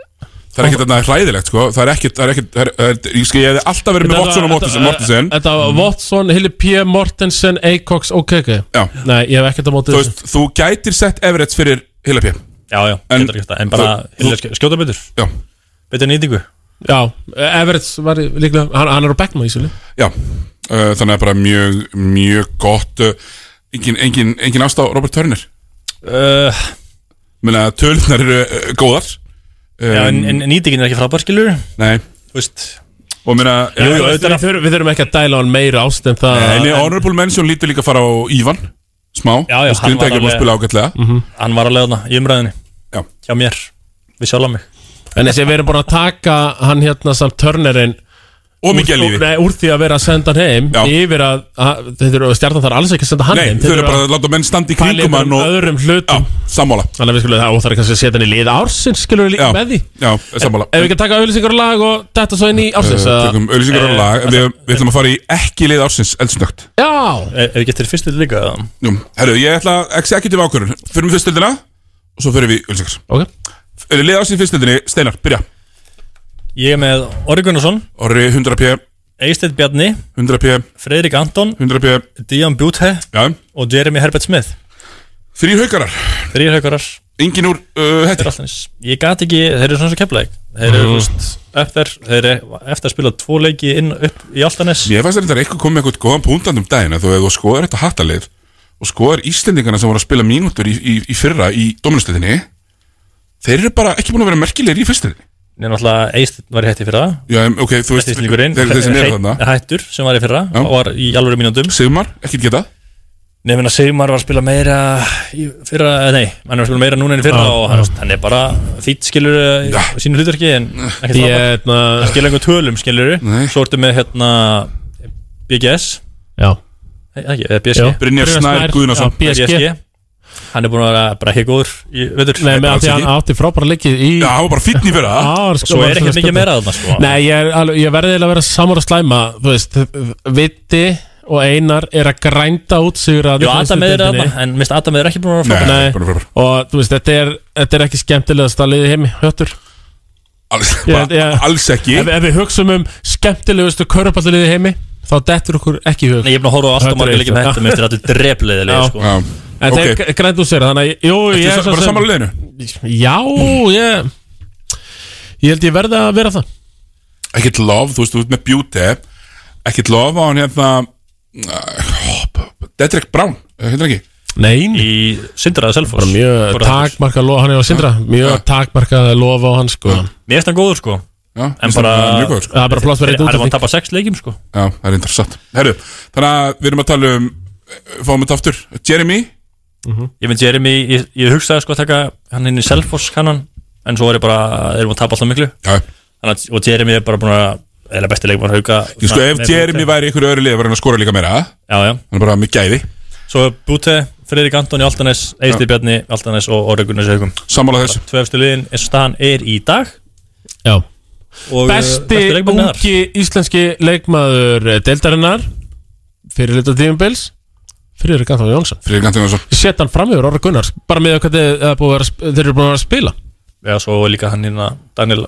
Speaker 1: Það er ekkert þarna hræðilegt sko Það er ekkert, það er ekkert, það er, það er, ég, sko, ég hefði alltaf verið með Watson og Mortensen, Mortensen. Mm.
Speaker 2: Þetta var Watson, Hilli P. Mortensen, Acox, ok, ok
Speaker 1: Já.
Speaker 2: Nei, ég hef ekkert að móti
Speaker 1: Þú
Speaker 2: þessu
Speaker 1: veist, þú gætir sett Everett fyrir Hilapi Já,
Speaker 3: Já, já,
Speaker 1: En-
Speaker 3: getur ekki þetta En bara
Speaker 1: þú-
Speaker 3: Hillar sk- skjóta betur Betur nýtingu
Speaker 2: Já, Everett var í- líklega, hann, hann er á Beckman í svolí
Speaker 1: já uh, Þannig að bara mjög, mjög gott uh, Engin, engin, engin ást á Robert Turner Eh,
Speaker 3: uh,
Speaker 1: Meina, tölunar eru uh, góðar um,
Speaker 3: já, en, en nýtingin er ekki frábær skilur
Speaker 1: Nei,
Speaker 3: Þú veist
Speaker 1: og meina
Speaker 2: Jú,
Speaker 1: eh,
Speaker 2: jú, við, þurfum, við þurfum ekki að dæla hann meira ást en það
Speaker 1: Nei, honorable mention lítur líka að fara á Ívan Smá, Þú
Speaker 3: Já, já, hann var
Speaker 1: skrýndi ekki um að
Speaker 3: alveg-
Speaker 1: spila ágætlega
Speaker 2: Mhm.
Speaker 3: Hann var alveg þarna í umræðinni
Speaker 1: Já.
Speaker 3: Hjá mér Við sjálfa mig
Speaker 2: En þessi við erum búin að taka hann hérna samt törnerinn
Speaker 1: Og mikið að lífi
Speaker 2: Nei, úr því að vera að senda hann heim
Speaker 1: Já.
Speaker 2: Yfir að, að þeir eru stjarnan þar alls ekki að senda hann
Speaker 1: Nei,
Speaker 2: heim
Speaker 1: þau eru bara að láta menn standa í
Speaker 2: pæla
Speaker 1: kringum
Speaker 2: yfir
Speaker 1: hann
Speaker 2: um
Speaker 1: og
Speaker 2: öðrum hlutum
Speaker 1: Sammála
Speaker 2: Þannig að við skulum það, og það er kannski að setja hann í lið ársins Skilur við líka
Speaker 1: Já,
Speaker 2: með því
Speaker 1: já, sammála
Speaker 2: Ef við ekki að taka auðlýsingar og lag og þetta svo inn í ársins
Speaker 1: Uh,
Speaker 2: eða-
Speaker 1: Tökum auðlýsingar og lag Við við ætlum að fara í ekki lið ársins eldsnögt
Speaker 2: Já,
Speaker 3: E, Ef við getur fyrstu líka eða?
Speaker 1: Jú, herru, ég ætla að executive ákvörðun Fyrir við fyrstöldina og svo fyrir við auðlýsingar
Speaker 2: ok
Speaker 1: Eh, Lið ársins í fyrstöldinni, Steinar, byrja
Speaker 3: Ég er með Orri Gunnarsson
Speaker 1: Orri 100p,
Speaker 3: Eistedd Bjarni
Speaker 1: 100p,
Speaker 3: Freyrik Anton
Speaker 1: 100p
Speaker 3: Díon Bjúthe
Speaker 1: Já,
Speaker 3: Og Jeremy Herbert Smith
Speaker 1: þrý haukarar
Speaker 3: Þrýr haukarar
Speaker 1: Engin úr uh, hætti
Speaker 3: Fyrir allins Ég gat ekki Þeir eru svona svo keflaðið Þeir
Speaker 1: Mhm.
Speaker 3: eru, þú veist Eftir Þeir eru eftir að spila tvo leiki inn upp í Altanes
Speaker 1: Mér fannst þetta eitthvað komið með eitthvað góðan púntan um daginn að Þú hefur skoðar þetta hattalið og skoðar Íslendingana sem voru að spila mínútur í, í, í fyrra í dominustöðinni Þeir eru bara ekki búin að vera merkilegir í fyrstöðinni
Speaker 3: Nei, náttúrulega Eistedd var í hætti fyrir það
Speaker 1: Já, em, ok, þú veist,
Speaker 3: Þrýslingurinn
Speaker 1: þeir, þeir sem eru þarna
Speaker 3: Hættur sem var í fyrra
Speaker 1: Já.
Speaker 3: Var í alvöru mínúndum
Speaker 1: Sigmar, ekkert getað
Speaker 3: Nefnir að Sigmar var að spila meira í fyrra, eða nei, hann er að spila meira núna enn í fyrra og hann, hann er bara fýtt skilur ja.
Speaker 1: Já.
Speaker 3: sínu hlutverki en
Speaker 2: Ég,
Speaker 3: ekki það
Speaker 2: hérna,
Speaker 3: hann skilur einhver tölum skilur
Speaker 1: Nei.
Speaker 3: svo ertu með hérna BGS
Speaker 2: já
Speaker 3: Nei, ekki, eh, eða BSG,
Speaker 2: já.
Speaker 1: Brynjar Snær Guðnason.
Speaker 2: já, BSG
Speaker 3: hann er búin að vera bara hekkóður í völdur
Speaker 2: Nei, með
Speaker 1: Alls
Speaker 2: að því að
Speaker 1: ekki.
Speaker 2: hann átti frábæra leikið í
Speaker 1: Já, hann var bara fínn í fyrra
Speaker 2: ár sko,
Speaker 3: svo
Speaker 2: var svona
Speaker 3: er ekkert mikið
Speaker 2: stundum.
Speaker 3: meira þarna sko
Speaker 2: Nei, ég, er alveg- ég verði eiginlega að vera samar að slæma Þú veist, Vitti og Einar er að grænda út sigur að
Speaker 3: Jú, Adam er þarna, en mist Adam er ekki búin að vera frábær.
Speaker 1: Nei,
Speaker 2: Nei.
Speaker 1: bara frábær
Speaker 2: Og þú veist, þetta er, þetta er ekki skemmtilegast að liði heimi, höttur
Speaker 1: Alls,
Speaker 2: Ég-
Speaker 1: bara,
Speaker 2: ég-
Speaker 1: alls ekki
Speaker 2: ef, ef við hugsum um skemmtilegustu körpallaliði heimi Þá dettur okkur ekki í hug
Speaker 3: Nei, ég er búin að horfa á
Speaker 2: Þetta
Speaker 3: alltaf
Speaker 2: er
Speaker 3: margir leikir með
Speaker 2: eitthvað.
Speaker 3: hættum eftir að þetta er drefliðilega
Speaker 2: Já.
Speaker 3: sko.
Speaker 1: Já,
Speaker 2: En
Speaker 1: ok
Speaker 2: okay. þeir grændu sér, þannig að Jú,
Speaker 1: Ég
Speaker 2: ég
Speaker 1: er
Speaker 2: er svo
Speaker 1: bara
Speaker 2: sem-
Speaker 1: saman leginu
Speaker 2: Já, ég Ég held ég verði að vera það
Speaker 1: Ekkert lof, þú veist, þú veist með beauty Ekkert lof á hann hérna uh, Dedrick Brown, hérna ekki
Speaker 2: Nei, nei
Speaker 3: í Sindraði Selfoss
Speaker 2: Mjög
Speaker 3: Bara hættur.
Speaker 2: takmarka lofa, hann er á sindra Mjög takmarka lofa á hann sko
Speaker 3: Mér finnst hann góður sko
Speaker 1: Já,
Speaker 3: En
Speaker 1: finnst þér
Speaker 3: bara-
Speaker 1: hann mjög góður, sko.
Speaker 2: Það er bara pláss verið
Speaker 3: Hann er búin að
Speaker 2: út
Speaker 3: tapa sex leikim sko
Speaker 1: Já, það er reyndar satt Herru, þannig að við erum að tala um eh, Fáum þetta aftur Jeremy,
Speaker 3: Ég myndi Jeremy, ég, ég hugsaði sko að taka hann inn í Selfoss kannan En svo er ég bara, þeir eru búin að tapa alltaf miklu
Speaker 1: já
Speaker 3: Þannig, að- Og Jeremy er bara búin að, eða besti leikmann hauka
Speaker 1: Ég sko, ef Jeremy væri í einhverju öðru lið var hann að skora líka meira Hann
Speaker 3: Já, já,
Speaker 1: er bara með gæði
Speaker 3: svo er Búte, Friðrik Antoni Altanes, Eisti Bjarni Altanes og Orri Gunnars haukum
Speaker 1: Sammála þessu
Speaker 3: Tvefstu liðin eins og staðan er í dag
Speaker 2: Já
Speaker 3: og,
Speaker 2: Besti
Speaker 3: eh, leikmaðurinn þar.
Speaker 2: ungi íslenski leikmaður eh, deildarinnar Fyrir lita tímubils Friðrik Anton Jónsson
Speaker 1: Friðrik Antoninsson
Speaker 2: Ég set hann fram yfir Orra Gunnars Bara með hvað þið- það er búið að vera að sp- þeir eru búin að vera að spila
Speaker 3: Já, svo er líka hann hérna Daniel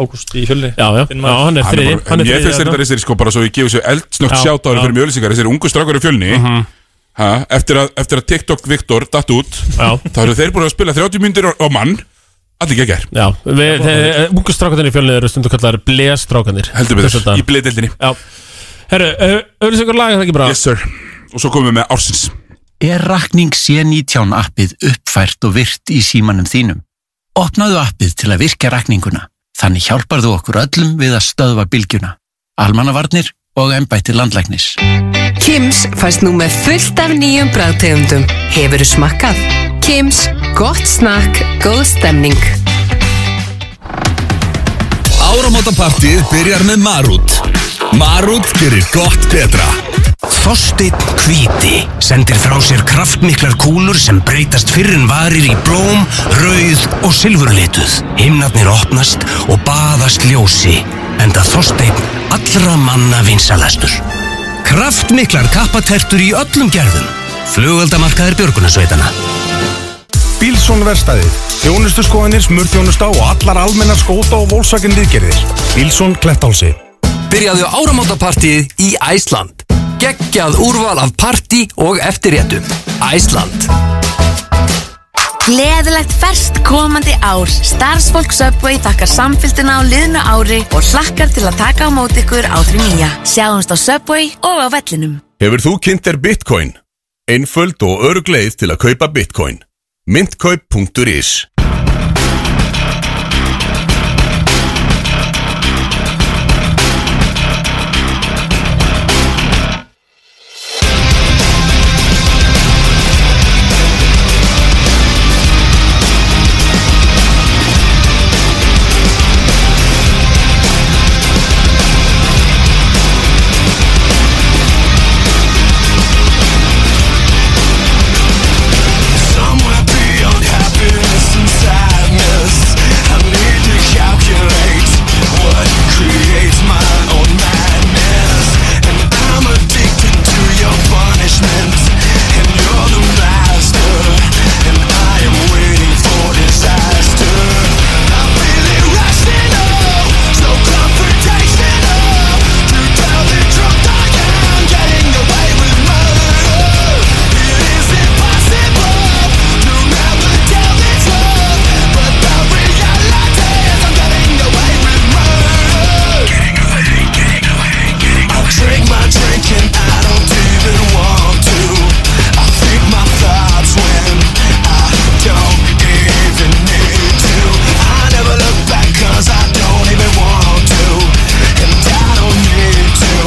Speaker 3: Ágúst í fjölni
Speaker 2: Já, já,
Speaker 3: Þinn
Speaker 2: já
Speaker 3: maður.
Speaker 2: hann er
Speaker 1: Hann er
Speaker 2: þriði
Speaker 1: bara- en Ég finnst þetta reysir sko bara svo ég gefi svo eldsnögt
Speaker 2: Já,
Speaker 1: sjátáður
Speaker 2: já. Mhm.
Speaker 1: fyrir mjölisingar Þessir ungu strákar í fjölni ha, eftir, að, eftir að TikTok Viktor datt út
Speaker 2: Já,
Speaker 1: þá eru þeir búin að spila 30 myndir á mann Allir geggar,
Speaker 2: já við, þeir, ungu strákarnir í fjölni eru stundu kallar blestrákarnir
Speaker 1: heldur við þess Í bleidildinni
Speaker 2: Já Herru, auðvitað ykkur laga það ekki bra
Speaker 1: Yes sir Og svo komum við með ársins
Speaker 5: Er rakning C19 appið uppfært og virt í símanum þínum? Opnaðu appið til að virka rakninguna. Þannig hjálpar þú okkur öllum við að stöðva bylgjuna. Almannavarnir og embætti landlæknis.
Speaker 10: Kims fæst nú með fullt af nýjum bræðtegundum. Hefurðu smakkað? Kims, gott snakk, góð stemning.
Speaker 6: Áramótapartið byrjar með Marút. Marút gerir gott betra.
Speaker 5: Þorsteinn Hvíti sendir frá sér kraftmiklar kúlur sem breytast fyrr en varir í blóm, rauð og silfurlituð. Himnarnir opnast og baðast ljósi, enda Þorsteinn allra manna vinsalastur. Kraftmiklar kappatertur í öllum gerðum. Flugöldamarkaðir björgunarsveitana.
Speaker 11: Bílsson verstaðið, þjónustu skoðanir, smurþjónusta og allar almennar skóta og volsakinn viðgerðir. Bílsson Klettálsi.
Speaker 12: Byrjaðu áramótapartíð í Æsland Geggjað úrval af partí og eftirréttum Æsland
Speaker 13: Gleðilegt ferst komandi ár. Starfsfólk Subway þakkar samfélgdina á liðnu ári og hlakkar til að taka á móti ykkur á því nýja. Sjáumst á Subway og á vellinum.
Speaker 14: Hefur þú kynnt þér Bitcoin? Einföld og örugleið til að kaupa Bitcoin. Myndkaup.is
Speaker 9: Somewhere beyond happiness and sadness, I need to calculate what creates my own madness. And I'm addicted to your punishment, and you're the master. And I am waiting for disaster. I'm feeling rational, so confrontational. To tell the truth, I am getting away with murder. It is impossible.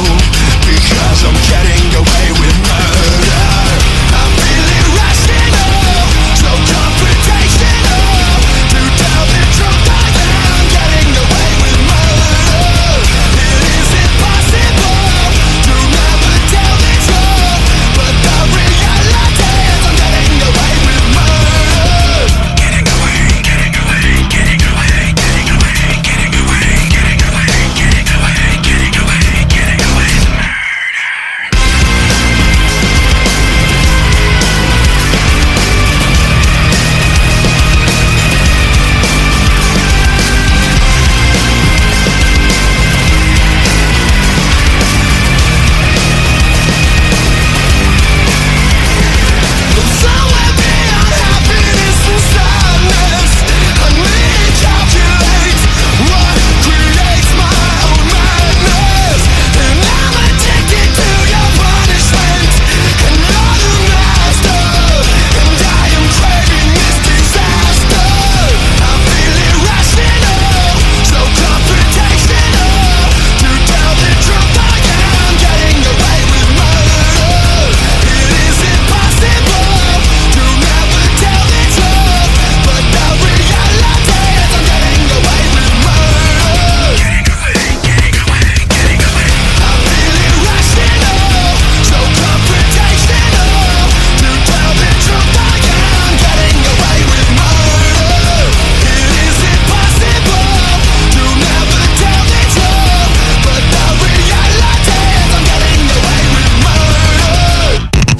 Speaker 9: I'm getting away with murder I'm feeling rational So confrontational To tell the truth I am getting away with murder It is impossible To never tell the truth But the reality is I'm getting away with murder Getting away, getting away, getting away, getting away, getting away, getting away, getting away, getting away, getting away with murder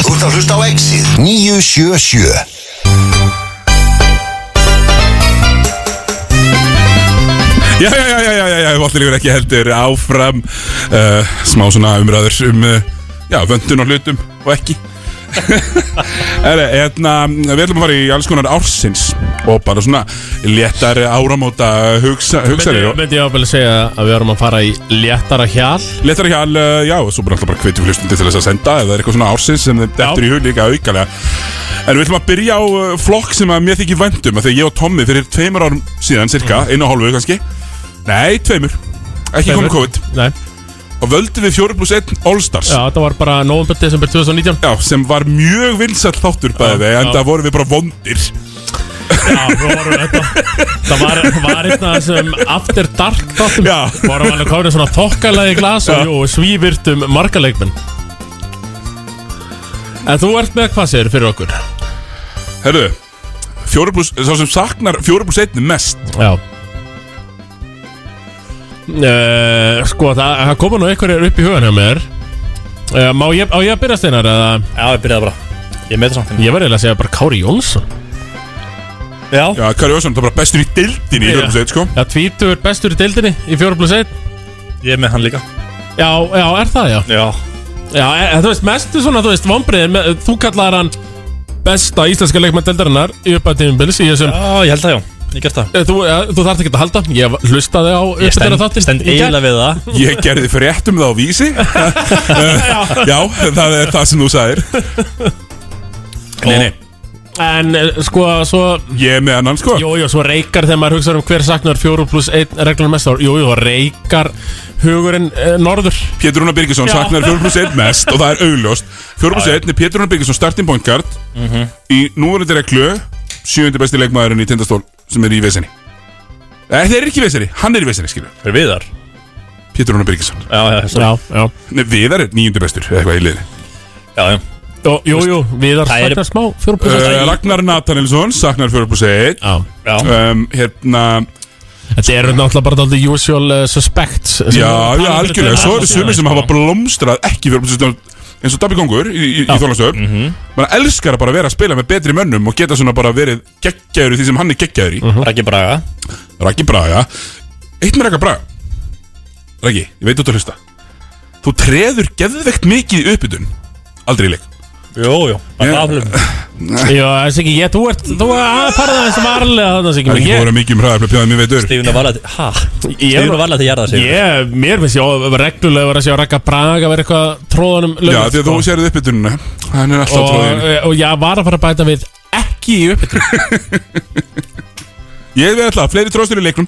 Speaker 15: Þú ert að hlusta á Exið 977
Speaker 1: Já, já, já, já, já, já, já, Vallilegur ekki heldur áfram uh, Smá svona umræður um, uh, já, vöndun á hlutum og ekki Herre, hérna, við ætlum að fara í alls konar ársins Og bara svona léttar áramóta hugsa, hugsanir
Speaker 2: Myndi ég áfæli að segja að við erum að fara í léttara hjal
Speaker 1: Léttar ekki all, uh, já, og svo bara alltaf bara hvetjum hlustundi til þess að senda Ef það er eitthvað svona ársins sem þeim dettur í hug líka aukalega En við ætlum að byrja á uh, flokk sem að mér þykir væntum af Því að ég og Tommi fyrir tveimur árum síðan, cirka, einu og hálfu kannski Nei, tveimur, ekki
Speaker 2: Tveimur.
Speaker 1: komið COVID
Speaker 2: Nei
Speaker 1: Og völdum við 4 plus 1 Allstars
Speaker 2: Já, þetta var bara november, desember 2019
Speaker 1: Já, sem var mjög vinsall þáttur bæði við En
Speaker 2: já.
Speaker 1: það vorum við bara vondir
Speaker 2: Já, við vorum þetta Það var, var einn af þessum after dark þáttum Já Vorum alveg komin í svona þokkalagi glas og jú, svívirtum marga leikmenn En þú ert með hvað sér fyrir okkur?
Speaker 1: Herðu, 4 plus, sá sem saknar 4 plus 1 mest
Speaker 2: Já uh, Sko, það, það koma nú einhverjir upp í hugan hjá mér uh, Má ég, á ég að byrja steinar eða? Já, ég byrjaði bara Ég með það samt Ég var eiginlega að segja bara Kári Jónsson
Speaker 3: Já,
Speaker 1: já Kari Össon, það er bara bestur í dildinni í
Speaker 2: Já.
Speaker 1: Jörgum sko
Speaker 2: Já, tvítur bestur í deildinni í 4 plus 1
Speaker 3: Ég er með hann líka
Speaker 2: Já, já, er það, já
Speaker 3: Já,
Speaker 2: já e, þú veist, mestu svona, þú veist, vombriðin Þú kallar hann besta íslenska leikmann deildarinnar í uppættíðum bils Já,
Speaker 3: ég held það, já, ég gert það
Speaker 2: Þú, ja, þú þarft ekki að halda, ég hlustaði á
Speaker 3: Ég stend-
Speaker 2: uppbyttina þáttinn
Speaker 3: stend
Speaker 2: í gær.
Speaker 3: eiginlega við það.
Speaker 1: Ég gerði fréttum það á vísi Já, það er það sem þú sagðir Nei, nei
Speaker 2: En eh, sko, svo
Speaker 1: Ég er með annan sko
Speaker 2: Jú, jú, svo reykar þegar maður hugsaður um hver saknar 4 pluss 1 reglunum mest Jú, jú, reykar hugurinn eh, norður
Speaker 1: Pétur Rúnar Birgisson
Speaker 2: Já.
Speaker 1: saknar 4 plus 1 mest og það er augljóst 4 plus 1 er Pétur Rúnar Birgisson starting point guard
Speaker 3: Mhm.
Speaker 1: í núverandi reglu 7. besti leikmaðurinn í tindastól sem er í vesinni Nei, þeir eru ekki í vesinni, hann er í vesinni skilur
Speaker 3: Er Viðar?
Speaker 1: Pétur Rúnar Birgisson
Speaker 3: Já, já, sorry.
Speaker 2: Já, já
Speaker 1: Nei, Viðar er 9. bestur, eða eitthvað í liðinni
Speaker 3: Já, já
Speaker 2: Jú, jú, jú Viðar
Speaker 1: Það er-
Speaker 2: saknar smá 4 pluss 1
Speaker 3: Eh,
Speaker 1: uh, Ragnar Nathanielsson saknar 4 plus 1
Speaker 3: Já
Speaker 1: um, Hérna
Speaker 2: Þetta eru náttúrulega bara aldrei usual uh, suspects sem við
Speaker 1: Já,
Speaker 2: erum
Speaker 1: já,
Speaker 2: að tala um
Speaker 1: algjörlega,
Speaker 2: fyrir
Speaker 1: svo
Speaker 2: þetta.
Speaker 1: eru sumir sem hafa blómstrað ekki fyrir blómstrað eins og Dabbi Kongur í, í, í Þorlandsöf mm mann elskar að bara vera að spila með betri mönnum og geta svona bara verið geggjaður í því sem hann er geggjaður í
Speaker 3: Raggi Braga
Speaker 1: Raggi Braga Eitt með Ragga Braga Raggi, ég veit þú ert að hlusta Þú treður geðveikt mikið í uppbytun Aldrei í leik
Speaker 3: Jó, jó, bara aflum
Speaker 2: Já, það er ekki ég, þú ert, þú er að fara það eins og varlega þannig að
Speaker 1: Það er
Speaker 2: ekki
Speaker 1: ekki búin að vera mikið um hraðar Pjáðum ég veitur
Speaker 3: Stífuna varlega, hæ? Stífuna varlega til jarða sig
Speaker 2: Ég, mér finnst ég of- reglulega að vera að sjá Ragga Braga vera eitthvað að tróðanum sko.
Speaker 1: Já, því að þú sérðu uppbytununa Hann er alltaf tróðin
Speaker 2: og, og ég var að fara að bæta við ekki í uppbytun
Speaker 1: Ég veit alltaf, fleiri tróðstur í leiknum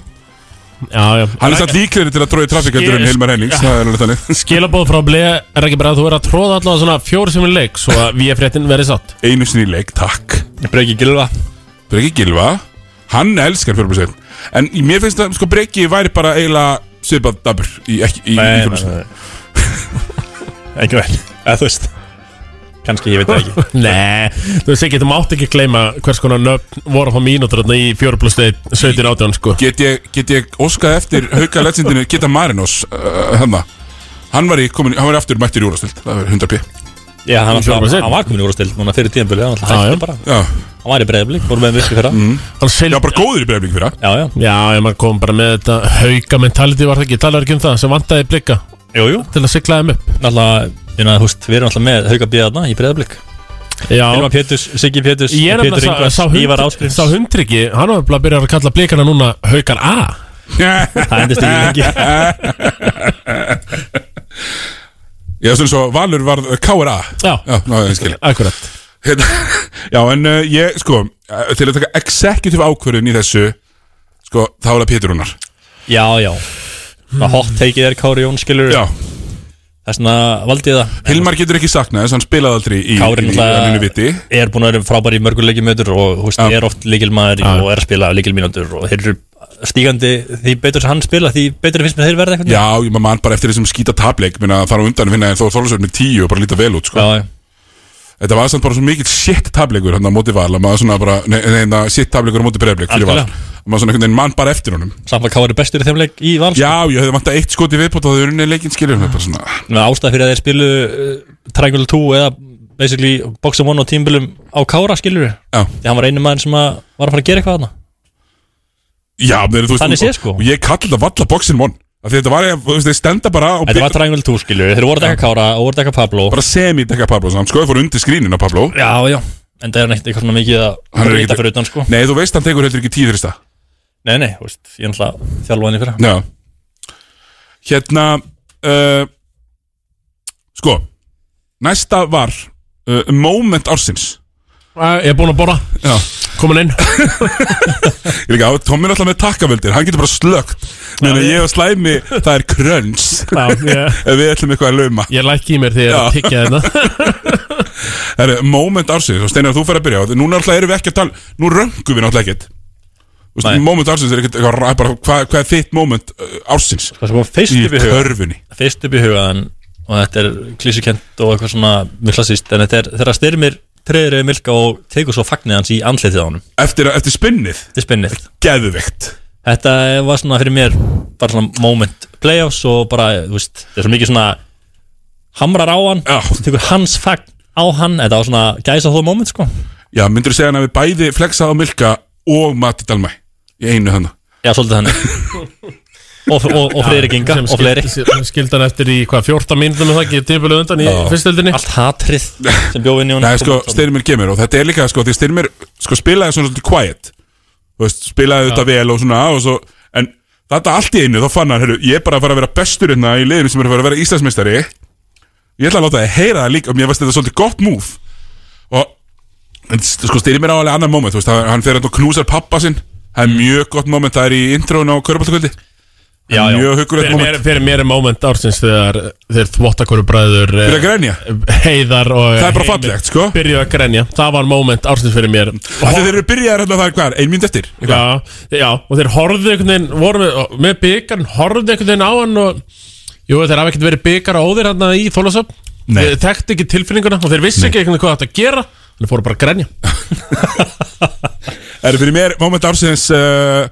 Speaker 2: Já, já
Speaker 1: Hann er satt líklegri til að tróði trafík heldur en
Speaker 2: Skil-
Speaker 1: Hilmar Hennings Það er alveg þannig
Speaker 2: Skilabóð frá Ble er ekki bara að þú er að tróða allavega svona fjóru sem er leik Svo að við fréttin verið satt
Speaker 1: Einu sinni í leik, takk
Speaker 3: Breki Gilva
Speaker 1: Breki Gilva Hann elskar fjörbrúsin En í- mér finnst að sko Breki væri bara eiginlega svipað dabur í, ekki, í, í
Speaker 3: Nei, nei,
Speaker 1: fjörbrúsin
Speaker 3: nei Ekki vel, eða þú veist Kanski, ég veit það ekki
Speaker 2: Nei, þú veist ekki, þú mátt ekki gleyma hvers konar nöfn voru á mínútur þarna í fjóru pluss 17 átján sko
Speaker 1: Get ég, get ég óskað eftir hauka legendinu Geta Marinos uh, hana. Hann var í komin, hann var í aftur mættur í úrastöld Það var 100p
Speaker 3: Já, hann,
Speaker 1: Í fjóra
Speaker 3: alltaf,
Speaker 1: prósent.
Speaker 3: hann var komin í úrstild núna fyrir tíðanbili Hann alltaf hætti bara
Speaker 1: Já.
Speaker 3: Hann var í breyðblik, voru með virkið fyrra mm.
Speaker 2: Já,
Speaker 1: bara góður í breyfling fyrra
Speaker 3: Já, já
Speaker 2: Já, ég maður kom bara með þetta hauka mentality var það ekki, talaðu ekki um það sem vantaði blika
Speaker 3: Jú, jú
Speaker 2: Til að sigla þeim upp
Speaker 3: Náttúrulega, ég náttúrulega, húst, við erum alltaf með Hauka Bíðarna í breyðblik
Speaker 2: Já
Speaker 3: Hilmar Péturs, Siggi Péturs,
Speaker 2: Ég er
Speaker 3: Pétur
Speaker 2: nefnilega
Speaker 3: Ingvars,
Speaker 2: sá,
Speaker 3: Ívar
Speaker 2: sá,
Speaker 3: Ásgrims
Speaker 2: sá hundryggi, hann var bara að byrja að kalla blikana núna haukar A
Speaker 1: Það
Speaker 3: endist ekki
Speaker 1: Já, svona svo Valur var KRA
Speaker 2: Já,
Speaker 1: já ná, ég skil
Speaker 2: Akkurat
Speaker 1: Hérna, já, en uh, ég, sko uh, Til að taka executive ákvörðun í þessu Sko, þá er það Pétur Rúnar
Speaker 3: Já, já Það hot take er Kári Jón, skilur
Speaker 1: Já
Speaker 3: Það er svona, valdi ég það
Speaker 1: Hilmar getur ekki saknað þess að hann spilaði aldrei í,
Speaker 3: Kári
Speaker 1: í, í önninu viti
Speaker 3: náttúrulega er búin að vera frábær í mörgum leikimötur og húst,
Speaker 1: Já.
Speaker 3: er oft leikilmaður og er að spila leikilmínútur og þeir eru stígandi því betur sem hann spila því betur finnst mér þeir verða eitthvað
Speaker 1: Já, ég maður man bara eftir þessum skýta tapleik minna að fara á undan finna en þó Þorlásvörn með tíu og bara líta vel út sko.
Speaker 3: já,
Speaker 1: Þetta var samt bara svo mikill shit tapleikur hann á móti val að maður svona bara nei, nei, nei, shit tapleikur á móti breyfleik fyrir val
Speaker 3: Algjörlega.
Speaker 1: og maður svona einhvern veginn mann bara eftir honum
Speaker 3: Samt að Kári bestur í þeim leik í val
Speaker 1: Já, ég hefði vantað eitt skoti viðbót og það er unni leikinn skilur þetta er svona
Speaker 3: Ná, ástæð fyrir að þeir spilu uh, Triangle 2 eða basically Boxing 1 og tímbilum á Kára skilur
Speaker 1: Já.
Speaker 3: því hann var einu maður sem að var að fara að gera eitthvað þarna
Speaker 1: Já, þeir, þú veist
Speaker 3: Þannig séð, sko.
Speaker 1: og Ég kalla þetta valla boxin mon Af því Þetta var, þú veist, þeir stenda bara og
Speaker 3: Þetta var Triangle 2 skilur, þeir voru að dekka Kára og voru að dekka Pablo
Speaker 1: bara semi-dekka Pablo samt, sko, fór undir skrínin á Pablo
Speaker 3: Já, já, en það er neitt eitthvað svona mikið
Speaker 1: Hann
Speaker 3: að
Speaker 1: er
Speaker 3: reyta
Speaker 1: ekkit-
Speaker 3: fyrir utan sko
Speaker 1: Nei, þú veist, hann tekur heldur ekki tíu fyrir stað
Speaker 3: Nei, nei, þú veist, ég er náttúrulega þjálfaðin í fyrra
Speaker 1: Já Hérna uh, Sko Næsta var uh, Moment ársins
Speaker 2: Ég er búin að borra,
Speaker 1: Já
Speaker 2: komin inn
Speaker 1: Ég líka á Tommi er alltaf með takkavöldir Hann getur bara slögt Meðan að ég og Slæmi Það er kröns
Speaker 2: Já, ég-
Speaker 1: Ef við ætlum eitthvað að lauma
Speaker 2: Ég læk í mér þegar ég er að tyggja hérna. þetta
Speaker 1: Herru, Moment ársins Og Steinar þú fer að byrja Núna alltaf erum við ekki að tala Nú röngum við náttúrulega ekkert Þú veist, Moment ársins er ekkert eitthvað ra- bara, hvað, hvað er þitt moment uh, ársins
Speaker 3: Hvað sem kom fyrst upp í
Speaker 1: Í
Speaker 3: hugann.
Speaker 1: körfunni
Speaker 3: fyrst upp í hugaðan og þetta er klísukent og eitthvað svona mjög klassist en þetta er þegar styrmir treður yfir milka og tegur svo fagnir hans í andlitið á honum
Speaker 1: Eftir, eftir spinnið?
Speaker 3: Eftir spinnið
Speaker 1: Geðveikt
Speaker 3: Þetta var svona fyrir mér bara svona moment playoffs og bara, þú veist, það er svo mikið svona hamrar á hann,
Speaker 1: Já.
Speaker 3: tekur hans fagn á hann, þetta var svona gæsa hóða moment sko
Speaker 1: Já, myndur þú segja hann að við bæði flexað á Milka og Matti Dalmæ í einu þannig
Speaker 3: Já, svolítið þannig Og, og, og fleiri ginga
Speaker 2: Sem
Speaker 3: og fleiri
Speaker 2: skildi- sem skildi hann eftir í hvað 14 mínútum og það ekki tímpilið undan í
Speaker 1: Já.
Speaker 2: fyrstöldinni
Speaker 3: allt hatrið sem bjóð inn í honum
Speaker 1: Nei, sko, Styrmir kemur og þetta er líka, sko, því Styrmir sko, spilaði svona svolítið quiet Þú veist, spilaði þetta vel og svona og svo, en þetta allt í einu, þá fann hann heru, ég er bara að fara að vera bestur hérna í liðinu sem er að fara að vera Íslandsmeistari ég ætla að láta það heyra það líka, mér varst þetta svolítið gott múf og en, sko, Styrmir á alveg annan moment, þú veist, hann- hann fer hérna og knúsar pappa sinn, það er mjög gott moment það er í introun á Körbáltakvöldi
Speaker 2: Já, já.
Speaker 1: mjög huggulegt
Speaker 2: Fyrir
Speaker 1: moment.
Speaker 2: mér- Fyrir mér er moment ársins þegar þeir þvottakoru bræður eh,
Speaker 1: Byrja að grenja?
Speaker 2: Heiðar og
Speaker 1: Það er bara
Speaker 2: Heimir
Speaker 1: fallegt, sko.
Speaker 2: Byrjuðu að grenja Það var moment ársins fyrir mér
Speaker 1: Þegar þeir eru byrjaðar hérna það er hvað, ein mynd eftir
Speaker 2: Já, já, og þeir horfðu einhvern veginn voru með, með byggarn, horfðu einhvern veginn á hann og jú, þeir hafa ekkert verið byggar á þeir hann í Þólasöp
Speaker 1: Nei.
Speaker 2: þeir tekti ekki tilfinninguna og þeir vissi
Speaker 1: Nei.
Speaker 2: ekki einhvern veginn hvað þetta að gera þannig fóru bara að grenja
Speaker 1: Er fyrir mér moment ársins uh,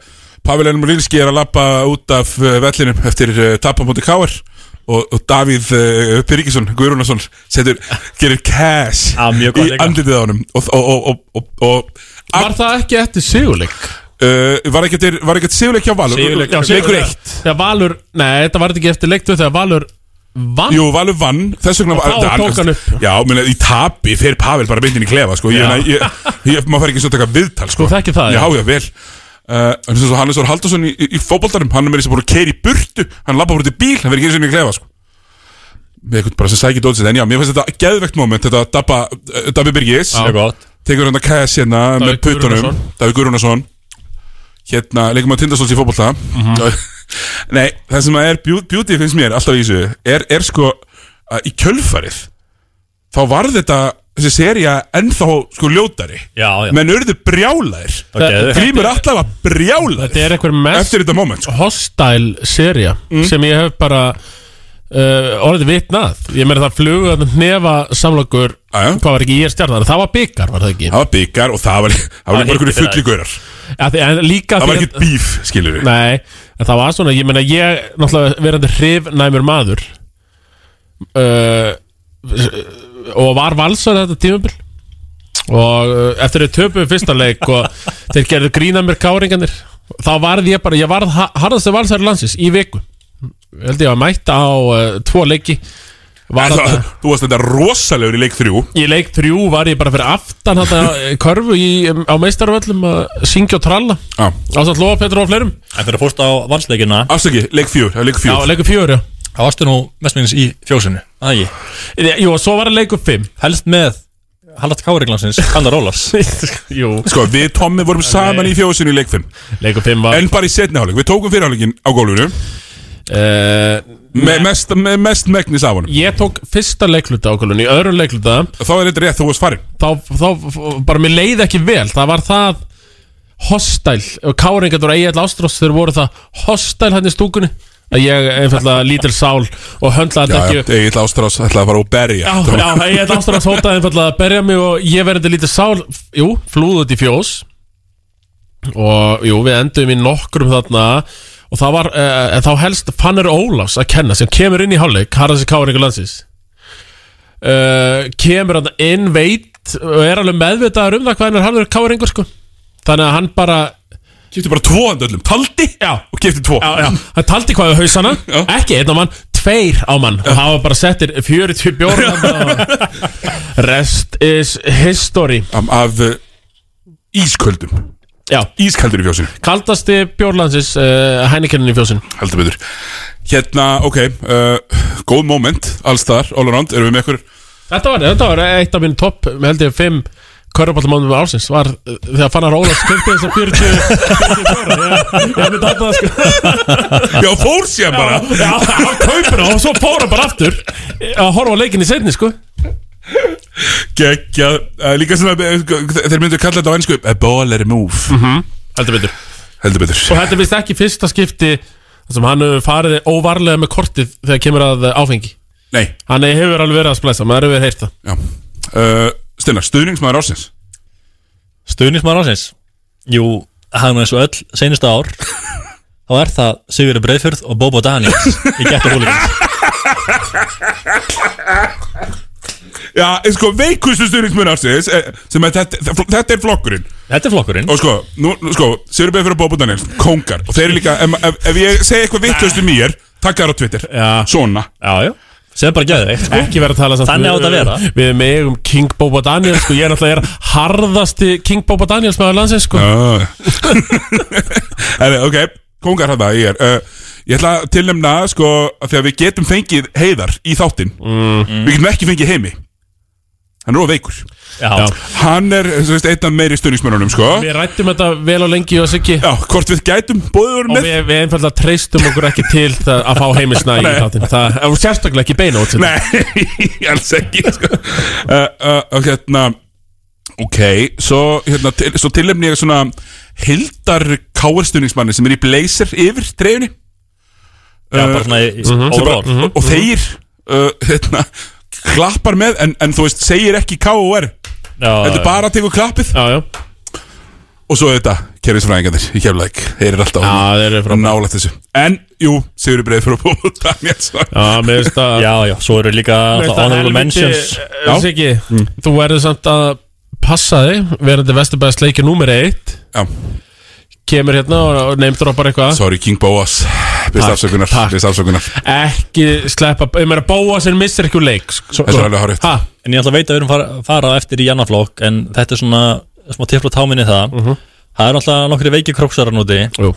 Speaker 1: Pavel Elmur Línski er að lappa út af uh, vellinum eftir uh, tapamóti Káar og, og Davíð uh, Piríkisson, Guðrúnarsson setur, gerir cash
Speaker 2: gott
Speaker 1: í
Speaker 2: leika.
Speaker 1: andlitið á honum og, og, og, og, og, og
Speaker 2: Var það ekki eftir sigurleik?
Speaker 1: Uh, var ekki eftir- var ekki eftir sigurleik hjá Valur?
Speaker 2: Sigurleik- já,
Speaker 1: leikur
Speaker 2: sigurleik.
Speaker 1: eitt
Speaker 2: Þegar Valur, nei, þetta var þetta ekki eftir leiktu þegar Valur vann
Speaker 1: Jú, Valur vann, þess vegna
Speaker 2: Og þá
Speaker 1: var-
Speaker 2: tók hann upp.
Speaker 1: Já, meni, í tapi fer Pavel bara myndin í klefa sko. ég,
Speaker 2: Já.
Speaker 1: meina, ég, ég, maður fær ekki svo að taka viðtal sko.
Speaker 2: Þú þekkir það,
Speaker 1: Já,
Speaker 2: já.
Speaker 1: já, vel Uh, en svo Hannes Þór Halldórsson í, í, í fótboltarum hann er með þess að búin að keira í burtu hann lappa búin til bíl, hann verður ekki eins og niður klefa sko. með eitthvað bara sem sækir dótið sitt. en já, mér finnst þetta geðvegt moment þetta Dabba, uh, Dabbi Birgis
Speaker 2: Já. Mjög gott.
Speaker 1: tekur hann að kæs hérna með
Speaker 2: Davíð
Speaker 1: putunum
Speaker 2: Guðrúnarsson.
Speaker 1: Davíð Guðrúnarsson hérna, leikum að tindastóls í fótbolta
Speaker 2: Mhm.
Speaker 1: nei, það sem að er bjú- beauty finnst mér alltaf í þessu er, er sko að í kjölfarið þá var þetta þessi seria ennþá sko ljótari
Speaker 3: Já, já.
Speaker 1: menn urðu brjálaðir
Speaker 2: Það er geðveikt.
Speaker 1: grímur alltaf að brjálaðir
Speaker 2: Þetta er einhver mest
Speaker 1: Eftir þetta moment sko.
Speaker 2: Hostile seria
Speaker 1: Mm.
Speaker 2: sem ég hef bara uh, orðið vitnað Ég meira það flugu að nefa samlokur Hvað var ekki ég stjarnar? Það var byggar, var það ekki?
Speaker 1: það var byggar og það var það var
Speaker 2: Það
Speaker 1: bara einhverju
Speaker 2: heitir
Speaker 1: fulli
Speaker 2: það.
Speaker 1: gaurar
Speaker 2: Ja, því- en líka
Speaker 1: það var
Speaker 2: því-
Speaker 1: ekkert bíf, skilur við
Speaker 2: Nei, en það var svona, ég meina ég náttúrulega verandi hrifnæmur maður uh, og var valsar þetta tímabil og uh, eftir þau töpuðu fyrsta leik og þeir gerðu grína mér káringanir þá varð ég bara, ég varð ha- harðasti valsar landsins í viku Ég held ég að mæta á uh, tvo leiki var
Speaker 1: En það-
Speaker 2: þetta
Speaker 1: þú varst þetta rosalegur í leik þrjú
Speaker 2: Í leik þrjú var ég bara fyrir aftan þetta körfu í, um, á meistarvöllum að syngja og tralla
Speaker 1: Já.
Speaker 2: Ásamt Lóa Petur og fleirum
Speaker 3: En þegar fórst á valsleikina
Speaker 1: Afsaki, leik fjör, leik fjör
Speaker 2: Já, leikur fjögur, já
Speaker 3: Það varstu nú mestmengins í fjósinu Það
Speaker 2: ekki Jú, og svo var að leikur fimm
Speaker 3: Helst með Hallart Káriglansins Kandar Ólafs
Speaker 2: Jú
Speaker 1: Sko, við Tommi vorum saman í fjósinu í leik 5
Speaker 2: Leik 5 var
Speaker 1: En bara í setni hálfleik, við tókum fyrirhálfleikin á gólfinu með, mest, með mest megnis af honum
Speaker 2: eh, Ég tók fyrsta leikluta ákvöldun Í öðrum leikluta
Speaker 1: Þá er þetta rétt, þú varst farin
Speaker 2: Þá, þá f- bara mér leið ekki vel Það var það hostæl og Káringatur og Egil Ástrós þeir voru það hostæl hann í stúkunni að ég einfallega lítil sál og höndlaði þetta
Speaker 1: Já,
Speaker 2: ekki
Speaker 1: já, Egil Ástrás ætlaði að fara og berja
Speaker 2: Já, já, ég ætla ástur að sóta einfallega að berja mig og ég verði lítið sál Jú, flúð út í fjós og jú, við endum í nokkrum þarna og það var, uh, þá helst Fanner Ólafs að kenna sem kemur inn í hálfleik Harðansi Káringur landsins uh, kemur hann inn veit og er alveg meðvitaður um það hvað hann er Harður Káringur sko þannig að hann bara
Speaker 1: Kipti bara tvo handa öllum, taldi
Speaker 2: já.
Speaker 1: og kipti tvo
Speaker 2: já, já. hann taldi hvað á hausana ekki einn á mann, tveir á mann og hafa bara settir 40 bjóra Rest is history
Speaker 1: Af, af uh, ísköldum
Speaker 2: Já
Speaker 1: Ískaldur í fjósinu
Speaker 2: Kaldasti bjórlandsins uh, Heinikenin í fjósin
Speaker 1: Heldur betur Hérna, ok, uh, góð moment, alls þar, all around Erum við með ykkur
Speaker 2: Þetta var, þetta var eitt af mínu topp Með held ég fimm Körbáttamónum ársins Var uh, þegar fann að róla Skumpi þess að 40 Ég myndi alltaf það sko
Speaker 1: Já, fór síðan bara
Speaker 2: Já, hann kaupir það og svo fór hann bara aftur Að horfa á leikin í setni sko
Speaker 1: Gekja, uh, líka svona eh, sko, Þeir myndu kalla þetta á ennsku A baller move mm
Speaker 2: -hmm. Heldur betur
Speaker 1: Heldur betur
Speaker 2: Og þetta er vist ekki fyrsta skipti þar sem hann hefur farið óvarlega með kortið þegar kemur að áfengi
Speaker 1: Nei
Speaker 2: Hann hefur alveg verið að splæsa, maður hefur heyrt það
Speaker 1: Já uh, Stinnar, stuðningsmaður ársins
Speaker 3: Stuðnismar ásins Jú, hann er eins og öll Seinasta ár Þá er það Sigurður Breiðfjörð og Bobo Daniels Í gett og húlíkans
Speaker 1: Já, en sko, veikustu stuðningsmenn ársins eh, sem að þetta, þa- þetta er flokkurinn
Speaker 3: Þetta er flokkurinn
Speaker 1: Og sko, nú, nú sko, Sigur Befur og Bóbo Daniels, kongar Og þeir eru líka, ef, ef, ef ég segi eitthvað vittlust um ég Takk þar á Twitter, já. svona
Speaker 3: Já, já Segð bara gæði sko.
Speaker 2: Ekki verið að tala samt
Speaker 3: Þannig á þetta að vera.
Speaker 2: Við megum King Boba Daniels sko, Ég er náttúrulega er harðasti King Boba Daniels maður landsins sko
Speaker 1: Já Herri, Eh, ok, kongar hann það ég er uh, Ég ætla að tilnefna, sko, að því að við getum fengið heiðar í þáttinn Við getum ekki fengið heimi Hann er of veikur
Speaker 3: Já.
Speaker 1: Hann er, þú veist, einn af meiri stuðningsmennunum, sko
Speaker 2: Við rættum þetta vel og lengi og sikki
Speaker 1: Já, hvort við gætum bóður
Speaker 2: með Og við, við einfalda treystum okkur ekki til það, að fá heimisnæ í
Speaker 1: Nei.
Speaker 2: þáttinn Það er sérstaklega ekki beina út
Speaker 1: Nei, alls ekki sko. uh, uh, Og hérna Ok, svo, hérna, til, svo tilefni ég svona Hildar káarstuðningsmanni sem er í blazer yfir treyjunni
Speaker 3: Já,
Speaker 1: Uh,
Speaker 3: bara svona í- í-
Speaker 1: sem bara-
Speaker 3: overall. Mhm.
Speaker 1: Og, og þeir uh, hérna, klappar með en, en þú veist, segir ekki K.O.R. Þetta
Speaker 3: já.
Speaker 1: er bara að teka klappið
Speaker 2: já, já.
Speaker 1: Og svo þetta, kerfisfræðingarnir í keflæk Þeir eru alltaf
Speaker 2: Já, þeir eru frábær.
Speaker 1: nálægt þessu En, jú, Sigur Breið fyrir að búið Daniels
Speaker 2: Já, mér finnst það
Speaker 3: Já, já, svo eru líka
Speaker 2: Mér finnst það
Speaker 3: honorable
Speaker 2: helviti-
Speaker 3: mentions
Speaker 2: Já. Siggi,
Speaker 1: Mm.
Speaker 2: þú verður samt að passa þig Verandi Vesturbæðis leikir númer eitt
Speaker 1: Já
Speaker 2: Kemur hérna og, og neymdroppar eitthvað
Speaker 1: Sorry, King Boas Bist
Speaker 2: Takk,
Speaker 1: afsökunar
Speaker 2: takk.
Speaker 1: Bist afsökunar
Speaker 2: Ekki sleppa Ég meira bóa sem missir ekki úr leik sko.
Speaker 1: Þetta er alveg hárrétt.
Speaker 2: Ha?
Speaker 3: En ég ætla að veita að við erum fara, fara á eftir í annan flokk En þetta er svona smá tippla táminni það Það eru alltaf nokkri veiki króksarar núti
Speaker 2: Mhm. Jú.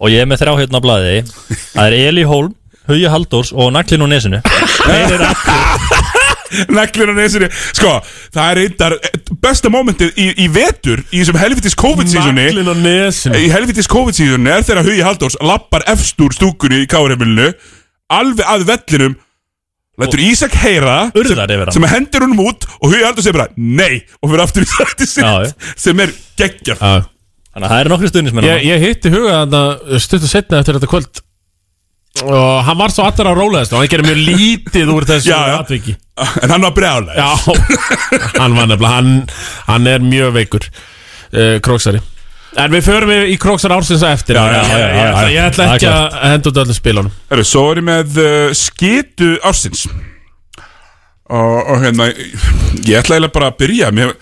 Speaker 3: Og ég er með þrjá hérna á blaði Það er Eli Holm, Hugi Halldórs og Naglin og Nesinu
Speaker 1: Neglin og nesinu Sko, það er reyndar eh, Besta momentið í, í vetur Í þessum helvitis COVID-sísunni
Speaker 2: Naglinn og nesinu
Speaker 1: Í helvitis COVID-sísunni er þegar Hugi Halldórs Lappar efst úr stúkunni í kárheimilinu Alveg að vellinum Lætur Ísak heyra
Speaker 3: Urðar yfir hann.
Speaker 1: Sem hendur honum út Og Hugi Halldórs er bara Nei Og fyrir aftur í sætti
Speaker 3: Já, já.
Speaker 1: sitt Sem er geggjart
Speaker 3: Þannig að það eru nokkri stuðnismenn
Speaker 2: ég, ég hitti huga þarna stutt og setna eftir þetta kvöld og hann var svo allar að róla þessu og hann gerir mjög lítið úr þessu
Speaker 1: Já, já.
Speaker 2: atviki
Speaker 1: En hann var brjálæg
Speaker 2: Já, hann var nefnilega hann, hann er mjög veikur uh, króksari En við förum í, í króksar ársins að eftir
Speaker 1: Já, já, já, já,
Speaker 2: Ég- ég-
Speaker 1: já, já.
Speaker 2: Ég ætla ekki
Speaker 1: Það er
Speaker 2: að henda út öllu spilunum
Speaker 1: Herru, svo er ég með uh, skitu ársins og, og hérna ég ætla eiginlega bara að byrja Mér,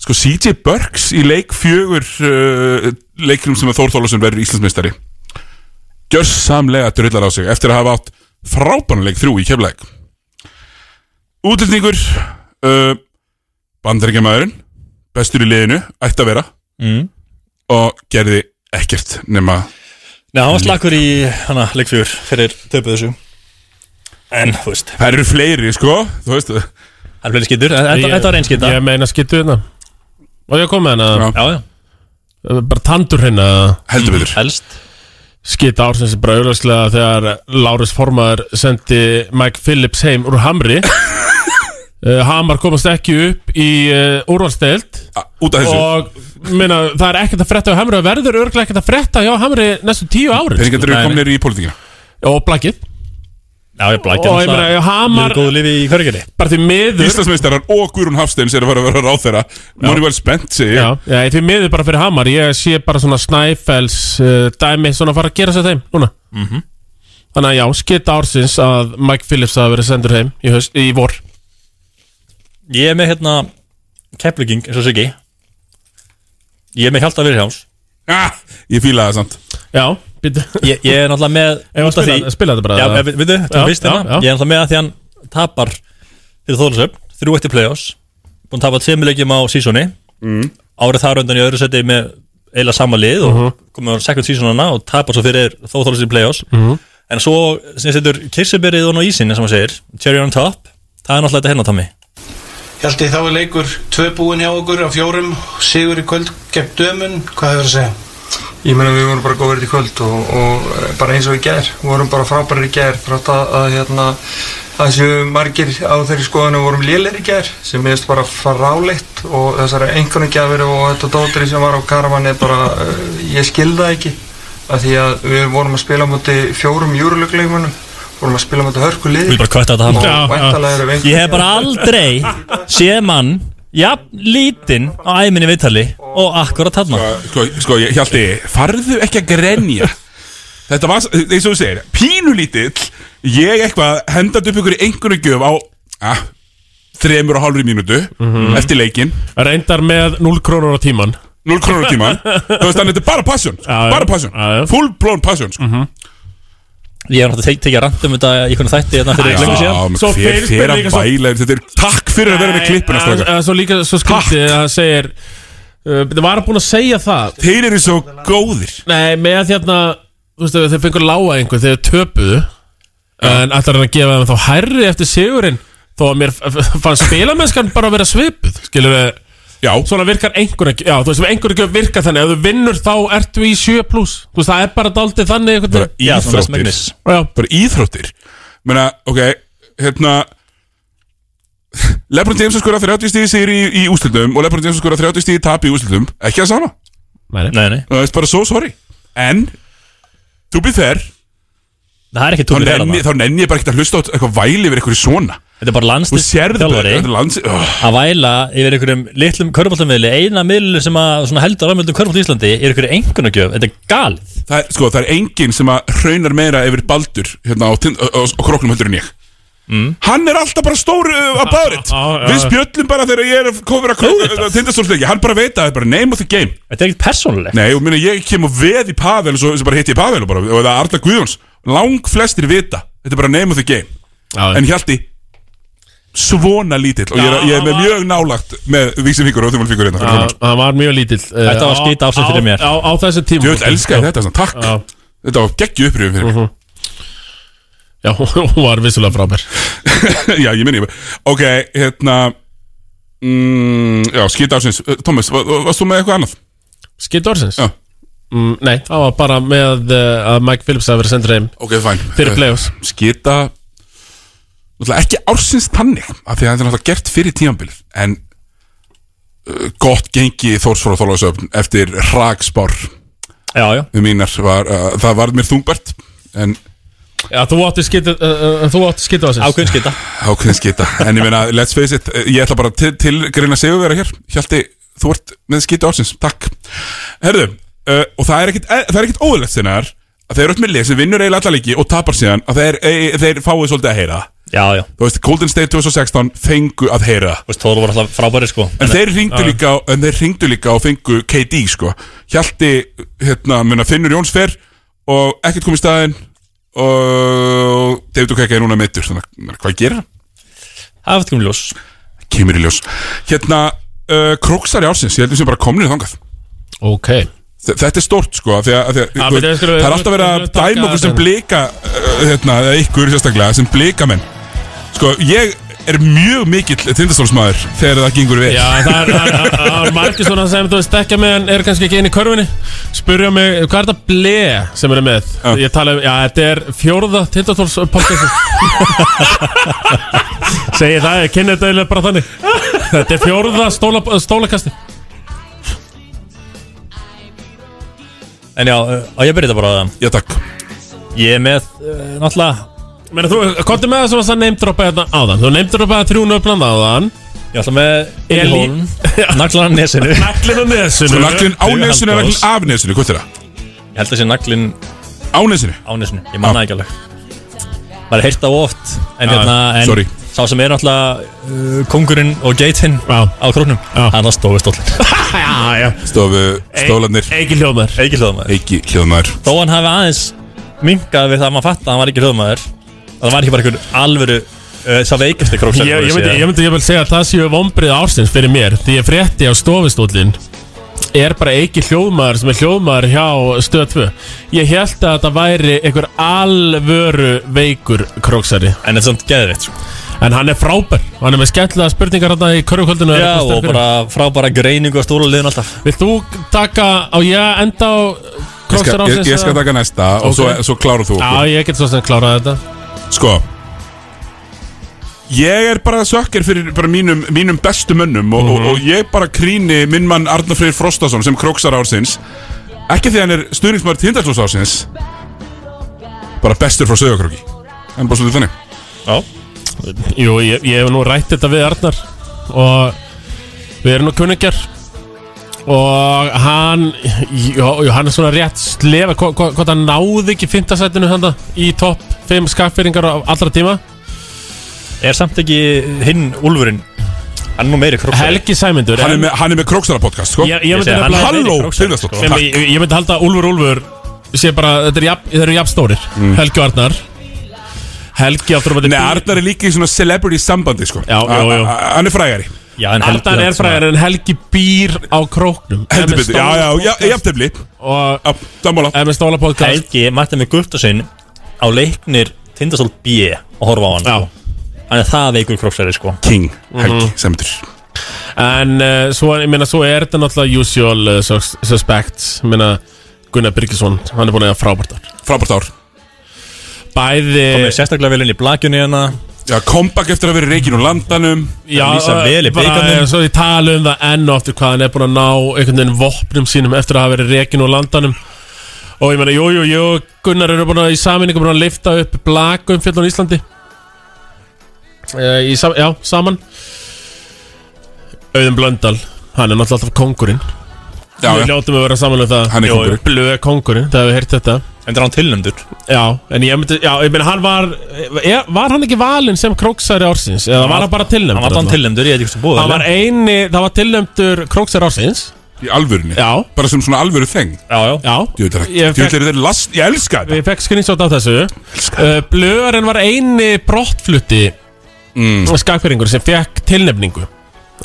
Speaker 1: sko CJ Burks í leik fjögur uh, leiknum sem að Þór Þólasson verður Íslandsmeistari gjörsamlega drullar á sig eftir að hafa átt frábænuleik þrjú í kefleik útlendingur uh, bandaríkjamaðurinn bestur í liðinu, ætti að vera
Speaker 3: Mm.
Speaker 1: og gerði ekkert nema
Speaker 3: Nei, hann var slakur í hana, leikfjör fyrir töpuð þessu En, þú veist
Speaker 1: Það eru fleiri, sko, þú veist
Speaker 3: Það eru fleiri skittur, þetta
Speaker 2: Ég-
Speaker 3: þetta var einn skitta
Speaker 2: Ég meina skyttu hérna Og ég kom með hana
Speaker 3: Já, já
Speaker 2: Bara tandur hérna
Speaker 1: Heldur betur
Speaker 3: Helst
Speaker 2: Skita ársins er bara auðvarslega þegar Lárus Formaður sendi Mike Phillips heim úr Hamri uh, Hamar komast ekki upp í uh, úrvalsteild
Speaker 1: Út af þessu.
Speaker 2: Og minna, það er ekkert að fretta á Hamri og verður örglega ekkert að fretta hjá Hamri næstu tíu ári
Speaker 1: peningandir eru komnir í pólitíkina
Speaker 2: Og blakið
Speaker 3: Já, ég blækja
Speaker 2: Og ég meina, Hamar
Speaker 3: Góðu lífi í hverjari
Speaker 2: bara því miður
Speaker 1: Íslandsmeistarar og Guðrún Hafsteins er að fara að vera ráð þeirra Móni vel spennt sig
Speaker 2: Já, já, ég því miður bara fyrir Hamar Ég sé bara svona Snæfells uh, dæmi Svona að fara að gera sér þeim núna
Speaker 1: Mhm.
Speaker 2: Þannig að já, skita ársins að Mike Phillips hafa verið sendur heim í, höst, í vor
Speaker 3: Ég er með hérna Kefluging, eins og Siggi Ég er með Hjalta Vilhjáms
Speaker 1: ah, Ég fíla það samt
Speaker 2: Já, býttu
Speaker 3: Ég, ég er náttúrulega með
Speaker 2: Eigum við að
Speaker 3: út af
Speaker 2: spila-
Speaker 3: því-
Speaker 2: spila þetta bara,
Speaker 3: Já,
Speaker 2: eða?
Speaker 3: við- veitu, þetta
Speaker 2: Já,
Speaker 3: er fyrst
Speaker 2: já,
Speaker 3: hérna
Speaker 2: já.
Speaker 3: Ég er náttúrulega með að því hann tapar fyrir Þólasöp, þrjú eitt í play-offs Búin að tapa tveimur leikjum á sísoni
Speaker 1: Mm.
Speaker 3: Árið þar undan í öðru seti með eiginlega sama lið og komið á second seasonana og tapar svo fyrir Þólasöp í play-offs
Speaker 2: Mhm.
Speaker 3: En svo sem setur kirsuberið og ná ísinn eins og maður segir, cherry on top Það er náttúrulega þetta hérna, Tommy
Speaker 16: Hjalti, þá er leikur tvö búin hjá okkur á fjórum, sigur í kvöld gegn dömun, hvað hefur að segja?
Speaker 17: Ég meina við vorum bara góðir í kvöld og, og eh, bara eins og í gær, við vorum bara frábærir í gær þrátt að, að hérna að séu margir á þeirri skoðinu vorum lélir í gær sem meðist bara fráleitt og þessari einhvern gjafir og þetta dótri sem var á karavan er bara, uh, ég skilða ekki að því að við vorum að spila á móti fjórum júrulökuleikmönnum vorum að spila á móti hörku liði
Speaker 3: Við bara kvætta þetta
Speaker 17: og væntalega eru við
Speaker 3: Ég hef bara aldrei séð mann jafn lítinn á æminni viðtali og akkurat þarna
Speaker 1: Sko, sko ég hjaldi, farðu ekki að grenja Þetta var, eins og þú segir, pínulítill Ég eitthvað hendat upp ykkur í einhverju gjöf á ah, þremur og hálfri mínútu
Speaker 2: Mhm.
Speaker 1: eftir leikin
Speaker 2: Reyndar með 0 krónur á tíman
Speaker 1: 0 krónur á tíman Þú veist, þannig þetta er bara passion
Speaker 2: já. Mhm.
Speaker 1: Bara passion, full blown passion sko.
Speaker 3: Ég hef náttúrulega tekið að randa um þetta í einhvern þætti hérna fyrir lengur síðan
Speaker 1: Svo fyrir fyrir að bæla yfir Þetta er takk fyrir að vera með klippuna strákar.
Speaker 2: Eh, Svo líka svo skrítið að það segir uh, Það var búin að segja það
Speaker 1: Þeir eru svo góðir
Speaker 2: Nei, með að þérna Þú veist, þeir fengur lága einhver þegar þeir töpuðu En ætlar hann að gefa þeim þá hærri eftir sigurinn Þó að mér f- f- fannst spilamennskan bara að vera svipuð Skilur við
Speaker 1: Já
Speaker 2: Svona virkar einhverja Já, þú veist, ef einhverja gjöf virka þannig Ef þú vinnur þá ertu í 7 plus Þú veist, það er bara daldið þannig einhvern
Speaker 1: bara
Speaker 2: veginn.
Speaker 1: íþróttir bara íþróttir menna, ok, hérna Lebron James skora 30 stíði sigur í, í úslitum og Lebron James skora 30 stíði tap í úslitum ekki það sama,
Speaker 2: Nei,
Speaker 3: nei, nei.
Speaker 1: það er bara so sorry en, to be fair
Speaker 3: það er ekki
Speaker 1: þá
Speaker 3: to be fair
Speaker 1: nenni,
Speaker 3: þarna.
Speaker 1: þá nenni ég bara ekki að hlusta á eitthvað væli yfir eitthvað svona
Speaker 3: þetta er bara landslið
Speaker 1: þjálfari þetta er landslið
Speaker 3: að væla yfir einhverjum litlum körfbóltamiðli eina miðlunum sem að svona heldur aðmjöldum körfbólt í Íslandi er einhverjum engunagjöf þetta er galið
Speaker 1: það er, sko, það er enginn sem að hraunar meira yfir baldur hérna á, tind- á, á, á kroknum heldur en ég Mm. Hann er alltaf bara stór uh, about it
Speaker 2: já,
Speaker 1: Við
Speaker 2: já.
Speaker 1: spjöllum bara þegar ég er komið að tindastólsleiki Hann bara veit að það er bara name of the game
Speaker 3: Þetta er ekkert persónulegt
Speaker 1: Nei, og minna, ég kem og veð í Pavel svo, sem bara hitti í Pavel og, bara, og það er Arla Guðjóns Lang flestir vita, þetta er bara name of the game
Speaker 2: já.
Speaker 1: En Hjalti Svona lítill Og ég er, ég er með mjög nálagt með vísimfingur og þumalfingur hérna fyrir
Speaker 2: Já,
Speaker 1: framan.
Speaker 2: Það var mjög lítill uh,
Speaker 1: Þetta var
Speaker 2: á-
Speaker 1: skýta afslátt fyrir
Speaker 2: á-
Speaker 1: mér.
Speaker 2: Á, á þessu tíma
Speaker 1: Djöfull, elska ég þetta, svona, takk. Þetta var geggju upprýðum fyrir mig
Speaker 2: Já, hún var vissulega frá mér
Speaker 1: Já, ég minni Ok, hérna mm, Já, skýta ársins Eh, Thomas, va- va- varst þú með eitthvað annað?
Speaker 2: Skýta ársins?
Speaker 1: Já
Speaker 2: mm, Nei, það var bara með uh, að Mike Phillips hafi verið sendur heim
Speaker 1: Ok, fæn
Speaker 2: Fyrir play-offs
Speaker 1: Skýta Náttúrulega ekki ársins tannig Af því að þetta er náttúrulega gert fyrir tímabilið En uh, Gott gengi Þórsfóra Þólasöfn Eftir hrakspár
Speaker 3: Já, já
Speaker 1: Við mínar var uh, Það varð mér þungbært En
Speaker 2: Já, þú átti skýta uh, uh, Þú átti skýta ársins
Speaker 3: Ákveðin skýta
Speaker 1: Ákveðin skýta En ég meina, let's face it eh, Ég ætla bara til, til greina sigurvera hér Hjalti, þú ert með skýta ársins Takk Herðu, uh, og það er ekkit, eh, það er ekkit óðurlegt sinnar Að þeir eru upp með lið sem vinnur eiginlega alla leiki Og tapar síðan Að þeir, e, þeir fáið svolítið að heyra það.
Speaker 3: Já, já
Speaker 1: Þú veist, Golden State 2016 fengu að heyra það.
Speaker 3: Þú veist, Þór voru alltaf frábæri sko
Speaker 1: En þeir ringdu líka En þeir ringdu líka og fengu KD sko Hjalti, hérna, muna, finnur Jóns fer Og ekkert kom í staðinn Og David Okeka er núna meittur Þannig, að, hvað gerir hann?
Speaker 3: Það er komið ljós
Speaker 1: Kemur í ljós Hérna, uh, króksari ársins, ég heldur sem bara komnir þangað
Speaker 2: Ok
Speaker 1: Þe- Þetta er stórt sko, af því að, af því
Speaker 2: Já,
Speaker 1: að,
Speaker 2: byrju, við
Speaker 1: að
Speaker 2: skulum-
Speaker 1: það er alltaf verið að
Speaker 2: við skulum taka
Speaker 1: dæma okkur sem
Speaker 2: þetta.
Speaker 1: blika uh, hérna, eða ykkur sérstaklega, sem blikamenn Sko, ég er mjög mikill tindastólsmaður þegar það gengur vel
Speaker 2: Já, það er, það er, það er margir svona sem þú veist þekkja mig en eru kannski ekki inn í körfinni Spurja mig, hvað er þetta ble sem eru með? Ég tala um, já, þetta er fjórða tindartóls Segir það, ég kynni þetta eiginlega bara þannig Þetta er fjórða stóla, stólakasti
Speaker 3: En já, uh, á ég að byrja þetta bara á það
Speaker 1: Já, takk Sko,
Speaker 3: Ég er með, uh, náttúrulega
Speaker 2: Meina, þú, komdu með það sem varst að neymdropa hérna áðan Þú neymdropa það þrjú nöfnand áðan
Speaker 3: Ég ætla með Eli Hólm Naglan á nesinu
Speaker 2: Naglin á nesinu
Speaker 1: Sko, naglinn á nesinu eða naglinn af nesinu, hvað er það?
Speaker 3: Ég held að sé naglinn
Speaker 1: Á nesinu?
Speaker 3: Á nesinu, ég manna ekki alveg Það er heilt á oft En
Speaker 1: Já,
Speaker 3: hérna, en
Speaker 1: sorry.
Speaker 3: Sá sem er náttúrulega uh, kongurinn og geitinn á krónum Hann á stofu stóllin
Speaker 2: Já, já
Speaker 1: Stofu stólanir
Speaker 2: Eiki hljóðmaður
Speaker 3: Eiki hljóðmaður
Speaker 1: Eiki hljóðmaður
Speaker 3: Þó hann hafi aðeins minkað við það að maður fatta að hann var ekki hljóðmaður að það var ekki bara einhvern alvöru uh, sá veikasti krók
Speaker 2: Ég, ég, myndi, ég myndi ég vil segja að það séu vombrið ársins fyrir mér Því ég frétti á stofustólin Er bara ekki hljóðmaður sem er hljóðmaður hjá stöð 2 Ég held að það væri einhver alvöru veikur króksari
Speaker 3: En þetta er samt sko. geðvitt
Speaker 2: En hann er frábær og Hann er með skemmtilega spurningar hérna í körfukvöldinu
Speaker 3: Já, og bara frábæra greiningu að stóla liðin alltaf
Speaker 2: Vilt þú taka á ég að enda á
Speaker 1: Ég skal,
Speaker 2: króksari
Speaker 1: ég,
Speaker 2: ársins
Speaker 1: ég skal taka næsta og
Speaker 2: Ok.
Speaker 1: svo, svo kláru þú
Speaker 2: Já, ég get svo sem klárað þetta
Speaker 1: Sko Ég er bara sökkir fyrir bara mínum, mínum bestu mönnum og, og, og ég bara krýni minn mann Arnar Freyr Frostason sem króksar ársins Ekki því hann er stuðningsmaður tindarslós ársins Bara bestur frá sögakróki En bara svolítið þannig
Speaker 3: Já
Speaker 2: Jú, ég, ég hef nú rætt þetta við Arnar og við erum nú kunningjar og hann jú, jú, hann er svona rétt slefa hva- hva- hvort hann náði ekki fintasætinu handa í topp 5 skaffyringar allra tíma
Speaker 3: Er samt ekki hinn Úlfurinn Hann er nú meiri króksara
Speaker 2: Helgi Sæmundur
Speaker 1: Hann er með, hann er með króksara podcast, sko
Speaker 2: Ég, ég myndi
Speaker 1: hann
Speaker 2: nefnilega-
Speaker 1: Halló, Silvestótt
Speaker 2: Sem ég, ég myndi halda að Úlfur Úlfur sé bara, þetta er jafn, þeir eru jafn stórir Helgi og Arnar Helgi aftur
Speaker 1: Mm. Nei, Arnar er líka í svona celebrity sambandi, sko Já,
Speaker 2: já, já.
Speaker 1: Hann er frægari
Speaker 3: Já,
Speaker 2: Arnar er fræðar en Helgi býr á króknum
Speaker 1: Heldur betur, já, já, já, jafntefli
Speaker 2: Og
Speaker 1: Sammála
Speaker 2: MS Stóla podcast
Speaker 3: Helgi mætti með Guttasinn á leiknir Tindastól B og horfa á hann Já Hann er það veikur króksari sko
Speaker 1: King Helgi Sæmundur
Speaker 2: En uh, svo, ég meina, svo er þetta náttúrulega usual uh, sus- suspects Ég meina, Gunnar Birgisson, hann er búin að eiga frábært ár
Speaker 1: Frábært ár
Speaker 2: Bæði
Speaker 3: Kom með sérstaklega vel inn í hérna, blakjunni hana
Speaker 1: Já, comeback eftir að vera reikin úr landanum
Speaker 2: Já,
Speaker 3: Lýsa vel í
Speaker 2: bara,
Speaker 3: bikarnum.
Speaker 2: Svo ég tala um það enn og aftur hvað hann er búin að ná einhvern veginn vopnum sínum eftir að hafa verið rekin úr landanum og ég meina, jú, jú, jú, Gunnar eru búin að í saminningu búin að lifta upp blakum fjöldun Íslandi e, í, sam- Já, saman Auðun Blöndal, hann er náttúrulega alltaf kongurinn
Speaker 1: Já,
Speaker 2: Við
Speaker 1: já.
Speaker 2: ljótum að vera samanlega það
Speaker 1: Hann er
Speaker 2: Jú,
Speaker 1: kóngurinn.
Speaker 2: Blöð kongurinn, það hefur heyrt þetta
Speaker 3: En það er hann tilnæmdur
Speaker 2: Já, en ég myndi, já, ég meina, hann var er, Var hann ekki valinn sem króksæri ársins? Eða var hann bara tilnæmdur?
Speaker 3: Hann var bara
Speaker 2: alltaf?
Speaker 3: tilnæmdur, ég veit ekki hvað búið
Speaker 2: Það var eini, það var tilnæmdur króksar ársins
Speaker 1: Í alvörunni
Speaker 2: Já
Speaker 1: Bara sem svona alvöru þeng
Speaker 3: Já, já
Speaker 2: Já Ég
Speaker 1: Djúvill er þeir last Ég elska þetta
Speaker 2: Ég fekk skrýnsjótt af þessu uh, Blöðarinn var eini brottflutti mm. skakfyrringur sem fekk tilnefningu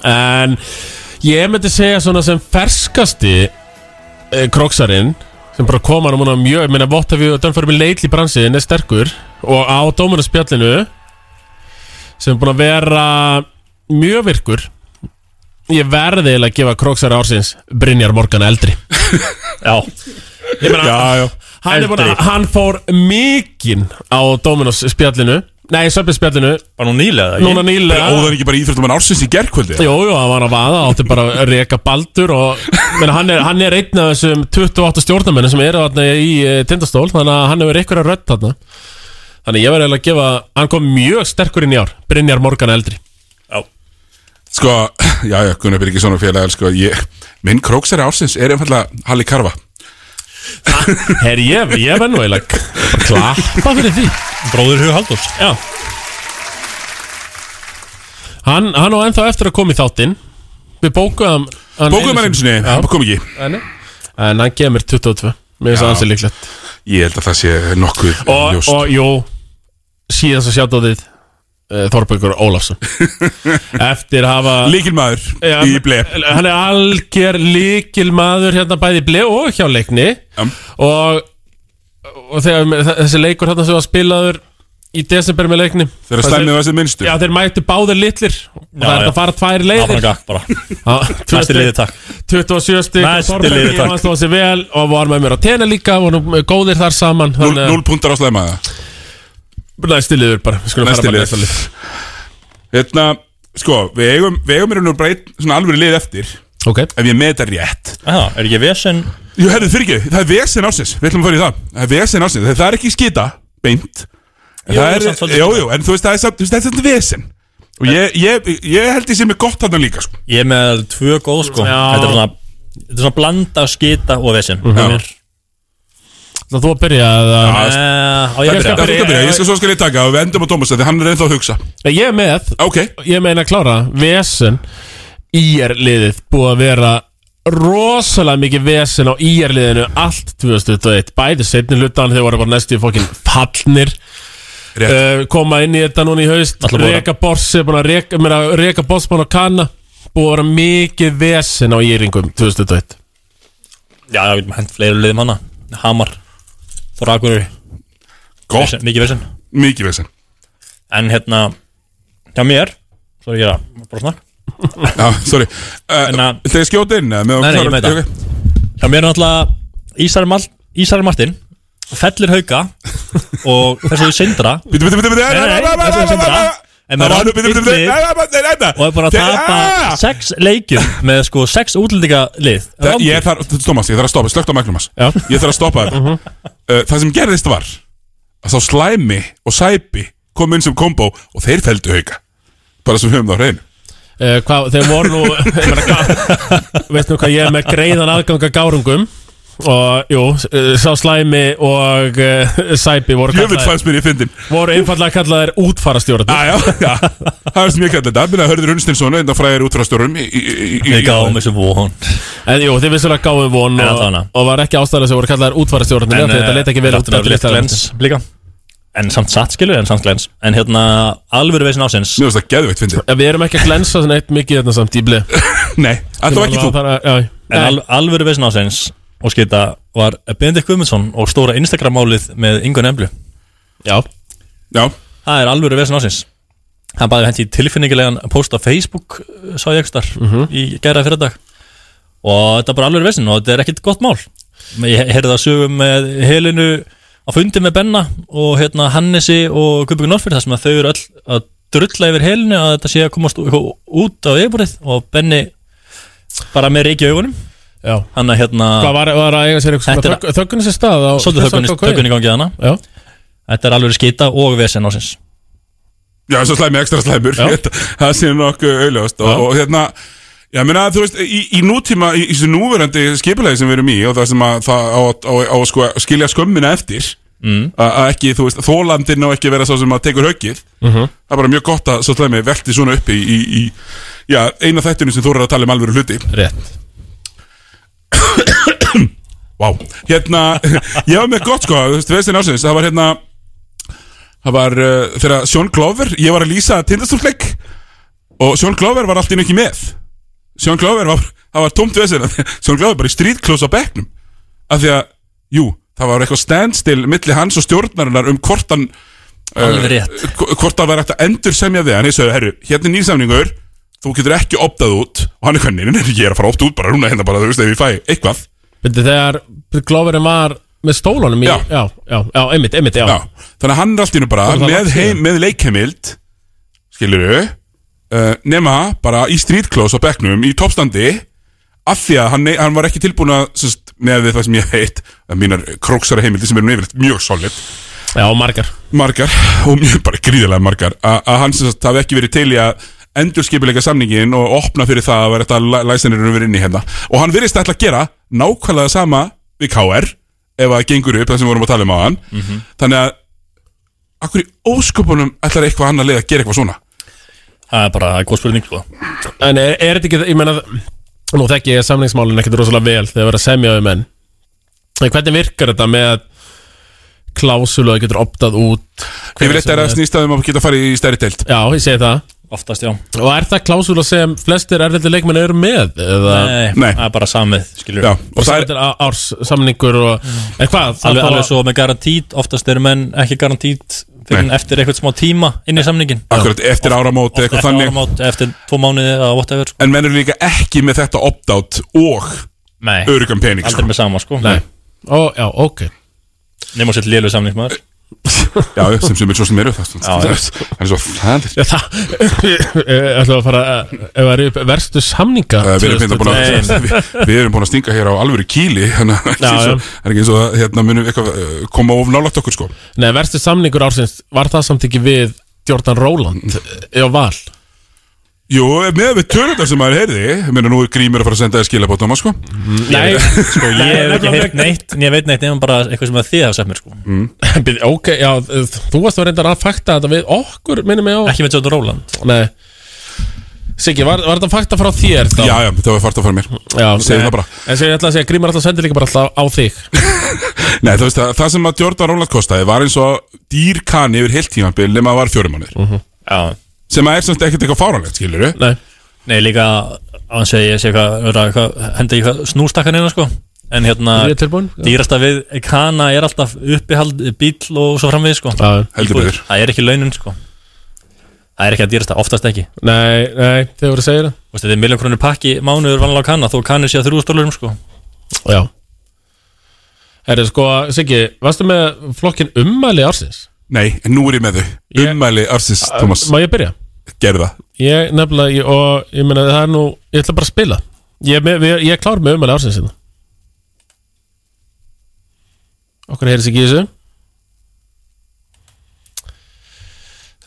Speaker 2: En ég myndi segja svona sem ferskasti uh, króksarinn sem bara koma hann núna mjög, ég meina Vottavíu og Dönfærum í leitl í bransiðin er sterkur og á dómunarspjallinu sem er búin að vera mjög virkur ég verði eiginlega að gefa króksari ársins Brynjar Morgan eldri
Speaker 3: Já
Speaker 2: Ég meina,
Speaker 1: já, já.
Speaker 2: Hann, er búinn að, hann fór mikinn á Dominos spjallinu Nei, Söpins spjallinu
Speaker 3: Bara nú nýlega
Speaker 2: Núna nýlega
Speaker 1: Óðan ekki bara íþjóttum hann ársins í gerkvöldi
Speaker 2: Jú, jú, hann var að vaða, átti bara að reka baldur og menn, hann, er, hann er einn af þessum 28 stjórnarmennum sem eru þarna í eh, tindastól þannig að hann hefur eitthvað að rödd þarna Þannig að ég verði eiginlega að gefa, hann kom mjög sterkur inn í ár Brynjar Morgan eldri
Speaker 1: Sko, já, já, Gunnar Birgisson og félag Sko, ég Minn króksari ársins er einfallega Halli Karfa
Speaker 2: Herri, ég, ég verð nú eiginlega bara klappa fyrir því
Speaker 3: Bróður Hug Halldórs
Speaker 2: Já Hann, hann á ennþá eftir að koma í þáttinn Við bókuðum hann
Speaker 1: Bókuðum hann einu sinni, hann kom ekki
Speaker 2: En hann kemur 22 Mér finnst
Speaker 1: Já.
Speaker 2: það ansið líklegt
Speaker 1: Ég held að það sé nokkuð
Speaker 2: Og,
Speaker 1: ljóst
Speaker 2: og jú, síðast að sjáta á þið Þorbjörgur Ólafsson Eftir að hafa
Speaker 1: Líkilmaður í ble
Speaker 2: Hann er algjör líkilmaður hérna bæði í ble og hjá leikni og, og þegar þessi leikur hérna sem var spilaður í desember með leikni
Speaker 1: Þegar slæmið var sem minnstu.
Speaker 2: Já, þeir mættu báðir litlir og það
Speaker 3: Já,
Speaker 2: er hægt
Speaker 3: já.
Speaker 2: að fara tvær
Speaker 3: Áfram
Speaker 2: leiðir
Speaker 3: gakk bara Næsti
Speaker 2: 20
Speaker 3: liði takk
Speaker 2: 27 stík
Speaker 3: Næsti liði, takk.
Speaker 2: Hann stóð sér vel og var með mér á tena líka voru góðir þar saman þannig að-
Speaker 1: 0 púntar á slæmaða
Speaker 2: Næsti liður bara Við skulum fara
Speaker 1: Næsti
Speaker 2: bara
Speaker 1: lið
Speaker 2: næsta lið.
Speaker 1: Hérna, sko, við eigum Við eigum erum nú bara einn svona alvöru lið eftir
Speaker 2: Ok
Speaker 1: Ef ég met það rétt
Speaker 3: Já, er ekki vesen
Speaker 1: Jú, herrðu, fyrir ekki, það er vesen ársins Við ætlum að fara í það Það er vesen ársins, það það er ekki skita Beint En
Speaker 3: Jú,
Speaker 1: það
Speaker 3: samt
Speaker 1: er,
Speaker 3: svolítið
Speaker 1: jú,
Speaker 3: skita.
Speaker 1: jú, en þú veist, það er samt, þú veist, það er samt vesen Og ég, ég, ég held ég sem er gott þarna líka, sko
Speaker 3: Ég er með tvö góð sko
Speaker 1: Já.
Speaker 3: Þetta er svona Þetta er svona blanda, skita og vesen
Speaker 1: Mhm.
Speaker 3: Mér.
Speaker 2: Það þú að byrja eða
Speaker 3: Eh, á
Speaker 1: Það
Speaker 3: ég
Speaker 1: er
Speaker 3: að
Speaker 1: það
Speaker 3: byrja?
Speaker 1: að byrja, ég skal svo skal ég taka og við endum á Thomas þegar hann er ennþá að hugsa
Speaker 2: Nei, Ég er með
Speaker 1: Ok
Speaker 2: Ég meina að klára Vesen IR liðið Búið að vera Rosalega mikið vesen á IR liðinu Allt 2021 Bæði setni hlutan Þeir voru bara næstu í fokkin Fallnir uh, Koma inn í þetta núna í haust
Speaker 3: Alla búin að-
Speaker 2: Reka borsi Búin að reka meira, Reka boss búin að kanna Búið að vera mikið vesen á íringum 2021
Speaker 3: Já, já, við getum hent fleiri liðum hana Hamar Þóra Akureyri
Speaker 1: Gott.
Speaker 3: Vesen- Mikið vesen
Speaker 1: Mikið vesen
Speaker 3: En hérna Hjá mér Svo er ég að Bara snakk
Speaker 1: Já, sorry uh, Þegar skjóta inn Nei,
Speaker 3: Nei, nei, ég með það Hjá mér er náttúrulega Ísar, Mal, Ísar Martin Fellir Hauka Og þessu Sindra
Speaker 1: Bítu, bítu, bítu, bítu
Speaker 3: Nei, nei, þessu Sindra
Speaker 1: Það
Speaker 3: En með
Speaker 1: var nú, bítu, bítu, bítu, nei,
Speaker 3: randbyrni
Speaker 1: nei, nei, nei, nei.
Speaker 3: Og er bara að tapa Sex leikjum Með sko sex útlendinga lið
Speaker 1: Ah! Það- Ég þarf, Thomas, ég þarf að stoppa, slögt á mæknum hans Ég þarf að stoppa þetta Uh, Það sem gerðist var að þá slæmi og sæpi kom inn sem kombo og þeir feldu auka bara sem við höfum það á hreinu
Speaker 2: Uh, hvað, þeir voru nú ég meina, hvað- Veistu nú hvað ég er með greiðan aðgang að gárungum og jú, eh, sá slæmi og uh, sæpi voru
Speaker 1: Jöfull fannst mér í fyndin
Speaker 2: Voru einfallega kallaðir útfarastjóratnir
Speaker 1: Ah, Já, já, já Það er sem ég kallar þetta Mér að hörður Hunstinsson Einn af fræðir útfrastjórum Við
Speaker 3: Við gáfum þessu von
Speaker 2: En jú, þið vissulega gáfum von
Speaker 3: Já,
Speaker 2: og,
Speaker 3: þarna.
Speaker 2: og var ekki ástæðilega sem voru kallaðir útfarastjóratnir
Speaker 3: En,
Speaker 2: Þetta
Speaker 3: eh,
Speaker 2: leit ekki vel út
Speaker 3: Þetta er
Speaker 2: eftir
Speaker 3: létt
Speaker 2: listaðar.
Speaker 3: glens líka En samt satt skilur, en samt glens En hérna, alvöru veisin ásins
Speaker 1: Mér finnst það geðveikt fyndið
Speaker 2: Við erum ekki að glensa neitt mikið þarna samt í blið
Speaker 1: Nei,
Speaker 2: allavega ekki þú. Bara- já, já.
Speaker 3: En al, alvöru veisin ásins og skita var Bendik Guðmundsson og stóra Instagram-málið með Ingun Emblu
Speaker 2: Já
Speaker 1: Já
Speaker 3: Það er alvöru veisin ásins Hann bæði hendi tilfinningilegan post á Facebook eh, sá ég ekki star
Speaker 2: Mhm.
Speaker 3: í gæra fyrir dag og þetta er bara alvöru veisin og þetta er ekkit gott mál Ég heyrði það sögum með Helinu á fundi með Benna og hérna Hannesi og Guðbjörg Norfyrir þar sem að þau eru öll að drulla yfir Helinu að þetta sé að komast ú- út á yfirborðið og Benni bara með reiki í augunum
Speaker 2: Já.
Speaker 3: Hann að hérna
Speaker 2: Hvað var, var að eiga sér
Speaker 3: Þetta er-
Speaker 2: eitthvað þöggunni sér stað á
Speaker 3: Svolítið
Speaker 2: þessa
Speaker 3: þöggunni-
Speaker 2: kókaín?
Speaker 3: þöggunni í gangi hana
Speaker 2: Já.
Speaker 3: Þetta er alveg skita og vesen ásins
Speaker 1: Já, svo slæmi, ekstra slæmur Þetta- Það sé nokkuð auðljóst og, og hérna Já, meina, þú veist, í, í nútíma, í í þessu núverandi skipulegi sem við erum í og það sem að það á, á, á, sko, að skilja skömmina eftir mm. að ekki, þú veist, þólandin á ekki að vera sá sem að tekur höggið
Speaker 2: Mhm.
Speaker 1: það er bara mjög gott að, svo slæmi, velti svona uppi í, í, í já, eina þættinu sem þú eru að tala um alvöru hluti
Speaker 2: Rétt
Speaker 1: Vá, hérna, ég var með gott sko, þú veist, vestin ásins, það var hérna það var uh, þegar Sjón Glover ég var að lýsa tindastúrfleik og Sjón Glover var alltaf ekki með Sjón Glover var, það var tómt vesir Sjón Glover bara í strýtklós á bekknum af því að, jú, það var eitthvað standstill milli hans og stjórnarinnar um hvort hann uh,
Speaker 3: Alveg rétt.
Speaker 1: hv- hvort það var eftir að endur semja þig hann sagði, herru, hérna er nýrsamningur þú getur ekki optað út og hann er hvernig, neina, ég er að fara opt út bara núna hérna bara, þú veist, ef ég fæ eitthvað
Speaker 2: Bindi, þegar Gloverinn var með stólunum í, já. Já, já, já, einmitt, einmitt, já,
Speaker 1: Já, þannig að hann er allt í hennu bara
Speaker 2: Það var það
Speaker 1: með,
Speaker 2: langt
Speaker 1: heim, með leikheimild skilur við uh, nema bara í streetclose á bekknum í toppstandi af því að hann, nei- hann var ekki tilbúin að sest, með við það sem ég heit að mínar króksara heimildi sem eru nú yfirleitt mjög solid
Speaker 2: Já, margar
Speaker 1: Margar, og mjög bara gríðarlega margar a- að hann sem sagt hafi ekki verið til í að endurskipilega samningin og opna fyrir það að vera þetta að læsanirinnu verið inni hérna og hann virðist ætla að gera nákvæmlega sama við KR ef að gengur upp það sem við vorum að tala um á hann
Speaker 9: Mhm.
Speaker 1: þannig að akkur í ósköpunum ætlar eitthvað annað leið að gera eitthvað svona
Speaker 3: Það er bara góð spurning sko.
Speaker 2: En er, er þetta ekki, ég meina Nú þekki ég samningsmálin ekkert rosalega vel Þegar það verið að semja um enn En hvernig virkar þetta með Klásulu að getur optað út
Speaker 1: Yfirleitt er að snýsta um að geta farið í stærri deild
Speaker 2: Já, ég segi það
Speaker 3: Oftast, já
Speaker 2: Og er það klásula sem flestir erlendir leikmenn eru með? Eða...
Speaker 3: Nei, Nei. það er bara samið, skilur
Speaker 1: Já,
Speaker 2: Og það er þetta á- árs samningur og... En hvað? það
Speaker 3: Mm. alveg,
Speaker 2: þá-
Speaker 3: alveg svo með garantít, oftast eru menn ekki garantít fyrir en eftir eitthvað smá tíma inn í samningin
Speaker 1: Akkurat, eftir áramót,
Speaker 3: Oft-
Speaker 1: eitthvað
Speaker 3: eftir
Speaker 1: þannig.
Speaker 3: áramót, Eftir tvo mánuði eða whatever sko.
Speaker 1: en menn eru líka ekki með þetta opt-out og
Speaker 3: Nei,
Speaker 1: örugum pening
Speaker 3: aldrei með sama sko
Speaker 1: Nei.
Speaker 2: Ó, já, ok
Speaker 3: Nefnum sér lélu samningsmaður
Speaker 1: Já, sem sem er svo sem eru það
Speaker 3: já.
Speaker 1: er svo- það er svo það
Speaker 2: Já, það Ætlum að fara að- Ef það eru upp verstu samninga
Speaker 1: Uh, við, erum hérna búin að,
Speaker 2: 2021.
Speaker 1: við, við erum búin að stinga hér á alvöru kíli þannig að
Speaker 2: Já,
Speaker 1: það
Speaker 2: já.
Speaker 1: er ekki eins og að hérna, munum eitthvað uh, koma of nálægt okkur sko
Speaker 2: Nei, verstu samningur ársins Var það samt ekki við Jordan Róland Eða val
Speaker 1: Jú, með við tölundar sem maður heyrði ég meina nú er grímur að fara að senda þér skilabótt náma sko
Speaker 2: Nei.
Speaker 3: Sko, ég hef ekki heyrt neitt, en ég veit neitt nefnum bara eitthvað sem að þið hafa sett mér sko
Speaker 2: Bíddu, Ok, já, þú varst að reyndar að fakta þetta við okkur, minnum ég á
Speaker 3: Ekki með Jordan Róland
Speaker 2: Nei Siggi, var, var þetta fakta frá þér þá?
Speaker 1: Já, já, það var fart að fara mér
Speaker 2: já
Speaker 1: Segðu
Speaker 2: nei.
Speaker 1: það bara
Speaker 2: En sem ég ætla að segja, Grímar ætla að senda líka bara alltaf á þig
Speaker 1: Nei, þú veist, það, það sem að Jordan Róland kostaði var eins og dýr kanni yfir heilt tímabil nema að var fjórum mannir
Speaker 3: Já
Speaker 1: Sem að er samt ekkert eitthvað fáránlegt, skilur við
Speaker 2: Nei
Speaker 3: Nei, líka á hans að ég sé eitthvað vera eitthvað- henda í eitthvað snústakkan einu sko En hérna,
Speaker 2: Er ég tilbúin? Já.
Speaker 3: dýrasta við Kana er alltaf uppihald, bíl og svo framvið sko
Speaker 2: Já, já.
Speaker 1: Heldur
Speaker 3: Íbúðir.
Speaker 1: betur.
Speaker 3: Það er ekki launin sko Það er ekki að dýrasta, oftast ekki
Speaker 2: Nei, nei, þið voru að segja það
Speaker 3: Þú veist, Þetta er miljón krónir pakki mánuður vanlega á Kana Þó Kana sé að þrjúðstólurum sko
Speaker 2: Já Herri, sko, Siggi, varstu með flokkin ummæli ársins?
Speaker 1: Nei, en nú er ég með þau Ummæli Arsins, Thomas
Speaker 2: Má ég byrja?
Speaker 1: Gerða
Speaker 2: Ég nefnilega, ég, og ég meina það er nú Ég ætla bara að spila Ég, er með, við- ég er klár með ummæli ársins hérna Okkur heyrðis ekki í þessu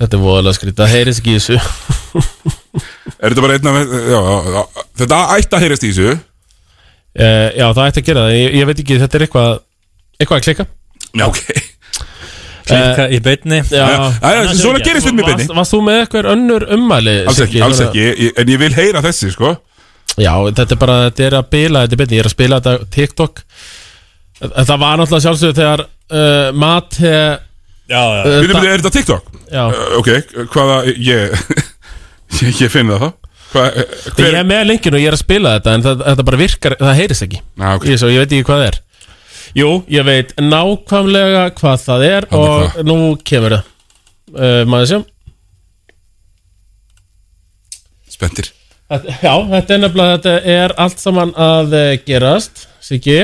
Speaker 2: Þetta er voðalega skrýta Heyrðis ekki í þessu
Speaker 1: Er þetta bara einn af já, já, já, Þetta ætti að heyrast í þessu
Speaker 2: uh, Já, það ætti að gera það ég, ég veit ekki, þetta er eitthvað Eitthvað að klika
Speaker 1: Já, ok
Speaker 3: Klikka í beinni
Speaker 2: Já, Varst- Varst þú með eitthvað önnur ummæli?
Speaker 1: Alls ekki,
Speaker 2: Siggi?
Speaker 1: alls ekki, ég- en ég vil heyra þessi, sko
Speaker 2: Já, þetta er bara, þetta er að bila þetta er beinni, ég er að spila þetta á TikTok En það var náttúrulega sjálfsögur þegar uh, Mat Já,
Speaker 3: já
Speaker 1: Við erum er þetta TikTok?
Speaker 2: Já
Speaker 1: Uh, ok, hvaða, ég, ég, ég finn það þá Hva, eh,
Speaker 2: Ég er með linkin og ég er að spila þetta en það, þetta bara virkar, það heyrist ekki
Speaker 1: ah, okay.
Speaker 2: ég, svo, ég veit ekki hvað það er Jú, ég veit nákvæmlega hvað það er og nú kemur það uh, maður sjá
Speaker 1: Spendir
Speaker 2: þetta, Já, þetta er nefnilega þetta er allt saman að eh, gerast Siggi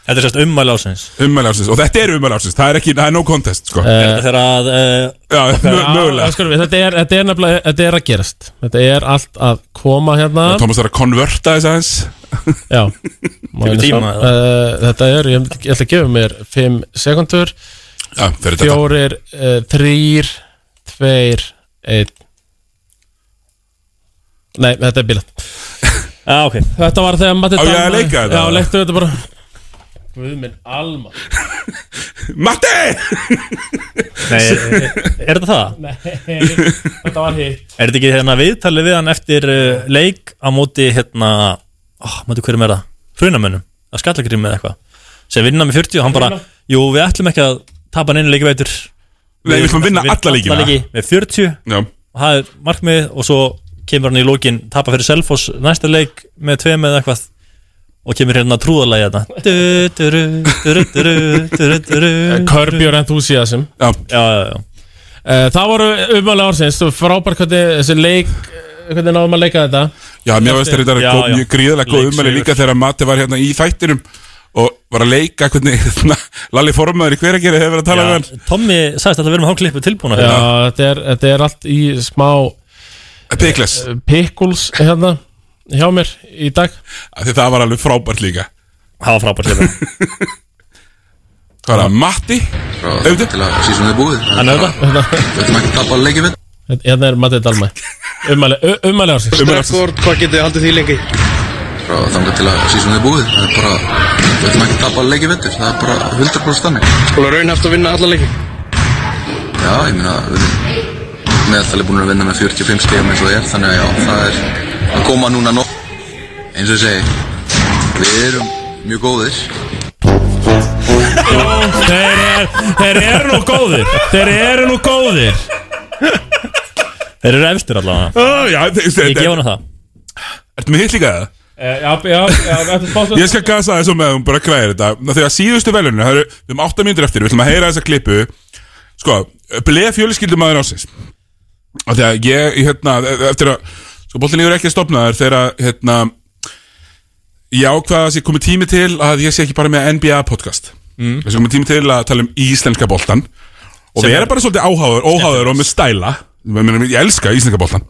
Speaker 3: Þetta er sérst ummæli ásins
Speaker 1: Ummæli ásins, og þetta er ummæli ásins, það er ekki, það er no contest, sko
Speaker 2: Er
Speaker 3: þetta þegar að eh,
Speaker 1: eh, Já, sko. mö- mögulega.
Speaker 2: Já, skulum við, þetta, er, þetta er nefnilega þetta er að gerast Þetta er allt að koma hérna
Speaker 1: Thomas er að konverta þess aðeins
Speaker 2: Já
Speaker 1: Tekur tíma,
Speaker 2: uh, Þetta er, ég ég ætla að gefa mér 5 sekundur
Speaker 1: Já, fyrir þetta.
Speaker 2: Fjórir, uh, þrýr, tveir, einn Nei, þetta er bílat
Speaker 3: Já, ah, ok
Speaker 2: Þetta var þegar Matti
Speaker 1: Á ég að leika þetta?
Speaker 2: þetta? Já, leiktu þetta bara Guð minn, alma
Speaker 1: Matti!
Speaker 3: Nei, er, er þetta það?
Speaker 2: Nei, þetta var hitt
Speaker 3: Er þetta ekki hérna viðtalið við hann eftir uh, leik á móti hérna oh, móti hverjum er það? Hrunamönnum að skallagrým eða eitthvað sem vinna með 40 og hann bara
Speaker 1: Hruna.
Speaker 3: Jú, við ætlum ekki að tapa neina leiki veitur
Speaker 1: Nei, við ætlum að vinna alla leikina.
Speaker 3: með 40
Speaker 1: Já.
Speaker 3: og það er markmið og svo kemur hann í lokin tapa fyrir Selfoss næsta leik með tveim eða eitthvað og kemur hérna trúðalagi þetta
Speaker 2: Körbjör Eh, enthusiasm
Speaker 1: Já,
Speaker 3: já, já
Speaker 2: Eh, Það voru umhverfið ársins þú Frábær hvernig þessi leik Hvernig náðum að leika þetta
Speaker 1: Já, mér veist þetta
Speaker 2: Já,
Speaker 1: er
Speaker 2: já.
Speaker 1: gríðlega góð ummæli
Speaker 2: Leiksigur.
Speaker 1: líka þegar Matti var hérna í þættinum og var að leika hvernig hérna, Lalli Formaður í hveragerið hefur verið að tala við hann
Speaker 3: Tommi sagðist að það verðum að hafa klippu tilbúna hérna.
Speaker 2: Já, þetta er, þetta er allt í smá
Speaker 1: Pickles
Speaker 2: Pickles hérna hjá mér í dag
Speaker 1: Af Því það var alveg frábært líka
Speaker 3: Það var frábært líka
Speaker 1: Hvað er það, Matti? Auðvitað
Speaker 18: Til að sísunni er búið
Speaker 2: Hann er það
Speaker 18: Við ætlum ekki að tapa leikið minn
Speaker 2: Hérna er Matti Dalmæ Umæli, umæli ársins
Speaker 18: hvað getið þið haldið því lengi? Frá þangað til að sísunni er búið Það er bara Við ætlum ekki að tapa leikið vettur Það er bara 100% þannig Skóla raunhaft að vinna alla leiki Já, ég meina Við erum meðaltali búin að vinna með 45 stegum eins og er Þannig að já, það er að koma núna nótt Eins og ég segi Við erum mjög góðir
Speaker 2: Þeir, er, þeir eru nú góðir Þeir eru nú góðir
Speaker 3: Þeir eru efstir allavega
Speaker 1: oh, já,
Speaker 3: Ég gef hana það
Speaker 1: Ertu með hitt líka það?
Speaker 2: Eh, Já, já, já þetta er spátt
Speaker 1: Ég skal gasa þessu með að hún bara klæðir þetta Ná, Þegar síðustu velunni, það eru Við erum 8 mínútur eftir, við ætlum að heyra þessa klippu Sko, bleið fjölskyldumæður ásins Og þegar ég, ég, hérna, eftir að Sko, boltin yfir ekki að stopna þér Þegar, að, hérna Ég ákvaða að sé komið tími til að ég sé ekki bara með NBA podcast mm. Þessi komið tími til að tala um íslenska boltan Og
Speaker 3: Sem
Speaker 1: við
Speaker 3: er-
Speaker 1: erum bara svolítið áháður, óháður og með stæla Ég meina, Ég elska íslenska boltan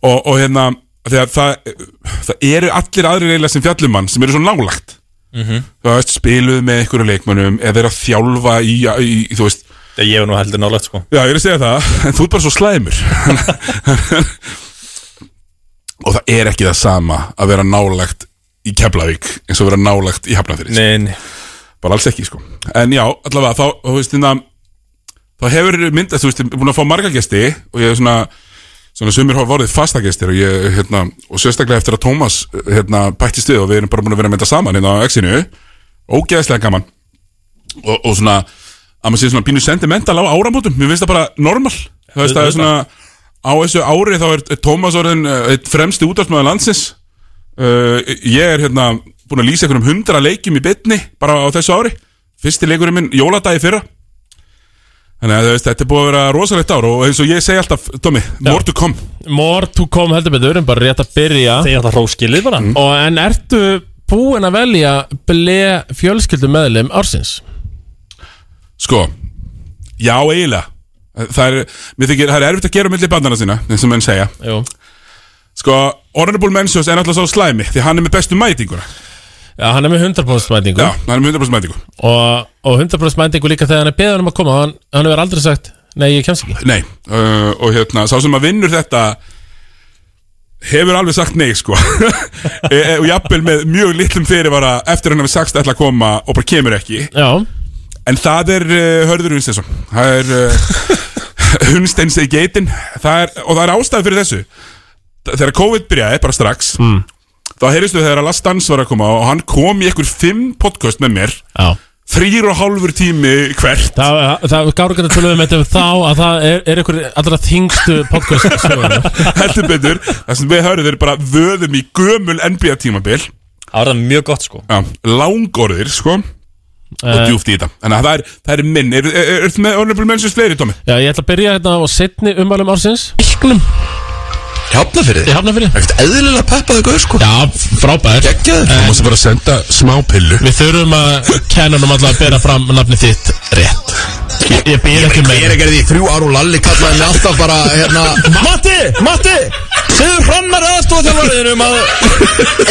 Speaker 1: og, og hérna þegar það, það eru allir aðrir eiginlega sem fjallumann sem eru svo nálagt þú veist, spiluð með einhverju leikmönnum eða er að þjálfa í, í, í þú veist
Speaker 3: Ég hef nú heldur nálagt sko
Speaker 1: Já, ég er að segja það, en þú er bara svo slæmur og það er ekki það sama að vera nálagt í Keflavík eins og vera nálagt í Hafnafyrir
Speaker 3: Nei, nei
Speaker 1: Bara alls ekki, sko En já, allavega, þá, þú veist, hérna þá hefur myndast, þú veist, ég er búin að fá marga gesti og ég er svona svona sumir hafa vorið fasta gestir og ég, hérna, og sérstaklega eftir að Tómas hérna, bætti stuð og við erum bara búin að vera að mynda saman hérna á X-inu, ógeðslega gaman og, og svona að maður sé svona pínu sentimental á áramótum mér finnst það bara normal þú veist, það er svona á þessu ári þá er Tómas orðin eh, einn fremsti útvarpsmaður landsins uh, ég er hérna búin að lýsa einhverjum hundra leikjum í bytni bara á þessu ári fyrsti leikurinn minn jóladagi fyrra þannig að þú veist, þetta er búin að vera rosalegt ár og eins og ég segi alltaf, Tommy, more to come
Speaker 2: More to come heldur betur En bara rétt að byrja
Speaker 3: Þeir alltaf hróskilið bara
Speaker 2: Og en ertu búin að velja Ble fjölskyldu meðlum ársins
Speaker 1: Sko, já eiginlega Það er, mér þykir, það er erfitt að gera milli bandana sína, eins og menn segja
Speaker 2: Jú.
Speaker 1: Sko, Honorable Mentions er náttúrulega svo slæmi Því hann er með bestu mætinguna
Speaker 2: Já, hann er með 100% mætingu
Speaker 1: Já, hann er með 100% mætingu
Speaker 2: Og, og 100% mætingu líka þegar hann er beðan um að koma Hann, hann hefur aldrei sagt Nei, ég kemst ekki
Speaker 1: Nei, uh, og hérna, sá sem að vinnur þetta hefur alveg sagt nei sko e, e, og jafnvel með mjög litlum fyrirvara eftir hann hefur sagt ætla að koma og bara kemur ekki
Speaker 2: Já.
Speaker 1: en það er uh, Hörður Unsteinsson það er uh, Unsteins í geitin það er, og það er ástæð fyrir þessu þegar COVID byrjaði bara strax mm. þá heyristu þegar að Last Dance var að koma og hann kom í einhver fimm podcast með mér
Speaker 2: Já.
Speaker 1: þrýr og hálfur tími hvert
Speaker 2: Það, það gáru gæti að tölum þetta um þá að það er, er einhver allra þingstu podcast söguna
Speaker 1: heldur betur það sem við hörðum bara vöðum í gömul NBA tímabil það var það mjög gott sko já, langorðir sko og
Speaker 2: Eh.
Speaker 1: djúft í þetta þannig að það er, það er minn er, er, er, með honorable mentions fleiri Tómi
Speaker 2: Já, ég ætla að byrja hérna á setni umvalum ársins Ísklum
Speaker 19: Hafnafyrði?
Speaker 2: Hafnafyrði
Speaker 19: Ekkert eðlilega peppaði gauð sko
Speaker 2: Já, frábær
Speaker 19: Gekkjaður Þú mást bara senda smá pillu
Speaker 2: Við þurfum að kennunum alltaf að bera fram nafni þitt rétt Ég, ég býr ekki með
Speaker 19: Ég er ekki að því í þrjú ár og Lalli kallaði mig alltaf bara hérna Matti, Matti Segðu fram með aðstofþjálfariðinum að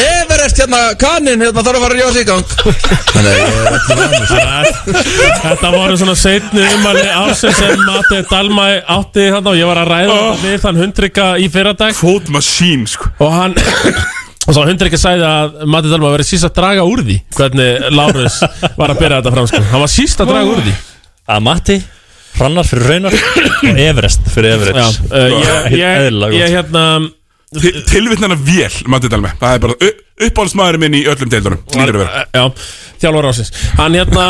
Speaker 19: Everest hérna kaninn hérna þarf að fara að rífa sig í gang Þannig að ég er ekki vanur
Speaker 2: Þetta voru svona setni umvali ársins sem Matti Dalmæ átti þarna og ég var að ræða oh. við þann hundrykka í fyrradag
Speaker 1: Food machine sko
Speaker 2: Og hann Og svo hundrykka sagði að Matti Dalmæ verið síst að draga úr því Hvernig Lárus var að byrja þetta fram sko Hann var síst að draga úr því
Speaker 3: Að Matti Hrannar fyrir raunar og Everest fyrir Everest Sko,
Speaker 2: Já, eh, ég- ég- ég hérna
Speaker 1: Tilvittnana vél, Matti Dalme Það er bara uppáhaldsmaðurinn minn í öllum deildunum Lítur að vera
Speaker 2: eh, Já, þjálfur ásins Hann hérna,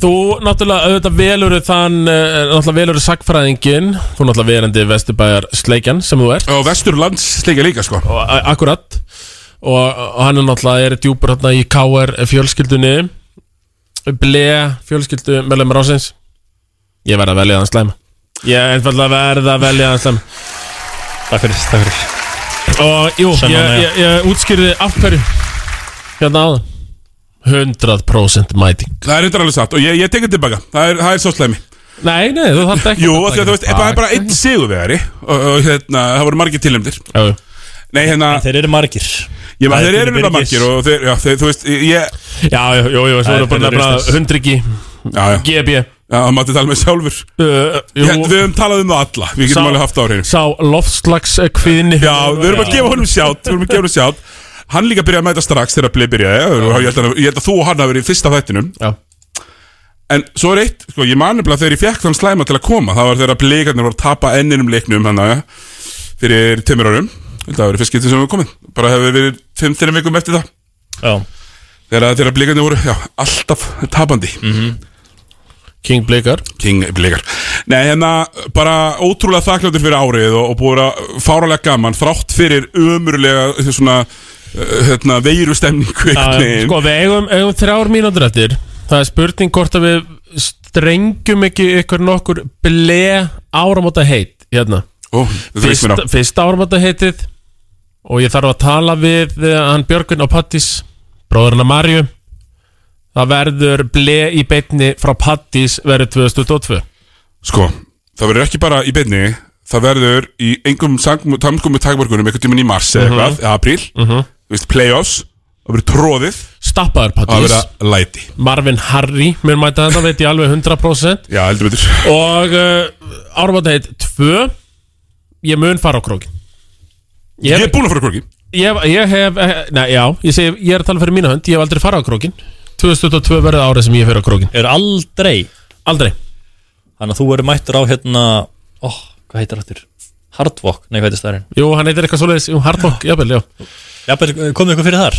Speaker 2: þú náttúrulega auðvitað velur þann, eh, náttúrulega velur sagfræðingin, þú náttúrulega verandi vesturbæjar sleikjan sem þú ert
Speaker 1: Og vesturlands sleikja líka sko
Speaker 2: Akkurat og, og hann er náttúrulega er djúpur hérna í KR fjölskyldunni ble fjölskyldu meðlemar ásins Ég verð að velja hann slæma Ég einfallega verð að velja hann slæma
Speaker 3: Takk fyrir, takk fyrir
Speaker 2: Og jú,
Speaker 3: Sem
Speaker 2: ég,
Speaker 3: hann er.
Speaker 2: ég, ég útskýrði af hverju Hérna áðan 100% mæting
Speaker 1: Það er undarlega satt og ég, ég tekið tilbaka Það er, það er svo slæmi
Speaker 2: Nei, nei, þú þarft ekki
Speaker 1: Jú,
Speaker 2: að taka
Speaker 1: því að þú veist,
Speaker 2: tilbaka.
Speaker 1: það er bara einn sigurvegari og, og hérna, það voru margir tilnæmdir
Speaker 2: Já
Speaker 1: Nei, hérna en
Speaker 3: Þeir eru margir
Speaker 1: Ég maður, þeir
Speaker 3: Mæðgurnar
Speaker 1: eru nefnilega
Speaker 3: Birgis.
Speaker 1: margir og þeir, já, þeir, þú veist, ég
Speaker 2: Já, já, já, já, svo voru bara nefnilega hundryggi GB
Speaker 1: Já, það mátti tala með sjálfur
Speaker 2: uh, jú.
Speaker 1: Við höfum talað um það alla, við getum
Speaker 2: Sá-
Speaker 1: alveg haft það á hreinu
Speaker 2: Sá loftslags kviðinni
Speaker 1: Já, við erum að gefa honum sjátt Við erum að gefa honum sjátt Hann líka byrjaði að mæta strax þegar að bli byrjaði eh, og ég held, að, ég held að þú og hann hafi verið í fyrsta þættinum
Speaker 2: Já
Speaker 1: En svo er eitt, sko, ég mani bara þegar ég fekk þann slæma til að koma Það var þegar að blikarnir voru að tapa enninum leiknum hann að Fyrir tömur árum Þetta hafi verið fyrst skiptið sem við komið Bara hefur verið fimm þeirra vikum eftir það
Speaker 3: Já
Speaker 1: Þegar, að- þegar að blikarnir voru, já, alltaf tapandi
Speaker 2: King Blikar
Speaker 1: King Blikar Nei, hérna, bara ótrúlega þakkláttur fyrir árið og, og búið að fáralega gaman þrátt fyrir umurlega svona, uh, hérna, veirustemningu einhvern
Speaker 2: Já, já,
Speaker 1: veginn.
Speaker 2: Sko, við eigum, eigum þrjár mínútur eftir Það er spurning hvort að við strengjum ekki ykkur nokkur ble áramóta heit hérna
Speaker 1: Ó, þetta veist mér á.
Speaker 2: Fyrsta, fyrsta áramóta heitið og ég þarf að tala við eh, hann Björgvin og Pattis bróðurna Marju Það verður ble í beinni frá Pattis verður 2022
Speaker 1: Sko, það verður ekki bara í beinni Það verður í einhverjum tamkomu takmörkunum einhvern tímann í mars eða
Speaker 2: Mhm.
Speaker 1: eitthvað, eða apríl
Speaker 2: Mhm.
Speaker 1: Þú veist, playoffs, það verður tróðið
Speaker 2: Stappaður
Speaker 1: Það
Speaker 2: Pattis
Speaker 1: verður læti
Speaker 2: Marvin Harry, mér mæta þetta veit ég alveg 100%
Speaker 1: Já, heldur betur
Speaker 2: Og uh, áramótaheit 2 Ég mun fara á krókin Ég,
Speaker 1: er búin að fara á krókin
Speaker 2: Ég, ég hef, eh, nei já, ég, segi, ég er að tala fyrir mína hönd Ég hef aldrei fara á krókin 2022 verður það árið sem ég fer á krókin
Speaker 3: Er aldrei
Speaker 2: Aldrei
Speaker 3: Þannig að þú verður mættur á hérna Ó, hvað heitir áttur? Hardwalk, nei hvað heitir stærinn?
Speaker 2: Jú, hann heitir eitthvað svoleiðis, jú, Hardbock, jábel, já Eh,
Speaker 3: Jafnvel, eh, komið ykkur fyrir þar?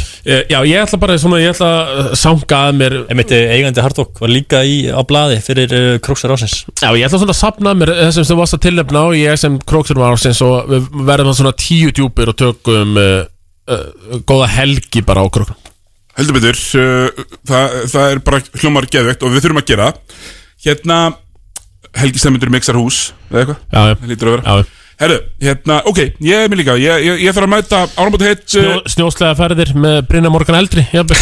Speaker 2: Já, ég ætla bara svona, ég ætla að eh, sanga að mér
Speaker 3: Einmitt eh, eigandi Hardwalk var líka í, á blaði fyrir uh, Króksar Ásins
Speaker 2: Já, ég ætla svona að sapna að mér þessum sem þú varst að tilnefna og ég sem króksur var ársins og við verðum svona tíu djúpir og tökum uh, uh, góða helgi bara á króknum
Speaker 1: Heldur betur, uh, það, það er bara hljómar geðvegt og við þurfum að gera það. Hérna, Helgi Stemmundur mixar hús, eða eitthvað?
Speaker 2: Já, já.
Speaker 1: Það lítur að vera.
Speaker 2: Já,
Speaker 1: já. Herru, hérna, ok, ég er mér líka, ég, ég, ég þarf að mæta áramóta heitt... uh,
Speaker 2: Snjó, Snjóslega ferðir með Brynja Morgan Eldri jafnvel.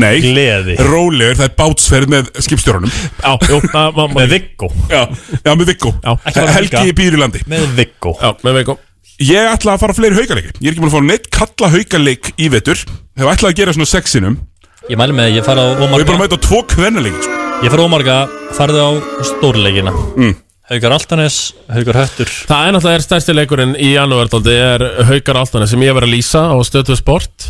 Speaker 1: Nei,
Speaker 3: Gleði.
Speaker 1: rólegur, það er bátsferð með skipstjórunum Já,
Speaker 2: jú, það, ma,
Speaker 1: með
Speaker 3: Viggo
Speaker 1: Já, já með Viggo
Speaker 3: ekki bara
Speaker 1: Helgi
Speaker 3: Vigga.
Speaker 1: í Býrilandi
Speaker 3: Með Viggo
Speaker 2: Já, með Viggo
Speaker 1: Ég ætla að fara á fleiri haukaleiki Ég er ekki búin að fá neitt kalla haukaleik í vetur Hef ætlað að gera svona sexinum
Speaker 3: Ég mæli með, ég fara á
Speaker 1: Og ég sko.
Speaker 3: ómarga
Speaker 1: er bara að mæta á tvo kvennaleiki
Speaker 3: Ég fara á ómarga, farðu á stórleikina
Speaker 1: mm.
Speaker 3: Haugar Altanes, Haugar Höttur
Speaker 2: Það er náttúrulega er stærsti leikurinn í janúardaldi er Haukar Altanes sem ég var að lýsa á stöðtöð sport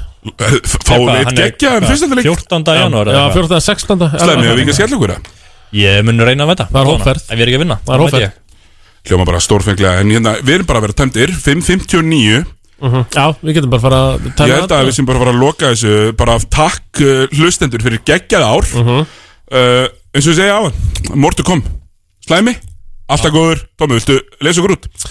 Speaker 3: Fáum við eitt Hann er- geggjaðan hvað, fyrsta leik? 14. janúar
Speaker 2: Já,
Speaker 3: eða hvað?
Speaker 2: 14. 16.
Speaker 1: Slæmi, við ekki að skella okkur það
Speaker 3: Ég mun reyna að veta
Speaker 1: Það er hópferð.
Speaker 3: Ef ég er ekki að vinna
Speaker 1: Það er hópferð. Hljóma bara stórfenglega En hérna, við erum bara að vera tæmdir 5.59
Speaker 2: Mhm. Já, við getum bara að fara að um
Speaker 1: Ég
Speaker 2: tæma
Speaker 1: held að við sem bara fara að loka þessu Bara takk uh, hlustendur fyrir geggjað ár uh, Eins og við segja á Mortu kom, slæmi Alltaf góður, Tómi, viltu lesa okkur út?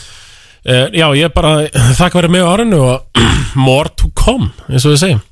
Speaker 2: Eh, Já, ég bara þakka verið með á árinu og more to come, eins og við segjum